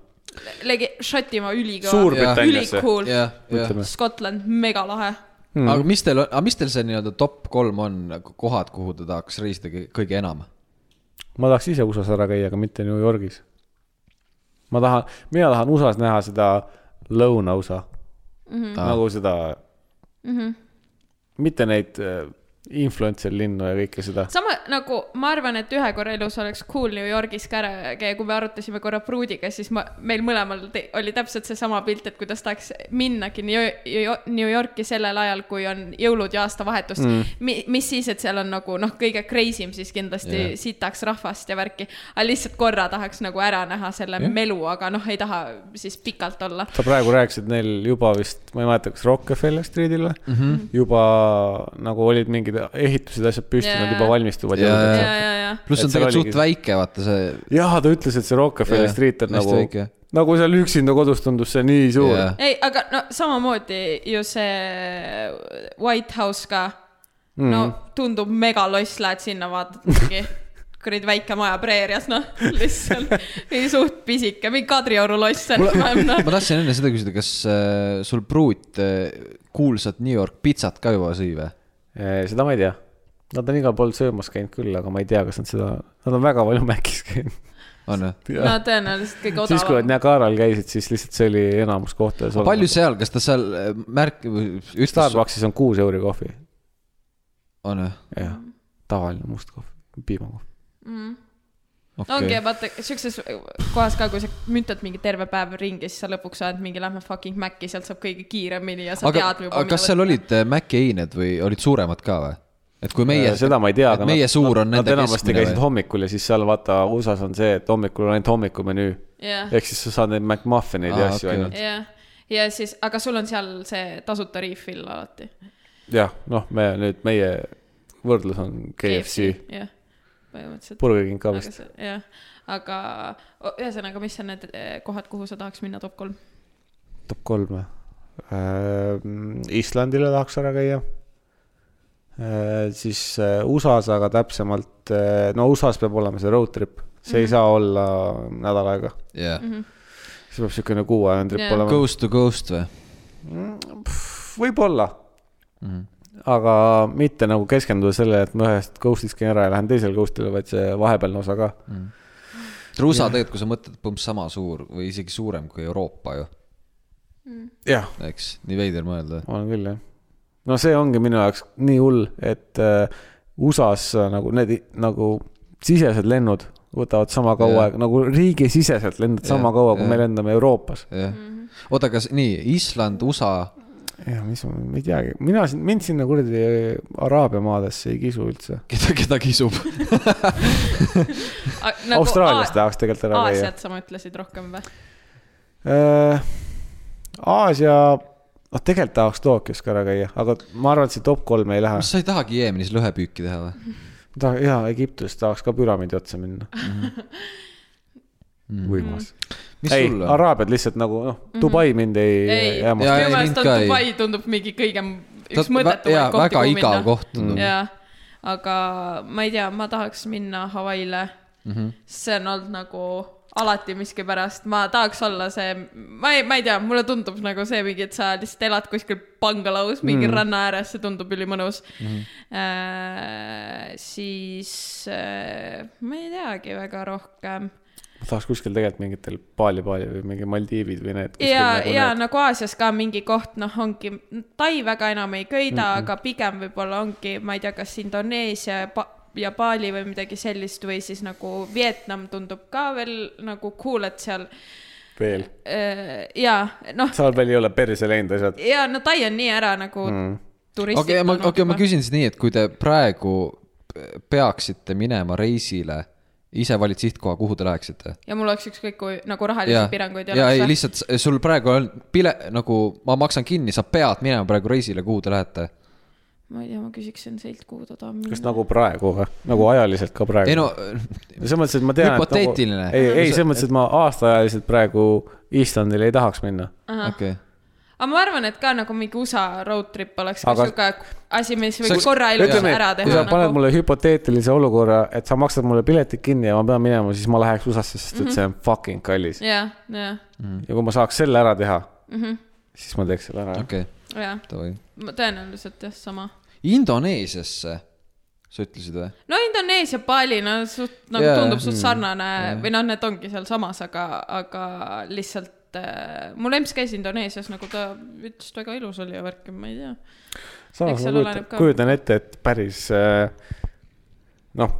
Speaker 3: Legi- , Šotimaa ülikõva .
Speaker 1: Suurbritanniasse .
Speaker 3: ülikool ,
Speaker 2: jah , jah .
Speaker 1: ütleme .
Speaker 3: Scotland , megalahe .
Speaker 1: Mhm.
Speaker 2: aga mis teil on , aga mis teil see nii-öelda top kolm on nagu kohad , kuhu te tahaks reisida kõi- kõige enam ?
Speaker 1: ma tahaks ise USA-s ära käia , aga mitte New Yorgis . ma tahan , mina tahan USA-s näha seda lõuna-USA mm ,
Speaker 3: Mhm.
Speaker 1: -hmm. nagu seda mm , -hmm. mitte neid äh, influencer linnu ja kõike seda .
Speaker 3: sama nagu ma arvan , et ühe korra elus oleks cool New Yorgis ka ära käia , kui me arutasime korra pruudiga , siis ma , meil mõlemal te, oli täpselt seesama pilt , et kuidas tahaks minnagi New, New Yorki sellel ajal , kui on jõulud ja aastavahetus mm. . Mi, mis siis , et seal on nagu noh , kõige crazy im siis kindlasti yeah. sitaks rahvast ja värki , aga lihtsalt korra tahaks nagu ära näha selle yeah. melu , aga noh , ei taha siis pikalt olla .
Speaker 1: sa praegu rääkisid neil juba vist , ma ei mäleta , kas Rockefeller Streetil või
Speaker 2: Mhm.
Speaker 1: mm , -hmm.
Speaker 3: Mhm.
Speaker 1: juba nagu olid mingid ehitused , asjad püsti yeah. , nad
Speaker 3: Jaa.
Speaker 1: juba valmistuvad
Speaker 2: Jaa,
Speaker 1: yeah.
Speaker 2: jaa.
Speaker 3: ja ,
Speaker 1: ja .
Speaker 3: ja , ja
Speaker 2: pluss on
Speaker 1: Et seal
Speaker 2: tegelikult
Speaker 1: oligi-
Speaker 2: suht väike , vaata see .
Speaker 1: jah , ta ütles , et see Rockefeller
Speaker 2: Jaa,
Speaker 1: yeah. Street on
Speaker 2: hästi
Speaker 1: nagu
Speaker 2: väike. ,
Speaker 1: nagu seal üksinda kodus tundus see nii suur
Speaker 2: Jaa.
Speaker 1: yeah. .
Speaker 3: ei , aga no samamoodi ju see White House ka mm. , no
Speaker 2: Mhm.
Speaker 3: tundub mega loss , lähed sinna vaatad mingi kuradi väike maja preerias , noh , lihtsalt ei, suht pisike , mingi Kadrioru loss enam-vähem ,
Speaker 2: ma
Speaker 3: noh .
Speaker 2: tahtsin enne seda küsida , kas äh, sul pruut äh, kuulsat New York pitsat ka juba sõi või ?
Speaker 1: Eh, seda ma ei tea . Nad on igal pool söömas käinud küll , aga ma ei tea , kas nad seda , nad on väga palju Mäkkis käinud .
Speaker 2: on või ?
Speaker 3: no tõenäoliselt kõige
Speaker 1: siis , kui nad
Speaker 3: odavam .
Speaker 1: Niagaral käisid , siis lihtsalt see oli enamus kohtades .
Speaker 2: palju seal , kas ta seal äh, märk- , ütles ,
Speaker 1: Starbuckis on kuus euri kohvi ,
Speaker 2: on või ?
Speaker 1: jah , tavaline must kohv , piimakohv .
Speaker 3: ongi , vaata , siukses kohas ka , kui sa müntad mingi terve päev ringi , siis sa lõpuks saad mingi lähme fucking Maci , sealt saab kõige kiiremini ja sa
Speaker 2: aga
Speaker 3: tead , juba .
Speaker 2: aga kas seal olid äh, Maci eined või olid suuremad ka või ? et kui meie ,
Speaker 1: Äh, Eh, seda ma ei tea ,
Speaker 2: et meie suur on
Speaker 1: nad
Speaker 2: nende
Speaker 1: enamasti
Speaker 2: keskmine
Speaker 1: käisid
Speaker 2: või ?
Speaker 1: hommikul ja siis seal vaata USA-s on see , et hommikul on ainult hommikumenüü .
Speaker 3: jah ,
Speaker 1: ehk siis sa saad neid McMuffineid ja
Speaker 2: Aa,
Speaker 1: asju
Speaker 2: Ah, okei.
Speaker 1: ainult .
Speaker 3: jah , ja siis , aga sul on seal see tasuta refill alati .
Speaker 1: jah , noh , me nüüd , meie võrdlus on KFC ,
Speaker 3: jah , põhimõtteliselt .
Speaker 1: Burger King ka
Speaker 3: aga
Speaker 1: vist .
Speaker 3: see , jah , aga o- ühesõnaga , mis on need eh, kohad , kuhu sa tahaks minna top kolm ?
Speaker 1: top kolm või ? Islandile tahaks ära käia . siis äh, USA-s , aga täpsemalt , no USA-s peab olema see road trip , see mm -hmm. ei saa olla nädal aega ,
Speaker 2: jah ,
Speaker 3: Mhm.
Speaker 1: see peab siukene kuuajane trip
Speaker 3: Jaa.
Speaker 1: olema .
Speaker 2: Coast to Coast või ?
Speaker 1: võib-olla mm . -hmm. aga mitte nagu keskenduda sellele , et ma ühest ghost'ist käin ära ja lähen teisele ghost'ile , vaid see vahepealne osa ka .
Speaker 2: trusa tegelikult , kui sa mõtled , põmps sama suur või isegi suurem kui Euroopa ju ,
Speaker 1: jah ,
Speaker 2: eks , nii veider mõelda .
Speaker 1: on küll jah . no see ongi minu jaoks nii hull , et äh, USA-s nagu need i- nagu sisesed lennud võtavad sama kaua
Speaker 2: Jah.
Speaker 1: aega , nagu riigisiseselt lendad
Speaker 2: Jah,
Speaker 1: sama kaua , kui
Speaker 2: jah.
Speaker 1: me lendame Euroopas .
Speaker 2: jah ,
Speaker 3: Mhm.
Speaker 2: oota , kas nii , Island , USA ,
Speaker 1: ja mis , ma ei teagi , mina , mind sinna kuradi Araabia maadesse ei kisu üldse .
Speaker 2: keda , keda kisub ?
Speaker 1: nagu Austraalias tahaks tegelikult ära käia .
Speaker 3: Aasiat sa mõtlesid rohkem või ?
Speaker 1: Aasia , noh , tegelikult tahaks Tokyos ka ära käia , aga ma arvan , et see top kolm ei lähe
Speaker 2: kas . sa ei tahagi Jeemenis lõhepüüki teha või ?
Speaker 1: ta ja Egiptuses tahaks ka püramiidi otsa minna . võimas .
Speaker 2: Mhm. mis
Speaker 1: ei
Speaker 2: sul , on ?
Speaker 1: Araabiad lihtsalt nagu noh , Dubai mind ei,
Speaker 3: ei ,
Speaker 1: ei
Speaker 3: minu
Speaker 2: Jaa,
Speaker 1: hämmasta .
Speaker 2: ei,
Speaker 3: meelest
Speaker 2: mind
Speaker 3: on
Speaker 2: ka ei.
Speaker 3: Dubai tundub mingi kõige ,
Speaker 2: Ta-
Speaker 3: üks
Speaker 2: vä- jaa,
Speaker 3: mõttetumaid kohti ,
Speaker 2: väga
Speaker 3: kuhu
Speaker 2: igav
Speaker 3: minna .
Speaker 2: koht tundub.
Speaker 3: jaa , aga ma ei tea , ma tahaks minna Hawaii'le mm .
Speaker 2: Mhm.
Speaker 3: -hmm. see on olnud nagu alati miskipärast , ma tahaks olla see , ma ei , ma ei tea , mulle tundub nagu see mingi , et sa lihtsalt elad kuskil bangaloos mingi
Speaker 2: Mhm.
Speaker 3: mm. ranna ääres , see tundub ülimõnus mm . -hmm. Äh, siis äh, ma ei teagi väga rohkem
Speaker 1: tahaks kuskil tegelikult mingitel Bali , Bali või mingi Maldiivid või need .
Speaker 3: ja , ja nagu Aasias ka mingi koht , noh , ongi , Tai väga enam ei köida
Speaker 1: Mhm.
Speaker 3: mm , -mm. aga pigem võib-olla ongi , ma ei tea , kas Indoneesia ja Pa- ja Bali või midagi sellist või siis nagu Vietnam tundub ka veel nagu cool , et seal
Speaker 1: veel ,
Speaker 3: äh, ja noh ,
Speaker 1: seal veel ei ole perse läinud asjad .
Speaker 3: ja no Tai on nii ära nagu
Speaker 1: Mhm.
Speaker 3: mm. turistid .
Speaker 2: okei , ma , okei , ma . küsin siis nii , et kui te praegu äh, peaksite minema reisile , ise valid sihtkoha , kuhu te läheksite ?
Speaker 3: ja mul oleks ükskõik kui nagu rahalisi piiranguid
Speaker 2: ja, ja ei ,. lihtsalt s- sul praegu on pile , nagu ma maksan kinni , sa pead minema praegu reisile , kuhu te lähete .
Speaker 3: ma ei tea , ma küsiksin seilt , kuhu ta tahab
Speaker 1: kas
Speaker 3: minna .
Speaker 1: nagu praegu või , nagu ajaliselt ka praegu ?
Speaker 2: ei no ,
Speaker 1: selles mõttes , et ma tean .
Speaker 2: Hüpoteetiline.
Speaker 1: Nagu, ei , ei selles mõttes , et ma aastaajaliselt praegu Islandile ei tahaks minna .
Speaker 2: okei .
Speaker 3: aga ma arvan , et ka nagu mingi USA road trip oleks ka
Speaker 1: Aga-
Speaker 3: sihuke asi , mis võiks
Speaker 2: oleks-
Speaker 3: korra elus
Speaker 1: ütleme ,
Speaker 3: ära
Speaker 1: kui sa
Speaker 3: teha . nagu-
Speaker 1: paned mulle hüpoteetilise olukorra , et sa maksad mulle piletid kinni ja ma pean minema , siis ma läheks USA-sse , sest
Speaker 3: Mhm.
Speaker 1: et see on fucking kallis .
Speaker 3: jah , jah ,
Speaker 1: ja kui ma saaks selle ära teha ,
Speaker 3: Mhm.
Speaker 1: siis ma teeks selle ära .
Speaker 2: okei ,
Speaker 3: jah ,
Speaker 2: davai .
Speaker 3: tõenäoliselt jah , sama .
Speaker 2: Indoneesiasse , sa ütlesid või ?
Speaker 3: no Indoneesia , Bali , no suht nagu
Speaker 2: Jaa.
Speaker 3: yeah. tundub
Speaker 1: mm.
Speaker 3: suht sarnane yeah. või noh , need ongi sealsamas , aga , aga lihtsalt äh, mul emps käis Indoneesias , nagu ta ütles , väga ilus oli ja värki , ma ei tea .
Speaker 1: samas
Speaker 3: Eks
Speaker 1: ma
Speaker 3: seal
Speaker 1: kujutan
Speaker 3: oleneb ka. ,
Speaker 1: kujutan ette , et päris äh, noh ,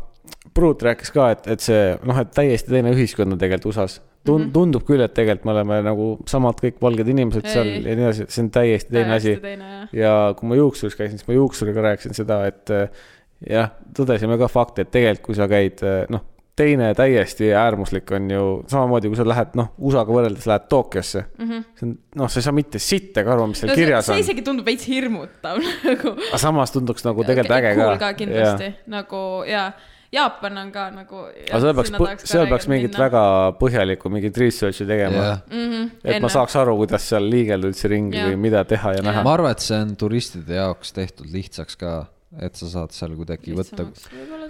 Speaker 1: Pruut rääkis ka , et , et see noh , et täiesti teine ühiskond on tegelikult USA-s . Tund- ,
Speaker 3: Mhm.
Speaker 1: tundub küll , et tegelikult me oleme nagu samad kõik valged inimesed
Speaker 3: Ei.
Speaker 1: seal ja nii edasi , see on täiesti teine asi .
Speaker 3: teine jah .
Speaker 1: ja kui ma juuksuris käisin , siis ma juuksuriga rääkisin seda , et äh, jah , tõdesime ka fakti , et tegelikult kui sa käid , noh , teine täiesti äärmuslik on ju samamoodi , kui sa lähed , noh , USA-ga võrreldes lähed Tokyosse mm . -hmm. see on , noh , sa ei saa mitte sittagi aru , mis seal
Speaker 3: Mhm.
Speaker 1: no,
Speaker 3: no see,
Speaker 1: kirjas
Speaker 3: see
Speaker 1: on ,
Speaker 3: isegi tundub veits hirmutav nagu .
Speaker 1: aga samas tunduks nagu tegelikult äge
Speaker 3: cool
Speaker 1: ka
Speaker 3: ka . kindlasti nagu ja , Jaapan on ka nagu .
Speaker 1: aga seal peaks , seal peaks mingit minna. väga põhjalikku mingit research'i tegema
Speaker 2: jah
Speaker 1: yeah. , et ma saaks aru , kuidas seal liigelda üldse ringi
Speaker 3: Jah.
Speaker 1: yeah. või mida teha ja näha .
Speaker 2: ma arvan , et see on turistide jaoks tehtud lihtsaks ka , et sa saad seal kuidagi võtta .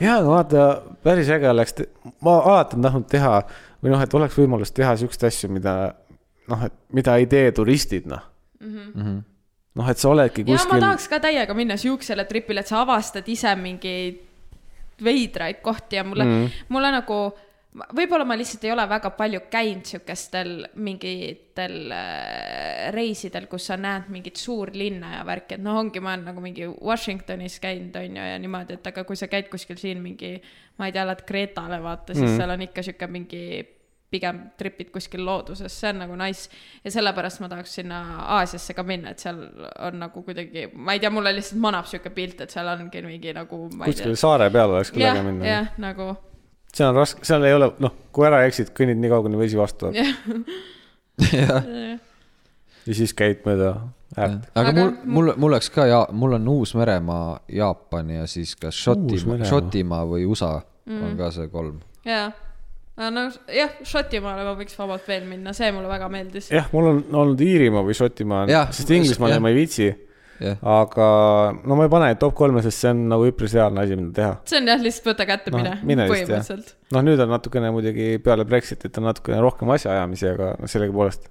Speaker 1: ja , aga vaata , päris äge oleks , ma alati olen tahtnud teha või noh , et oleks võimalus teha siukseid asju , mida noh , et mida ei tee turistid , noh .
Speaker 2: Mhm.
Speaker 1: noh , et sa oledki
Speaker 3: ja Mhm. ma
Speaker 1: kuskil ,
Speaker 3: tahaks ka täiega minna siuksele tripile , et sa avastad ise mingeid veidraid kohti ja mulle mm , -hmm. mulle nagu , võib-olla ma lihtsalt ei ole väga palju käinud siukestel mingitel äh, reisidel , kus sa näed mingit suurlinna ja värki , et noh , ongi , ma olen nagu mingi Washingtonis käinud , on ju , ja niimoodi , et aga kui sa käid kuskil siin mingi , ma ei tea , lähed Kreetale , vaata , siis mm -hmm. seal on ikka sihuke mingi pigem tripid kuskil looduses , see on nagu nice . ja sellepärast ma tahaks sinna Aasiasse ka minna , et seal on nagu kuidagi , ma ei tea , mulle lihtsalt manab sihuke pilt , et seal ongi mingi nagu .
Speaker 1: kuskil saare peal oleks küll
Speaker 3: jah
Speaker 1: äge , minna .
Speaker 3: jah , nagu
Speaker 1: seal on raske , seal ei ole , noh , kui ära eksid , kõnnid nii kaua , kuni vesi vastu tuleb ja siis käid mööda äärt .
Speaker 2: aga
Speaker 3: Aga
Speaker 2: mul , mul
Speaker 3: mul- ,
Speaker 2: mul oleks ka ja mul on Uus-Meremaa , Jaapan ja siis kas Šotimaa ,
Speaker 1: Uus-Meremaa.
Speaker 2: Šotimaa või USA
Speaker 3: Mm.
Speaker 2: on ka see kolm .
Speaker 3: ja , no jah , Šotimaale ma võiks vabalt veel minna , see mulle väga meeldis .
Speaker 1: jah , mul on olnud Iirimaa või Šotimaa
Speaker 2: Jah, ,
Speaker 1: sest Inglismaale
Speaker 2: jah.
Speaker 1: ma ei viitsi .
Speaker 2: Jah.
Speaker 1: aga no ma ei pane top kolme , sest see on nagu üpris reaalne asi , mida teha .
Speaker 3: see on jah , lihtsalt võta kätte ,
Speaker 1: Noh,
Speaker 3: mine
Speaker 1: mine
Speaker 3: no, ,
Speaker 1: vist, jah.
Speaker 3: põhimõtteliselt .
Speaker 1: noh , nüüd on natukene muidugi peale Brexitit on natukene rohkem asjaajamisi , aga noh , sellegipoolest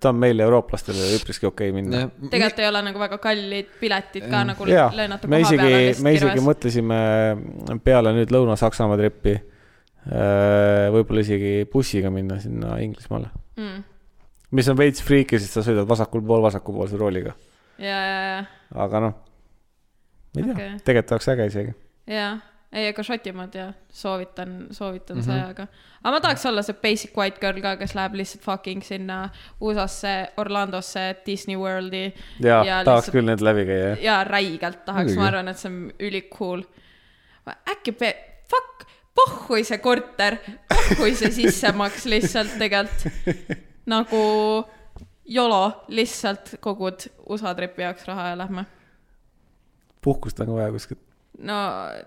Speaker 1: ta on meile , eurooplastele üpriski okei okay minna .
Speaker 3: tegelikult ei ole nagu väga kallid piletid ka nagu
Speaker 1: Mm, jaa ,
Speaker 3: lennata
Speaker 1: me
Speaker 3: koha peale
Speaker 1: isegi ,
Speaker 3: lihtsalt
Speaker 1: me isegi
Speaker 3: kirves .
Speaker 1: mõtlesime peale nüüd Lõuna-Saksamaa tripi äh, võib-olla isegi bussiga minna sinna Inglismaale ,
Speaker 3: Mm.
Speaker 1: mis on veits friiki , sest sa sõidad vasakul pool vasakupoolse rooliga ,
Speaker 3: ja , ja ,
Speaker 1: aga noh , ei tea
Speaker 3: Okei.
Speaker 1: okay. , tegelikult oleks äge isegi .
Speaker 3: ja , ja , ei , aga Šotimaad ja soovitan , soovitan mm -hmm.
Speaker 1: Mhm.
Speaker 3: sõjaga . aga ma tahaks olla see basic white girl ka , kes läheb lihtsalt fucking sinna USA-sse , Orlandosse , Disney Worldi .
Speaker 1: ja, ja tahaks lihtsalt... küll need läbi käia , jah .
Speaker 3: ja räigelt tahaks , ma
Speaker 2: Muidugi.
Speaker 3: arvan , et see on ülikool . äkki pe- , fuck , pohhui see korter , pohhui see sissemaks lihtsalt tegelikult . nagu YOLO , lihtsalt kogud USA tripi jaoks raha ja lähme .
Speaker 1: puhkust on ka vaja kuskilt .
Speaker 3: no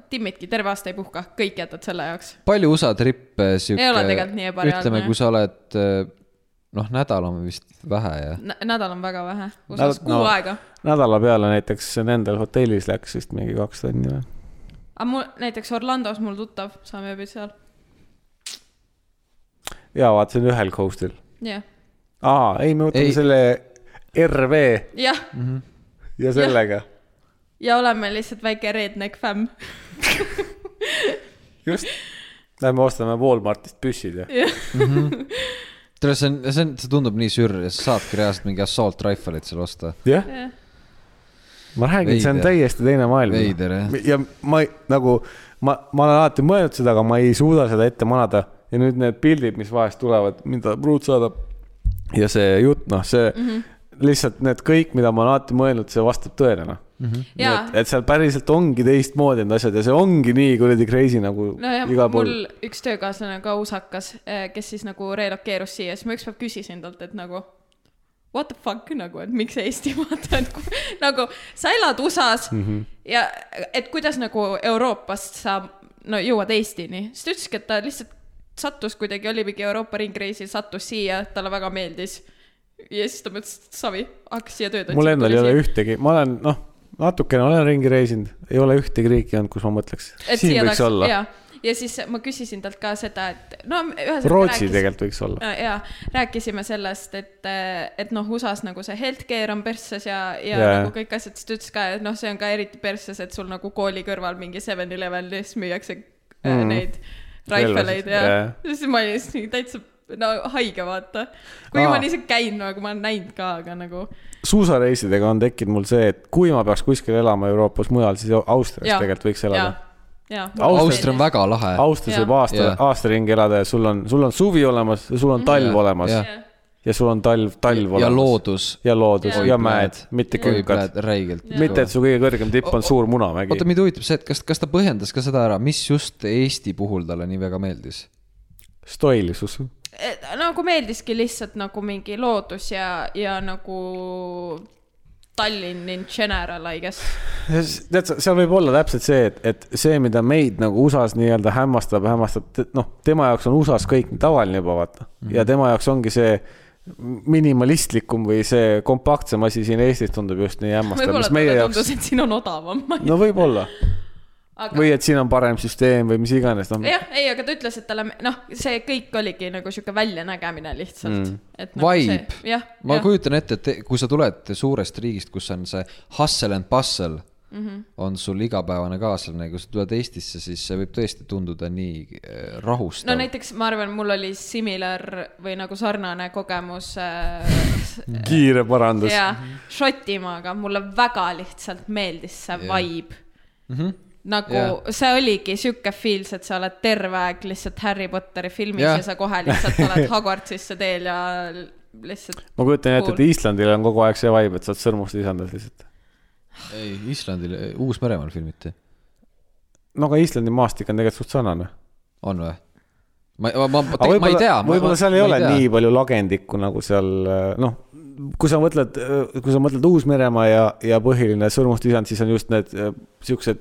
Speaker 3: timmidki , terve aasta ei puhka , kõik jätad selle jaoks .
Speaker 2: palju USA trippe sihuke .
Speaker 3: Ei ole tegelikult nii ebareaalne.
Speaker 2: ütleme , kui sa oled , noh , nädal on vist vähe ja .
Speaker 3: nädal on väga vähe , USA-s
Speaker 1: Nädal-
Speaker 3: kuu
Speaker 1: no.
Speaker 3: no. aega .
Speaker 1: nädala peale näiteks nendel hotellis läks vist mingi kaks tonni või ?
Speaker 3: aga mul näiteks Orlandos mul tuttav , saame ööbida seal ,
Speaker 1: jaa , vaatasin ühel coast'il .
Speaker 3: jah ,
Speaker 1: aa , ei , me võtame
Speaker 2: Ei.
Speaker 1: ei. selle RV
Speaker 3: jah ,
Speaker 1: ja sellega .
Speaker 3: ja oleme lihtsalt väike redneck fämm .
Speaker 1: just . Lähme ostame Walmartist püssid ja .
Speaker 2: tead , see on , see on , see tundub nii sürr ja sa saadki reaalselt mingi assault rifle'it seal osta .
Speaker 1: jah , ma räägin , see on
Speaker 2: Veider.
Speaker 1: täiesti teine maailm .
Speaker 2: Veider, jah.
Speaker 1: ja ma ei- nagu , ma , ma olen alati mõelnud seda , aga ma ei suuda seda ette manada ja nüüd need pildid , mis vahest tulevad , mida Ruut saadab ja see jutt , noh , see mm
Speaker 3: Mhm.
Speaker 1: -hmm. lihtsalt need kõik , mida ma olen alati mõelnud , see vastab tõele , noh
Speaker 3: jaa
Speaker 1: et , et seal päriselt ongi teistmoodi need asjad ja see ongi nii kuradi crazy nagu
Speaker 3: nojah ,
Speaker 1: igal pool
Speaker 3: mul . üks töökaaslane on ka usakas , kes siis nagu relokeerus siia , siis ma ükspäev küsisin talt , et nagu what the fuck nagu , et miks sa Eestimaad oled , nagu sa elad USA-s mm
Speaker 1: Mhm.
Speaker 3: -hmm. ja et kuidas nagu Euroopast sa no jõuad Eestini , siis ta ütleski , et ta lihtsalt sattus kuidagi , oli mingi Euroopa ringreisil , sattus siia , talle väga meeldis . ja siis ta mõtles , et savi , hakkas siia tööd
Speaker 1: mul endal ei ole ühtegi , ma olen noh , natukene olen ringi reisinud , ei ole ühtegi riiki olnud , kus ma mõtleks , siin
Speaker 3: et siia
Speaker 1: võiks
Speaker 3: tahaks ,
Speaker 1: olla .
Speaker 3: jaa . ja siis ma küsisin talt ka seda , et no ühesõnaga .
Speaker 1: Rootsi tegelikult võiks olla .
Speaker 3: ja Äh, rääkisime sellest , et , et noh , USA-s nagu see healthcare on persses ja , ja yeah.
Speaker 1: Jaa.
Speaker 3: nagu kõik asjad , siis ta ütles ka , et noh , see on ka eriti persses , et sul nagu kooli kõrval mingi 7-Elevenis müüakse mm.
Speaker 1: Mm.
Speaker 3: neid raifeleid
Speaker 1: Relvasid,
Speaker 3: ja
Speaker 1: jaa.
Speaker 3: siis ma olin lihtsalt nii täitsa no haige vaata , kuigi
Speaker 1: Aa.
Speaker 3: ma olen ise käinud nagu ma olen näinud ka , aga nagu
Speaker 1: suusareisidega on tekkinud mul see , et kui ma peaks kuskil elama Euroopas mujal , siis Austrias
Speaker 3: Jaa.
Speaker 1: tegelikult võiks
Speaker 3: ja
Speaker 1: elada .,
Speaker 3: ja .
Speaker 1: Austria-
Speaker 2: Austria on väga lahe .
Speaker 1: Austrias
Speaker 3: Jaa.
Speaker 1: võib aasta
Speaker 2: Jaa. ,
Speaker 1: aasta ringi elada ja sul on , sul on suvi olemas ja sul on
Speaker 3: Mm-hmm.
Speaker 1: talv olemas
Speaker 2: Jaa.
Speaker 1: ja sul on talv , talv
Speaker 2: ja
Speaker 1: olemas .
Speaker 2: loodus .
Speaker 1: ja loodus
Speaker 3: Jaa.
Speaker 1: ja mäed , mitte künkad .
Speaker 2: räigelt .
Speaker 1: mitte , et su kõige kõrgem tipp on suur munamägi
Speaker 2: oota , mind huvitab see , et kas , kas ta põhjendas ka seda ära , mis just Eesti puhul talle nii väga meeldis ?
Speaker 1: stoilisus .
Speaker 3: nagu meeldiski lihtsalt nagu mingi loodus ja , ja nagu Tallinn in general , I guess .
Speaker 1: tead sa , seal võib olla täpselt see , et , et see , mida meid nagu USA-s nii-öelda hämmastab , hämmastab , noh , tema jaoks on USA-s kõik nii tavaline juba vaata mm -hmm. ja tema jaoks ongi see minimalistlikum või see kompaktsem asi siin Eestis tundub just nii hämmastav ,
Speaker 3: võib-olla
Speaker 1: mis meie
Speaker 3: talle
Speaker 1: jaoks
Speaker 3: tundus ,, et siin on odavam .
Speaker 1: no võib-olla ,
Speaker 3: aga
Speaker 1: või et siin on parem süsteem või mis iganes , noh .
Speaker 3: jah , ei , aga ta ütles , et talle , noh , see kõik oligi nagu sihuke väljanägemine lihtsalt mm. . Nagu
Speaker 2: Vibe
Speaker 3: see- jah ,
Speaker 2: ma
Speaker 3: jah ,
Speaker 2: kujutan ette , et te- kui sa tuled suurest riigist , kus on see hustle and bustle mm , -hmm.
Speaker 3: Mhm.
Speaker 2: on sul igapäevane kaaslane , kui sa tuled Eestisse , siis see võib tõesti tunduda nii eh, rahustav
Speaker 3: no . näiteks ma arvan , mul oli similar või nagu sarnane kogemus äh,
Speaker 1: kiire parandus .
Speaker 3: ja Šotimaaga , mulle väga lihtsalt meeldis see
Speaker 2: Jah.
Speaker 3: vibe . nagu
Speaker 2: Jah.
Speaker 3: yeah. see oligi sihuke feels , et sa oled terve aeg lihtsalt Harry Potteri filmis yeah.
Speaker 2: Jah.
Speaker 3: ja sa kohe lihtsalt oled Hogwartsisse teel ja lihtsalt .
Speaker 1: ma kujutan ette , et
Speaker 3: Cool.
Speaker 1: Islandil on kogu aeg see vibe , et sa oled sõrmust lisandus lihtsalt .
Speaker 2: ei , Islandil , Uus-Meremaal filmiti ,
Speaker 1: no aga Islandi maastik on tegelikult suht sarnane
Speaker 2: on või ? ma , ma , ma,
Speaker 1: Aga
Speaker 2: te- ma ei tea .
Speaker 1: võib-olla seal ei ole tea. nii palju lagendikku nagu seal noh , kui sa mõtled , kui sa mõtled Uus-Meremaa ja , ja põhiline Sõrmuste isand , siis on just need äh, siuksed ,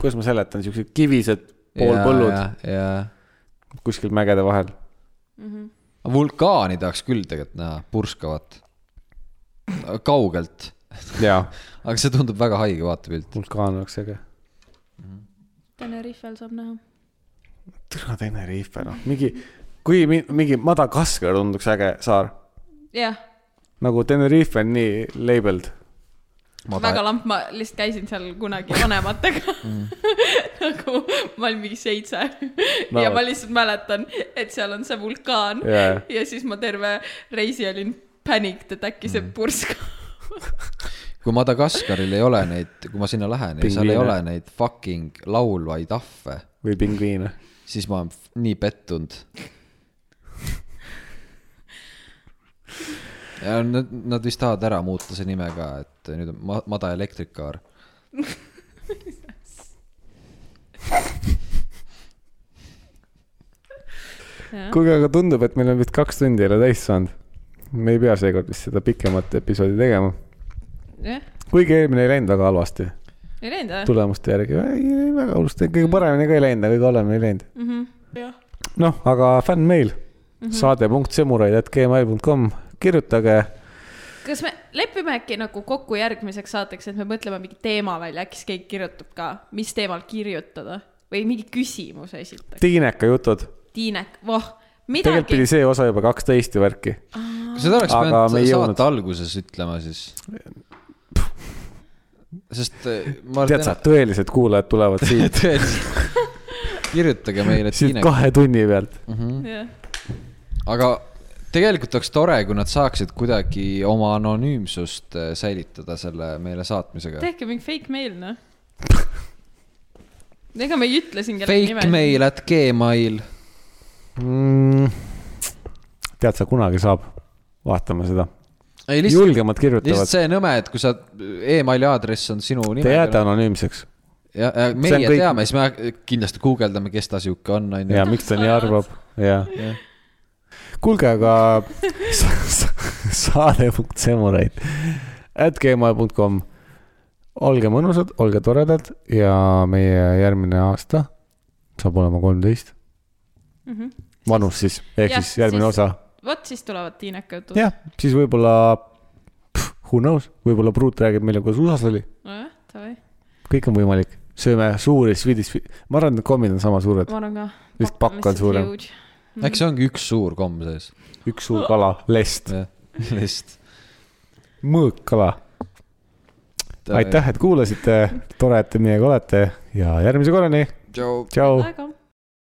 Speaker 1: kuidas ma seletan , siuksed kivised poolpõllud .
Speaker 2: jaa ,
Speaker 1: kuskil mägede vahel .
Speaker 2: vulkaani tahaks küll tegelikult näha , purskavat , kaugelt
Speaker 1: jaa ,
Speaker 2: aga see tundub väga haige vaatepilt .
Speaker 1: vulkaan oleks äge .
Speaker 3: Tenerifel saab näha .
Speaker 1: türa Tenerife noh , mingi , kui mi- mingi Madagaskar tunduks äge saar ,
Speaker 3: jah ,
Speaker 1: nagu Tenerife on nii labeled .
Speaker 3: väga lamp , ma lihtsalt käisin seal kunagi vanematega
Speaker 1: Mm.
Speaker 3: nagu ma olin mingi seitse ja ma lihtsalt mäletan , et seal on see vulkaan
Speaker 1: Jaa.
Speaker 3: ja siis ma terve reisi olin panicked , et äkki
Speaker 1: Mm.
Speaker 3: see purskab .
Speaker 2: kui Madagaskaril ei ole neid , kui ma sinna lähen ja seal ei
Speaker 1: Pingviine.
Speaker 2: ole neid fucking laulvaid ahve ,
Speaker 1: või pingviine .
Speaker 2: siis ma olen f- nii pettunud . ja nad , nad vist tahavad ära muuta see nime ka , et nüüd on ma- , Mada Elektrikaar .
Speaker 1: kuulge , aga tundub , et meil on vist kaks tundi ei ole täis saanud . me ei pea seekord vist seda pikemat episoodi tegema ,
Speaker 3: jah ,
Speaker 1: kuigi eelmine ei läinud väga halvasti
Speaker 3: ei läinud või ?
Speaker 1: tulemuste järgi , väga hullusti ,
Speaker 2: Mhm.
Speaker 1: kõige paremini ka ei läinud , aga kõige halvemini ei läinud .
Speaker 3: jah .
Speaker 1: noh , aga fännmeil
Speaker 2: Mhm.
Speaker 1: mm -hmm. saade.semuraid.gmail.com , kirjutage
Speaker 3: kas me lepime äkki nagu kokku järgmiseks saateks , et me mõtleme mingi teema välja , äkki siis keegi kirjutab ka , mis teemal kirjutada või mingi küsimuse esitada .
Speaker 1: Tiineka jutud .
Speaker 3: Tiinek , voh ,
Speaker 1: tegelikult
Speaker 3: midagi
Speaker 1: pidi . see osa juba kaksteist ju värki .
Speaker 2: seda oleks
Speaker 1: Aga me
Speaker 2: pidanud
Speaker 1: ei jõudnud.
Speaker 2: saate alguses ütlema siis . sest eh, ma
Speaker 1: tead sa ,. tõelised kuulajad tulevad siit ,
Speaker 2: tõeliselt . kirjutage meile ,
Speaker 1: siit
Speaker 2: Tiinek ,
Speaker 1: kahe tunni pealt .
Speaker 2: aga tegelikult oleks tore , kui nad saaksid kuidagi oma anonüümsust eh, säilitada selle meile saatmisega .
Speaker 3: tehke mingi fake mail , noh . ega me ei ütle siin kellegi nime .
Speaker 2: Fake . mail at Gmail .
Speaker 1: Mm. tead sa , kunagi saab , vaatame seda .
Speaker 2: ei lihtsalt ,
Speaker 1: julgemad kirjutavad
Speaker 2: lihtsalt , see nõme , et kui sa , emaili aadress on sinu
Speaker 1: te jääte
Speaker 2: nimega .
Speaker 1: anonüümseks
Speaker 2: ja , ja meie
Speaker 1: See on kõik-
Speaker 2: teame , siis me kindlasti guugeldame , kes ta sihuke on , on
Speaker 1: ja
Speaker 2: ju .
Speaker 1: miks ta nii arvab ja . kuulge , aga sa- sa- saade.semuraid at gmail.com . olge mõnusad , olge toredad ja meie järgmine aasta saab olema kolmteist . vanus siis , ehk
Speaker 3: Mhm. Jah,
Speaker 1: siis järgmine
Speaker 3: siis-
Speaker 1: osa ,
Speaker 3: vot siis tulevad Tiineka jutud .
Speaker 1: jah , siis võib-olla , who knows , võib-olla Pruut räägib meile , kuidas USA-s oli ,
Speaker 3: nojah , davai ,
Speaker 1: kõik on võimalik , sööme suuri Swedish , ma arvan , et need kommid on sama suured ,
Speaker 3: ma arvan ka .
Speaker 1: Vist pakk on suurem. .
Speaker 2: eks see ongi üks suur komm sees .
Speaker 1: üks suur kala , lest ,
Speaker 2: jah , lihtsalt .
Speaker 1: mõõkkala aitäh , et kuulasite , tore , et te meiega olete ja järgmise korrani ,
Speaker 2: tšau .
Speaker 1: tšau .
Speaker 3: aega